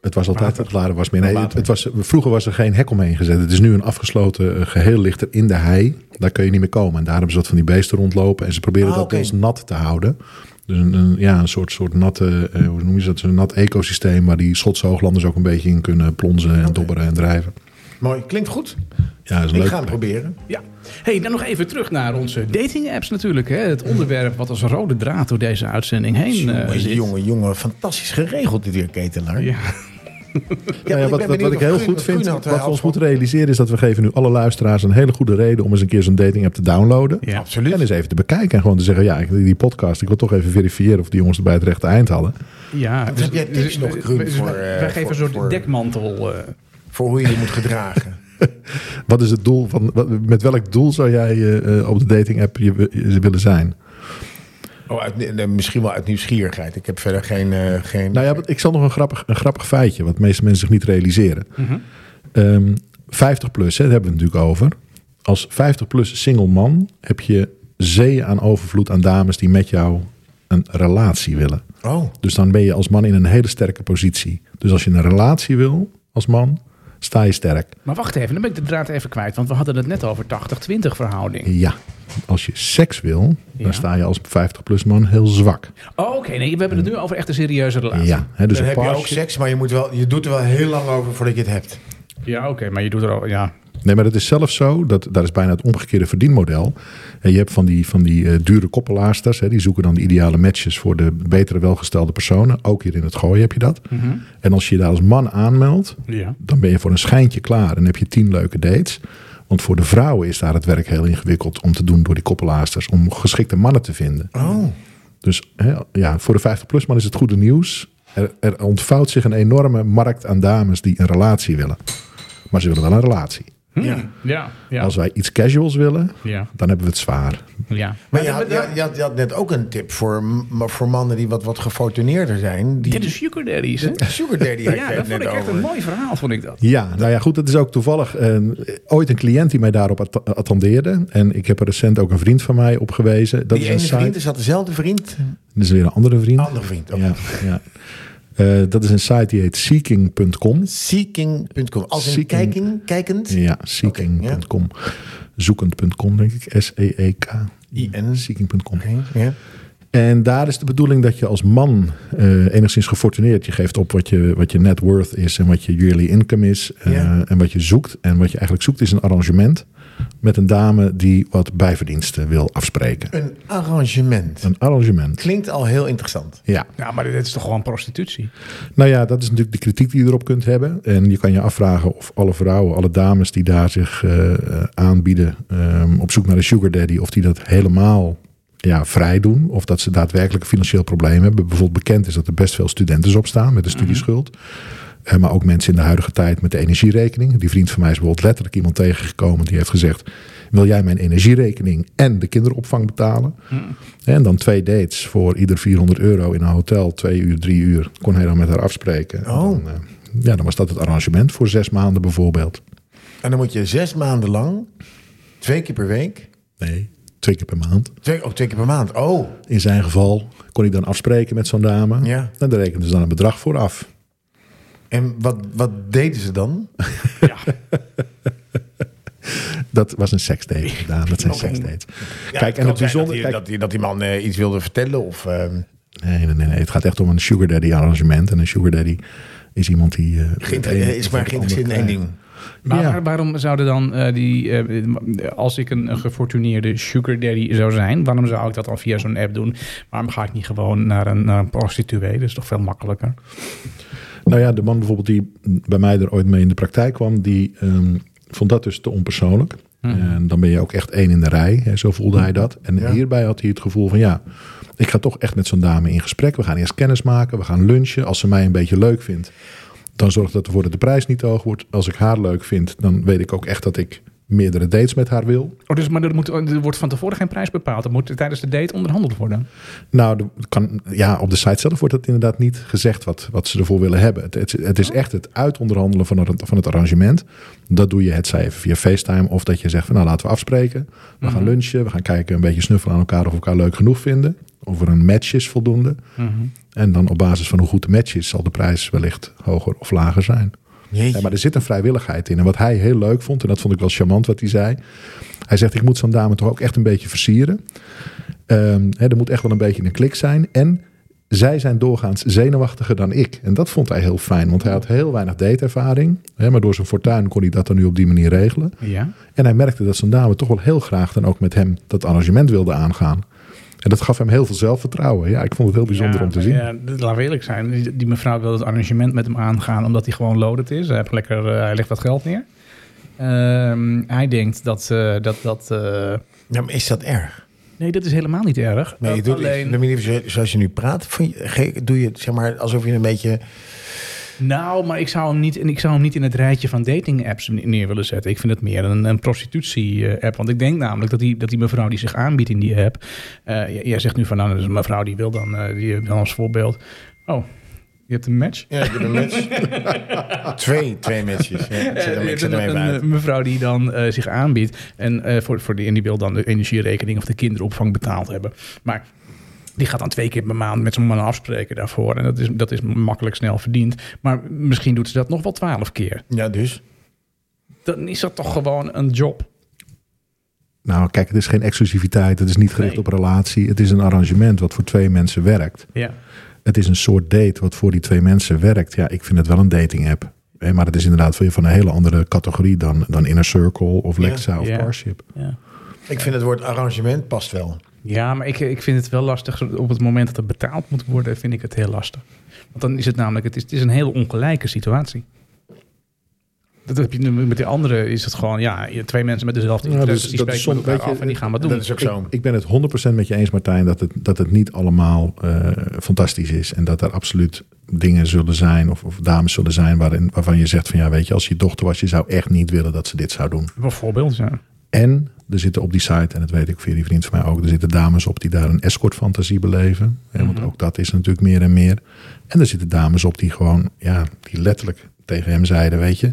Speaker 1: Het was altijd het lader was meer. Nee,
Speaker 4: Water.
Speaker 1: het, het was, vroeger was er geen hek omheen gezet. Het is nu een afgesloten eh, geheel ligt er in de hei. Daar kun je niet meer komen. En daar hebben ze wat van die beesten rondlopen. En ze proberen
Speaker 4: Ah,
Speaker 1: dat
Speaker 4: oké.
Speaker 1: ons nat te houden. Dus een, een- ja, een soort, soort natte, eh, hoe noem je dat? Een nat ecosysteem waar die Schotse hooglanders ook een beetje in kunnen plonzen en dobberen en drijven.
Speaker 4: Mooi, klinkt goed.
Speaker 1: Ja, dat is een
Speaker 4: Ik
Speaker 1: leuk.
Speaker 4: ga hem proberen.
Speaker 3: Ja. hey, dan nog even terug naar onze dating apps natuurlijk. Hè? Het onderwerp wat als een rode draad door deze uitzending heen eh,
Speaker 4: Jongen,
Speaker 3: zit.
Speaker 4: jongen, jongen, fantastisch geregeld dit weer, Ketelaar.
Speaker 3: Ja.
Speaker 1: Nou ja,
Speaker 4: ik
Speaker 1: wat,
Speaker 4: ben
Speaker 1: wat, wat ik
Speaker 4: benieuwd of eh,
Speaker 1: heel
Speaker 4: Guun-
Speaker 1: goed
Speaker 4: of
Speaker 1: vind,
Speaker 4: Guun
Speaker 1: wat
Speaker 4: had er
Speaker 1: we
Speaker 4: afstand
Speaker 1: ons moeten
Speaker 4: van.
Speaker 1: realiseren, is dat we geven nu alle luisteraars een hele goede reden om eens een keer zo'n dating app te downloaden.
Speaker 3: Ja.
Speaker 4: Absoluut.
Speaker 1: En eens even te bekijken en gewoon te zeggen, ja, ik- die podcast, ik wil toch even verifiëren of die jongens het bij het rechte eind hadden.
Speaker 3: Ja, dus,
Speaker 4: heb jij tips nog, Krum,
Speaker 3: we-
Speaker 4: voor,
Speaker 3: wij-
Speaker 4: eh,
Speaker 3: wij geven
Speaker 4: voor-
Speaker 3: een soort
Speaker 4: voor-
Speaker 3: dekmantel. eh,
Speaker 4: Voor hoe je je moet gedragen.
Speaker 1: Wat is het doel van, wat- met welk doel zou jij eh, eh, op de dating app je, je willen zijn?
Speaker 4: Oh, uit, nee, misschien wel uit nieuwsgierigheid. Ik heb verder geen... eh, geen
Speaker 1: Nou ja, want ik zal nog een grappig, een grappig feitje, wat de meeste mensen zich niet realiseren.
Speaker 4: Mhm.
Speaker 1: Ehm, 50 plus, hè, daar hebben we het natuurlijk over. Als 50 plus single man heb je zeeën aan overvloed aan dames die met jou een relatie willen.
Speaker 4: Oh,
Speaker 1: Dus dan ben je als man in een hele sterke positie. Dus als je een relatie wil als man, sta je sterk.
Speaker 3: Maar wacht even, dan ben ik de draad even kwijt. Want we hadden het net over 80-20 verhouding.
Speaker 1: Ja, als je seks wil,
Speaker 3: Ja.
Speaker 1: dan sta je als 50 plus man heel zwak.
Speaker 3: Oh, Oké, nee, we hebben het nu over echt een serieuze relatie.
Speaker 1: Ja, hè, dus
Speaker 4: dan
Speaker 1: een
Speaker 4: heb je ook
Speaker 1: partnership-
Speaker 4: seks, maar je, moet wel, je doet er wel heel lang over voordat je het hebt.
Speaker 3: Ja, oké, maar je doet er al... Ja.
Speaker 1: Nee, maar het is zelfs zo, dat, daar is bijna het omgekeerde verdienmodel. En je hebt van die, van die eh, dure koppelaarsters, hè, die zoeken dan de ideale matches voor de betere welgestelde personen. Ook hier in het gooien heb je dat. En als je je daar als man aanmeldt,
Speaker 3: ja.
Speaker 1: dan ben je voor een schijntje klaar en heb je tien leuke dates. Want voor de vrouwen is daar het werk heel ingewikkeld om te doen door die koppelaarsters, om geschikte mannen te vinden.
Speaker 4: Oh.
Speaker 1: Dus hè, ja, voor de 50-plus man is het goede nieuws. Er, er ontvouwt zich een enorme markt aan dames die een relatie willen. Maar ze willen wel een relatie.
Speaker 4: Ja.
Speaker 3: Ja, ja,
Speaker 1: Als wij iets casuals willen,
Speaker 3: ja,
Speaker 1: dan hebben we het zwaar.
Speaker 3: ja.
Speaker 4: Maar je had, je, had- je had, je had net ook een tip voor, m- maar voor mannen die wat, wat gefortuneerder zijn. Die,
Speaker 3: Dit is sugar daddies, hè?
Speaker 4: Sugar Daddy had
Speaker 3: Ja,
Speaker 4: je
Speaker 3: dat
Speaker 4: het
Speaker 3: vond
Speaker 4: net
Speaker 3: ik echt een
Speaker 4: over.
Speaker 3: mooi verhaal, vond ik dat.
Speaker 1: Ja, nou ja, goed, dat is ook toevallig eh, ooit een cliënt die mij daarop att- attendeerde. En ik heb er recent ook een vriend van mij op gewezen. Dat
Speaker 4: Die
Speaker 1: is een
Speaker 4: ene
Speaker 1: site.
Speaker 4: vriend is dat dezelfde vriend?
Speaker 1: Dat is weer een andere vriend.
Speaker 4: Andere vriend. oké.
Speaker 1: Ja, ja. Eh, dat is een site die heet seeking.com.
Speaker 4: Seeking.com. Als in
Speaker 1: Seeking.
Speaker 4: kijking, kijkend.
Speaker 1: Ja, seeking.com. Zoekend.com, denk ik. E S-E-E-K.
Speaker 4: I-N.
Speaker 1: Seeking.com.
Speaker 4: Oké, ja.
Speaker 1: En daar is de bedoeling dat je als man eh, enigszins gefortuneerd... je geeft op wat je, wat je net worth is en wat je yearly income is... eh,
Speaker 4: Ja.
Speaker 1: en wat je zoekt. En wat je eigenlijk zoekt is een arrangement... met een dame die wat bijverdiensten wil afspreken.
Speaker 4: Een arrangement.
Speaker 1: Een arrangement,
Speaker 4: Klinkt al heel interessant.
Speaker 1: ja.
Speaker 3: Ja, maar dit is toch gewoon prostitutie?
Speaker 1: Nou ja, dat is natuurlijk de kritiek die je erop kunt hebben. En je kan je afvragen of alle vrouwen, alle dames die daar zich eh, eh, aanbieden ehm, op zoek naar een sugar daddy, of die dat helemaal ja, vrij doen. Of dat ze daadwerkelijk een financieel probleem hebben. Bijvoorbeeld bekend is dat er best veel studenten op staan met een studieschuld. Eh, maar ook mensen in de huidige tijd met de energierekening. Die vriend van mij is bijvoorbeeld letterlijk iemand tegengekomen die heeft gezegd: Wil jij mijn energierekening en de kinderopvang betalen?
Speaker 4: Mm.
Speaker 1: En dan twee dates voor ieder 400 euro in een hotel, twee uur, drie uur. Kon hij dan met haar afspreken.
Speaker 4: Oh.
Speaker 1: En Dan, eh, ja, dan was dat het arrangement voor zes maanden bijvoorbeeld.
Speaker 4: En dan moet je zes maanden lang, twee keer per week,
Speaker 1: Nee, twee keer per maand.
Speaker 4: twee, oh, twee keer per maand. Oh,
Speaker 1: In zijn geval kon hij dan afspreken met zo'n dame.
Speaker 4: Ja.
Speaker 1: En daar rekenden ze dan een bedrag voor af.
Speaker 4: en wat, wat deden ze dan?
Speaker 3: Ja.
Speaker 1: Dat was een seksdate. Ja, dat zijn
Speaker 4: Oké.
Speaker 1: seksdates.
Speaker 4: Ja,
Speaker 1: kijk, en
Speaker 4: kan
Speaker 1: het
Speaker 4: zijn
Speaker 1: bijzonder...
Speaker 4: Dat die,
Speaker 1: kijk-
Speaker 4: dat, die, dat die man eh, iets wilde vertellen of... ehm,
Speaker 1: Nee, nee, nee, nee. Het gaat echt om een sugar daddy arrangement. En een sugar daddy is iemand die... eh, het
Speaker 4: Geïnter-
Speaker 1: ene
Speaker 4: eh, is
Speaker 1: of
Speaker 4: maar
Speaker 1: het
Speaker 4: geïnteresseerd in
Speaker 1: ander
Speaker 4: één
Speaker 1: krijgt.
Speaker 4: ding.
Speaker 3: Maar
Speaker 1: Ja.
Speaker 3: waar- waarom zouden dan eh, die... eh, als ik een, een gefortuneerde sugar daddy zou zijn... waarom zou ik dat dan via zo'n app doen? Waarom ga ik niet gewoon naar een, naar een prostituee? Dat is toch veel makkelijker?
Speaker 1: Nou ja, de man bijvoorbeeld die bij mij er ooit mee in de praktijk kwam... die ehm, vond dat dus te onpersoonlijk. En dan ben je ook echt één in de rij. Hè, zo voelde hij dat. En
Speaker 4: Ja.
Speaker 1: hierbij had hij het gevoel van... ja, ik ga toch echt met zo'n dame in gesprek. We gaan eerst kennis maken. We gaan lunchen. Als ze mij een beetje leuk vindt... dan zorgt dat ervoor dat de prijs niet te hoog wordt. Als ik haar leuk vind, dan weet ik ook echt dat ik meerdere dates met haar wil.
Speaker 3: Oh, dus, maar er, moet, er wordt van tevoren geen prijs bepaald. Er moet tijdens de date onderhandeld worden.
Speaker 1: Nou, de- kan, ja, op de site zelf wordt het inderdaad niet gezegd wat, wat ze ervoor willen hebben. Het, het, het is echt het uitonderhandelen van het, van het arrangement. Dat doe je het zij even via FaceTime. Of dat je zegt van nou laten we afspreken. We gaan lunchen. We gaan kijken een beetje snuffelen aan elkaar of we elkaar leuk genoeg vinden. Of er een match is voldoende. En dan op basis van hoe goed de match is, zal de prijs wellicht hoger of lager zijn. Ja, maar er zit een vrijwilligheid in. En wat hij heel leuk vond, en dat vond ik wel charmant wat hij zei. Hij zegt, ik moet zo'n dame toch ook echt een beetje versieren. Ehm, hè, er moet echt wel een beetje een klik zijn. En zij zijn doorgaans zenuwachtiger dan ik. En dat vond hij heel fijn, want hij had heel weinig dateervaring. Hè, maar door zijn fortuin kon hij dat dan nu op die manier regelen.
Speaker 3: Ja.
Speaker 1: En hij merkte dat zijn dame toch wel heel graag dan ook met hem dat arrangement wilde aangaan. En dat gaf hem heel veel zelfvertrouwen. Ja, ik vond het heel bijzonder
Speaker 3: Ja,
Speaker 1: om te
Speaker 3: maar
Speaker 1: zien.
Speaker 3: Ja, dat- laten we eerlijk zijn. Die, die mevrouw wil het arrangement met hem aangaan omdat hij gewoon loaded is. Hij, heeft lekker, eh, hij legt wat geld neer. Ehm, hij denkt dat... eh, dat, dat eh,
Speaker 4: Ja, maar is dat erg?
Speaker 3: nee, dat is helemaal niet erg.
Speaker 4: Nee, je
Speaker 3: Eh,
Speaker 4: doet
Speaker 3: alleen,
Speaker 4: de manier zo- zoals je nu praat, vind je- ge- doe je het zeg maar alsof je een beetje.
Speaker 3: Nou, maar ik zou, hem niet, en ik zou hem niet in het rijtje van dating apps neer willen zetten. Ik vind het meer een, een prostitutie eh, app. Want ik denk namelijk dat die, dat die mevrouw die zich aanbiedt in die app... eh, j- jij zegt nu van, nou, dat is een mevrouw die wil dan, eh, die wil dan als voorbeeld... Oh, je hebt een match?
Speaker 4: Ja, ik doe een match. twee, twee matches. Ja, ik zet hem, ik zet hem
Speaker 3: een,
Speaker 4: even
Speaker 3: een,
Speaker 4: uit.
Speaker 3: eh, mevrouw die dan eh, zich aanbiedt. En eh, voor, voor die, en die wil dan de energierekening of de kinderopvang betaald hebben. Maar die gaat dan twee keer per maand met zo'n man afspreken daarvoor. En dat is, dat is makkelijk snel verdiend. Maar misschien doet ze dat nog wel twaalf keer.
Speaker 4: Ja, dus.
Speaker 3: Dan is dat toch gewoon een job.
Speaker 1: Nou, kijk, het is geen exclusiviteit. Het is niet gericht
Speaker 3: Nee.
Speaker 1: op relatie. Het is een arrangement wat voor twee mensen werkt.
Speaker 3: Ja.
Speaker 1: Het is een soort date wat voor die twee mensen werkt. Ja, ik vind het wel een dating app. Hè, maar het is inderdaad weer van een hele andere categorie dan, dan Inner Circle of Lexa of
Speaker 3: ja.
Speaker 1: Parship.
Speaker 3: ja.
Speaker 4: Ik vind het woord arrangement past wel.
Speaker 3: Ja, maar ik, ik vind het wel lastig. Op het moment dat het betaald moet worden, vind ik het heel lastig. Want dan is het namelijk, het is, het is een heel ongelijke situatie. Dat heb je nu met die andere, is het gewoon, ja, je- twee mensen met dezelfde
Speaker 1: Ja,
Speaker 3: interesses,
Speaker 1: dus
Speaker 3: die
Speaker 1: dat
Speaker 3: spreken
Speaker 1: is
Speaker 3: met
Speaker 1: soms-
Speaker 3: elkaar
Speaker 1: weet je,
Speaker 3: af en die gaan wat doen.
Speaker 4: Dat is ook zo.
Speaker 1: Ik ben het 100% met je eens, Martijn, dat het, dat het niet allemaal eh, fantastisch is. En dat er absoluut dingen zullen zijn of, of dames zullen zijn waarin, waarvan je zegt van ja, weet je, als je dochter was, je zou echt niet willen dat ze dit zou doen.
Speaker 3: Bijvoorbeeld, ja.
Speaker 1: En er zitten op die site, en dat weet ik via die vriend van mij ook, er zitten dames op die daar een escortfantasie beleven. Hè, Want ook dat is natuurlijk meer en meer. En er zitten dames op die gewoon, ja, die letterlijk tegen hem zeiden, weet je,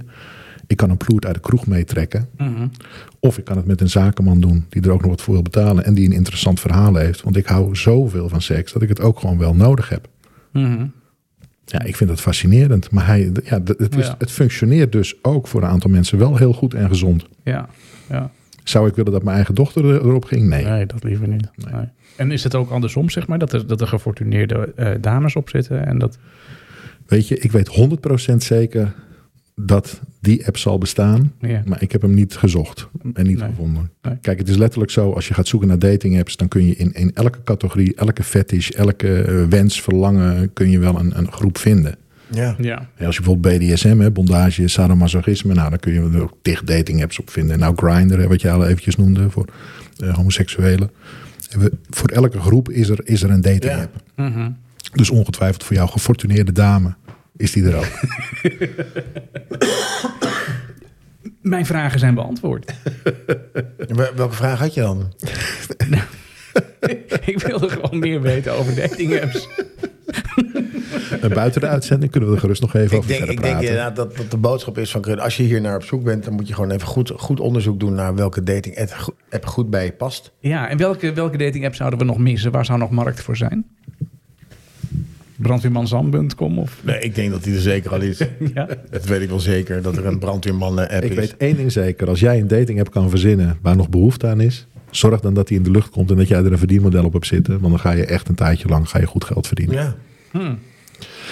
Speaker 1: ik kan een ploert uit de kroeg meetrekken. Of ik kan het met een zakenman doen die er ook nog wat voor wil betalen en die een interessant verhaal heeft. Want ik hou zoveel van seks dat ik het ook gewoon wel nodig heb.
Speaker 3: Mhm.
Speaker 1: Ja, ik vind dat fascinerend. Maar hij, ja, d- het, is,
Speaker 3: Ja.
Speaker 1: het functioneert dus ook voor een aantal mensen wel heel goed en gezond.
Speaker 3: ja. Ja.
Speaker 1: Zou ik willen dat mijn eigen dochter er- erop ging? Nee.
Speaker 3: Nee, dat liever niet. Nee. En is het ook andersom, zeg maar, dat er, dat er gefortuneerde eh, dames op zitten en dat...
Speaker 1: Weet je, ik weet 100% zeker dat die app zal bestaan.
Speaker 3: Ja.
Speaker 1: Maar ik heb hem niet gezocht en niet
Speaker 3: Nee.
Speaker 1: gevonden.
Speaker 3: Nee.
Speaker 1: Kijk, het is letterlijk zo. Als je gaat zoeken naar dating apps, dan kun je in, in elke categorie, elke fetish, elke eh, wens, verlangen, kun je wel een, een groep vinden.
Speaker 4: Ja.
Speaker 3: Ja.
Speaker 1: En als je bijvoorbeeld BDSM, hè, bondage, sadomasochisme, nou, dan kun je er ook tig dating apps op vinden. Nou, Grindr, hè, wat je al eventjes noemde voor eh, homoseksuelen. En we- Voor elke groep is er, is er een dating
Speaker 4: Ja.
Speaker 1: app.
Speaker 3: Mhm.
Speaker 1: Dus ongetwijfeld voor jou gefortuneerde dame is die er ook.
Speaker 3: Mijn vragen zijn beantwoord.
Speaker 4: En wel- Welke vraag had je dan?
Speaker 3: ik wilde gewoon meer weten over dating apps.
Speaker 1: En buiten de uitzending kunnen we er gerust nog even
Speaker 4: Ik
Speaker 1: over
Speaker 4: denk,
Speaker 1: verder
Speaker 4: ik denk eh,
Speaker 1: praten.
Speaker 4: inderdaad dat, dat de boodschap is van Krul, als je hier naar op zoek bent, dan moet je gewoon even goed, goed onderzoek doen naar welke dating app go- app goed bij je past.
Speaker 3: Ja, en welke, welke dating app zouden we nog missen? Waar zou nog markt voor zijn? Brandweermanzam.com of...
Speaker 4: Nee, ik denk dat die er zeker al is.
Speaker 3: Ja.
Speaker 4: Dat weet ik wel zeker, dat er een brandweermannen app
Speaker 1: ik
Speaker 4: is.
Speaker 1: weet één ding zeker. Als jij een dating app kan verzinnen waar nog behoefte aan is... zorg dan dat die in de lucht komt en dat jij er een verdienmodel op hebt zitten. Want dan ga je echt een tijdje lang ga je goed geld verdienen.
Speaker 4: Ja.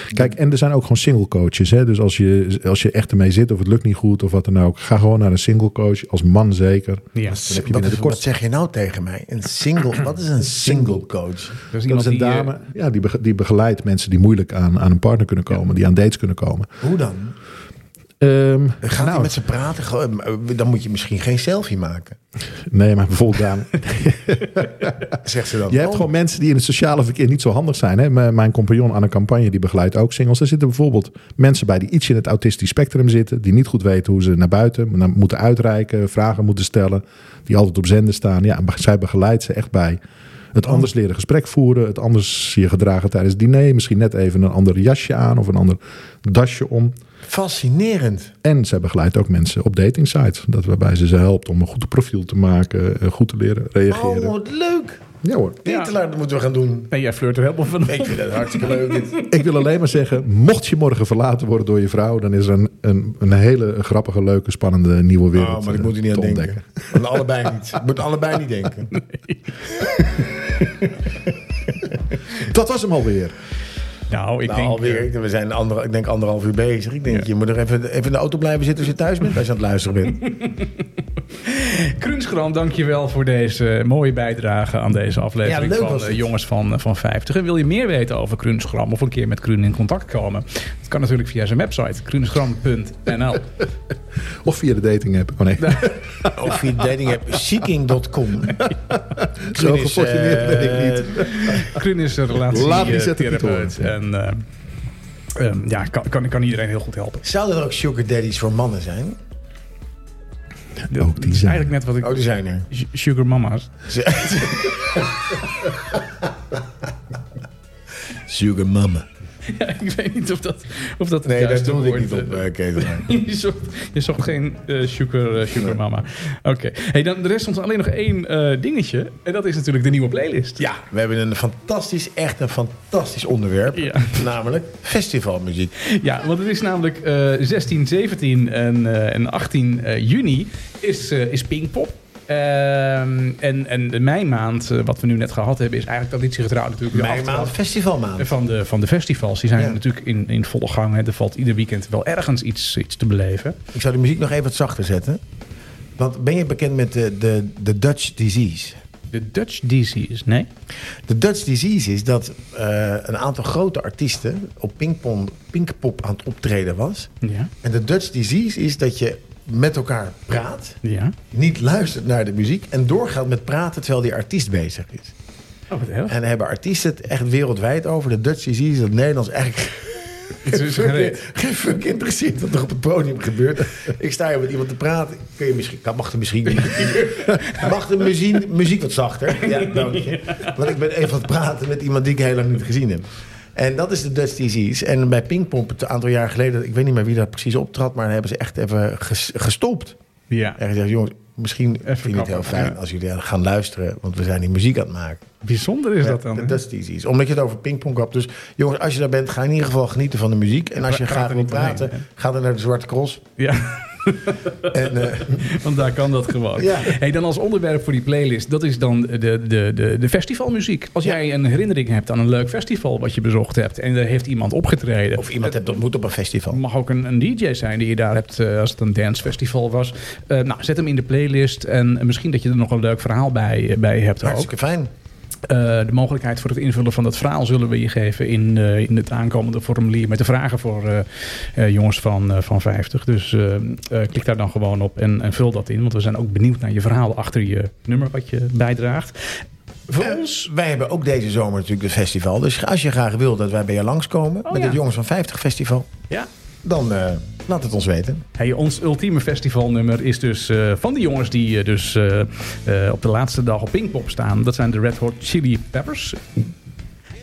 Speaker 1: Kijk, en er zijn ook gewoon single coaches. Hè? Dus als je, als je echt ermee zit of het lukt niet goed of wat dan ook... ga gewoon naar een single coach, als man zeker.
Speaker 3: ja.
Speaker 1: Dan heb je
Speaker 4: Wat,
Speaker 1: binnen
Speaker 4: is,
Speaker 1: de kort...
Speaker 4: wat zeg je nou tegen mij? Een single, wat is een single coach?
Speaker 3: Dat
Speaker 1: Dat is een
Speaker 3: eh,
Speaker 1: dame ja, die, bege- die begeleidt mensen die moeilijk aan, aan een partner kunnen komen. Die aan dates kunnen komen.
Speaker 4: Hoe dan?
Speaker 1: Ehm,
Speaker 4: Gaat hij
Speaker 1: nou,
Speaker 4: met ze praten? Gewoon, eh, Dan moet je misschien geen selfie maken.
Speaker 1: Nee, maar bijvoorbeeld dame...
Speaker 4: Zegt ze dan.
Speaker 1: Je hebt
Speaker 4: oh,
Speaker 1: gewoon mensen die in het sociale verkeer niet zo handig zijn. Hè? M- Mijn compagnon aan een campagne die begeleidt ook singles. Er zitten bijvoorbeeld mensen bij die iets in het autistisch spectrum zitten. Die niet goed weten hoe ze naar buiten naar- moeten uitreiken. Vragen moeten stellen. Die altijd op zender staan. Ja, en be- zij begeleidt ze echt bij het anders leren gesprek voeren. Het anders je gedragen tijdens het diner. Misschien net even een ander jasje aan of een ander dasje om.
Speaker 4: Fascinerend.
Speaker 1: En zij begeleidt ook mensen op dating sites. Dat waarbij ze ze helpt om een goed profiel te maken. eh, Goed te leren
Speaker 4: Oh,
Speaker 1: reageren.
Speaker 4: wat leuk.
Speaker 1: Ja hoor.
Speaker 4: Titelaar, dat moeten we gaan doen.
Speaker 3: Nee, jij flirt er helemaal van.
Speaker 4: Ik vind het hartstikke leuk. dit.
Speaker 1: Ik wil alleen maar zeggen, mocht je morgen verlaten worden door je vrouw, dan is er een, een, een hele grappige, leuke, spannende nieuwe wereld.
Speaker 4: Oh, maar ik
Speaker 1: eh,
Speaker 4: moet er niet aan
Speaker 1: te
Speaker 4: denken.
Speaker 1: ontdekken.
Speaker 4: Aan allebei niet. Ik moet allebei niet denken.
Speaker 1: Dat was hem alweer.
Speaker 3: Nou, ik
Speaker 4: Nou,
Speaker 3: denk... eh,
Speaker 4: alweer. We zijn ander, ik denk anderhalf uur bezig. Ik denk, je moet er even, even in de auto blijven zitten als je thuis bent. Als je aan het luisteren bent.
Speaker 3: Krunsgram, eh, dankjewel voor deze mooie bijdrage aan deze aflevering
Speaker 4: Ja, leuk
Speaker 3: van
Speaker 4: was
Speaker 3: eh,
Speaker 4: het.
Speaker 3: Jongens van, eh, van 50. En wil je meer weten over Krunsgram of een keer met Krun in contact komen? Dat kan natuurlijk via zijn website, krunsgram.nl.
Speaker 1: Of via de dating app. Oh nee,
Speaker 4: Of via de dating app seeking.com.
Speaker 1: zo gefortuneerd
Speaker 4: eh,
Speaker 1: ben ik niet.
Speaker 3: Krun is een relatie
Speaker 1: Laat die
Speaker 3: eh,
Speaker 1: zetten niet
Speaker 3: therapeut.
Speaker 1: horen.
Speaker 3: En eh, ehm, ja, kan, kan, kan iedereen heel goed helpen.
Speaker 4: Zouden er ook sugar daddies voor mannen zijn?
Speaker 1: Ook die
Speaker 3: Dat is
Speaker 1: zijn.
Speaker 3: eigenlijk net wat ik...
Speaker 4: Oh, die zijn er.
Speaker 3: Sugar mama's.
Speaker 4: Sugar mama.
Speaker 3: Ja, ik weet niet of dat, of dat het
Speaker 4: Nee, daar
Speaker 3: juiste
Speaker 4: doelde ik
Speaker 3: woord,
Speaker 4: niet op,
Speaker 3: eh,
Speaker 4: eh, Ketelaar.
Speaker 3: Je zocht, je zocht geen eh sugar, eh, sugar mama. Oké. Hey, dan de rest ons alleen nog één eh, dingetje. En dat is natuurlijk de nieuwe playlist.
Speaker 4: Ja, we hebben een fantastisch, echt een fantastisch onderwerp.
Speaker 3: Ja.
Speaker 4: Namelijk festivalmuziek.
Speaker 3: Ja, want het is namelijk eh 16, 17 en, eh, en 18 eh, juni is, eh is Pinkpop. Ehm, en, en de meimaand, eh, wat we nu net gehad hebben, is eigenlijk traditiegetrouw natuurlijk. de
Speaker 4: Mijn maand,
Speaker 3: aftrap
Speaker 4: festivalmaand.
Speaker 3: Van de, van de festivals. Die zijn
Speaker 4: Ja.
Speaker 3: natuurlijk in, in volle gang. Hè. Er valt ieder weekend wel ergens iets, iets te beleven.
Speaker 4: Ik zou de muziek nog even wat zachter zetten. Want ben je bekend met de, de, de Dutch disease?
Speaker 3: De Dutch Disease, nee?
Speaker 4: De Dutch disease is dat eh, een aantal grote artiesten op pingpong, pinkpop aan het optreden was.
Speaker 3: Ja.
Speaker 4: En de Dutch disease is dat je met elkaar praat,
Speaker 3: Ja.
Speaker 4: niet luistert naar de muziek en doorgaat met praten terwijl die artiest bezig is.
Speaker 3: Oh, wat erg.
Speaker 4: En daar hebben artiesten het echt wereldwijd over. De Dutch disease, dat Nederlands eigenlijk
Speaker 3: Het is
Speaker 4: geen
Speaker 3: gereed.
Speaker 4: fuck- geen fuck interesseert wat er op het podium gebeurt. Ik sta hier met iemand te praten. Kun je misschien, kan- mag er misschien niet. Mag de muziek, muziek wat zachter? Ja, dank je. Want ik ben even aan het praten met iemand die ik heel lang niet gezien heb. En dat is de Dutch disease. En bij Pinkpomp, een aantal jaar geleden, ik weet niet meer wie daar precies optrad, maar hebben ze echt even ges- gestopt.
Speaker 3: Ja,
Speaker 4: En gezegd, jongens, misschien vind ik het heel
Speaker 3: kappen,
Speaker 4: fijn
Speaker 3: ja.
Speaker 4: als jullie gaan luisteren, want we zijn die muziek aan het maken.
Speaker 3: bijzonder is dat
Speaker 4: Ja,
Speaker 3: dan. hè?
Speaker 4: Dat is het iets. Omdat je het over pingpong hebt. Dus jongens, als je daar bent, ga in ieder geval genieten van de muziek. En als je
Speaker 3: Praat er
Speaker 4: graag wil
Speaker 3: niet omheen,
Speaker 4: praten,
Speaker 3: hè?
Speaker 4: ga dan naar de Zwarte Cross.
Speaker 3: Ja,
Speaker 4: En, eh,
Speaker 3: want daar kan dat gewoon.
Speaker 4: Ja.
Speaker 3: Hey, dan als onderwerp voor die playlist, dat is dan de, de, de, de festivalmuziek. Als jij een herinnering hebt aan een leuk festival wat je bezocht hebt en er heeft iemand opgetreden.
Speaker 4: of iemand hebt ontmoet op een festival.
Speaker 3: Het mag ook een, een DJ zijn die je daar hebt eh, als het een dancefestival was. Eh, nou, zet hem in de playlist en misschien dat je er nog een leuk verhaal bij, eh, bij hebt ook.
Speaker 4: Hartstikke fijn.
Speaker 3: Eh, de mogelijkheid voor het invullen van dat verhaal zullen we je geven in, eh, in het aankomende formulier met de vragen voor eh, eh, jongens van, eh, van 50. Dus eh, eh, klik daar dan gewoon op en, en vul dat in, want we zijn ook benieuwd naar je verhaal achter je nummer wat je bijdraagt. Voor
Speaker 4: Eh,
Speaker 3: ons.
Speaker 4: Wij hebben ook deze zomer natuurlijk het festival. Dus als je graag wil dat wij bij je langskomen
Speaker 3: Oh,
Speaker 4: met
Speaker 3: ja.
Speaker 4: het Jongens van 50 festival,
Speaker 3: Ja.
Speaker 4: dan eh, laat het ons weten.
Speaker 3: Hey, ons ultieme festivalnummer is dus eh, van die jongens die eh, dus eh, eh, op de laatste dag op Pinkpop staan. Dat zijn de Red Hot Chili Peppers.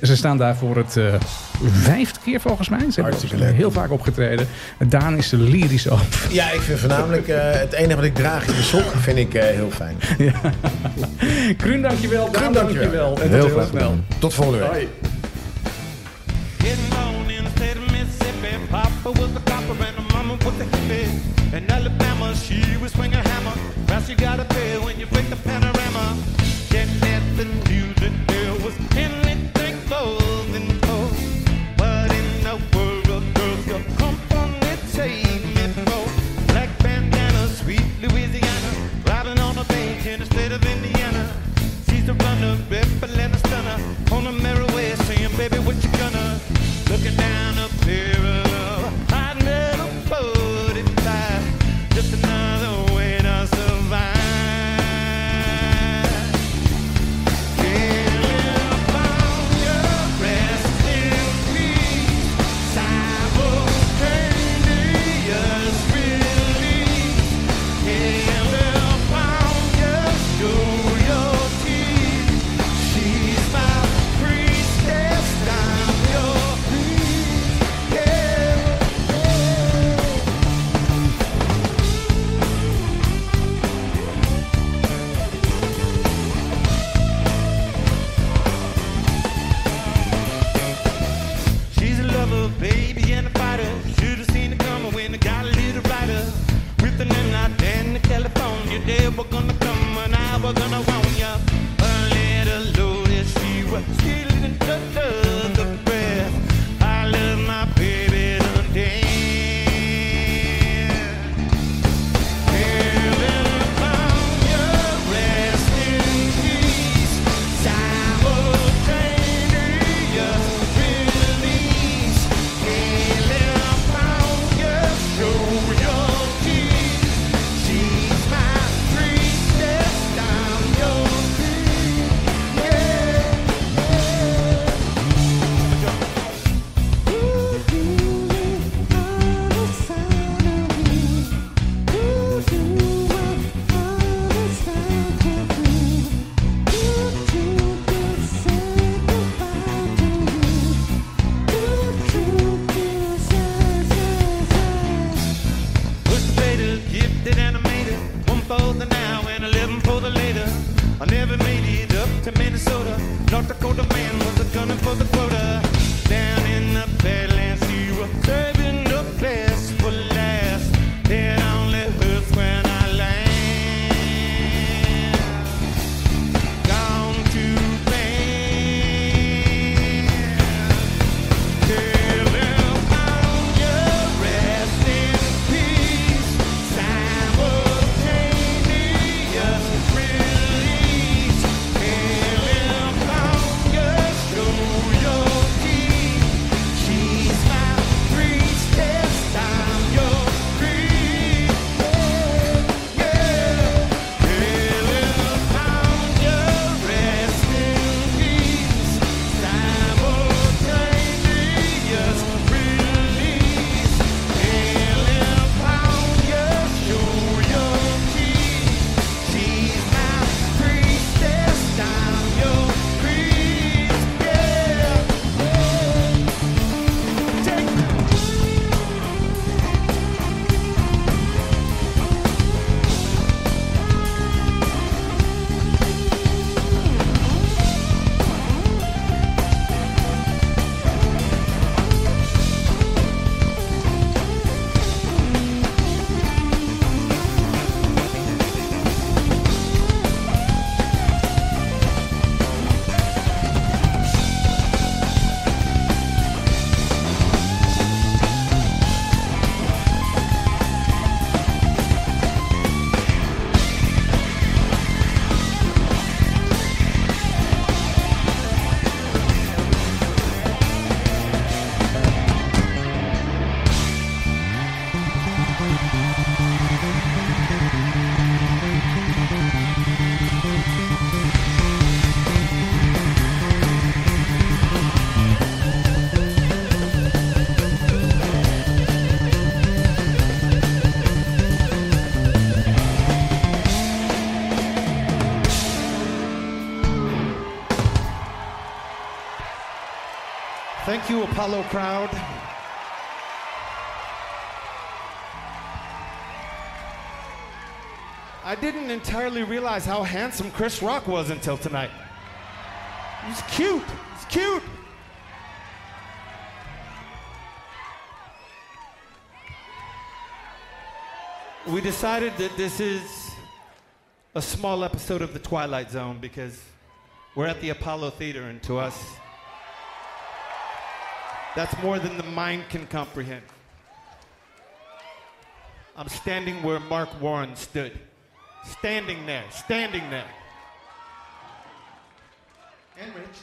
Speaker 3: Ze staan daar voor het eh, vijfde keer volgens mij. Ze hebben
Speaker 4: Hartstikke
Speaker 3: er
Speaker 4: leuk.
Speaker 3: heel vaak opgetreden. Daan is er lyrisch over.
Speaker 4: Ja, ik vind voornamelijk eh, het enige wat ik draag is de sok. Vind ik eh, heel fijn.
Speaker 3: Kruun, dankjewel. Daan,
Speaker 4: Kruun, dankjewel.
Speaker 3: dankjewel. En tot
Speaker 1: Heel
Speaker 3: heel,
Speaker 1: graag
Speaker 3: snel.
Speaker 1: gedaan.
Speaker 4: Tot volgende week.
Speaker 3: Hoi.
Speaker 6: Getting on in the state of Mississippi. Papa was a copper and her mama was a hippie. In Alabama, she was swing a hammer. Price you gotta pay when you break the panorama. Yet Nathan knew that there was anything more than gold. What in the world, girls, you come from the take me for? Black bandana, sweet Louisiana. Riding on a bank in the state of Indiana. She's a runner, rebel and a stunner. On a merry way, saying, baby, what you gonna? Looking down a barrel of hot metal 45. Just another way to survive. Thank you, Apollo Crowd. I didn't entirely realize how handsome Chris Rock was until tonight. He's cute. He's cute. We decided that this is a small episode of The Twilight Zone because we're at the Apollo Theater, and to us, that's more than the mind can comprehend. I'm standing where Mark Warren stood. Standing there, standing there. And Rich.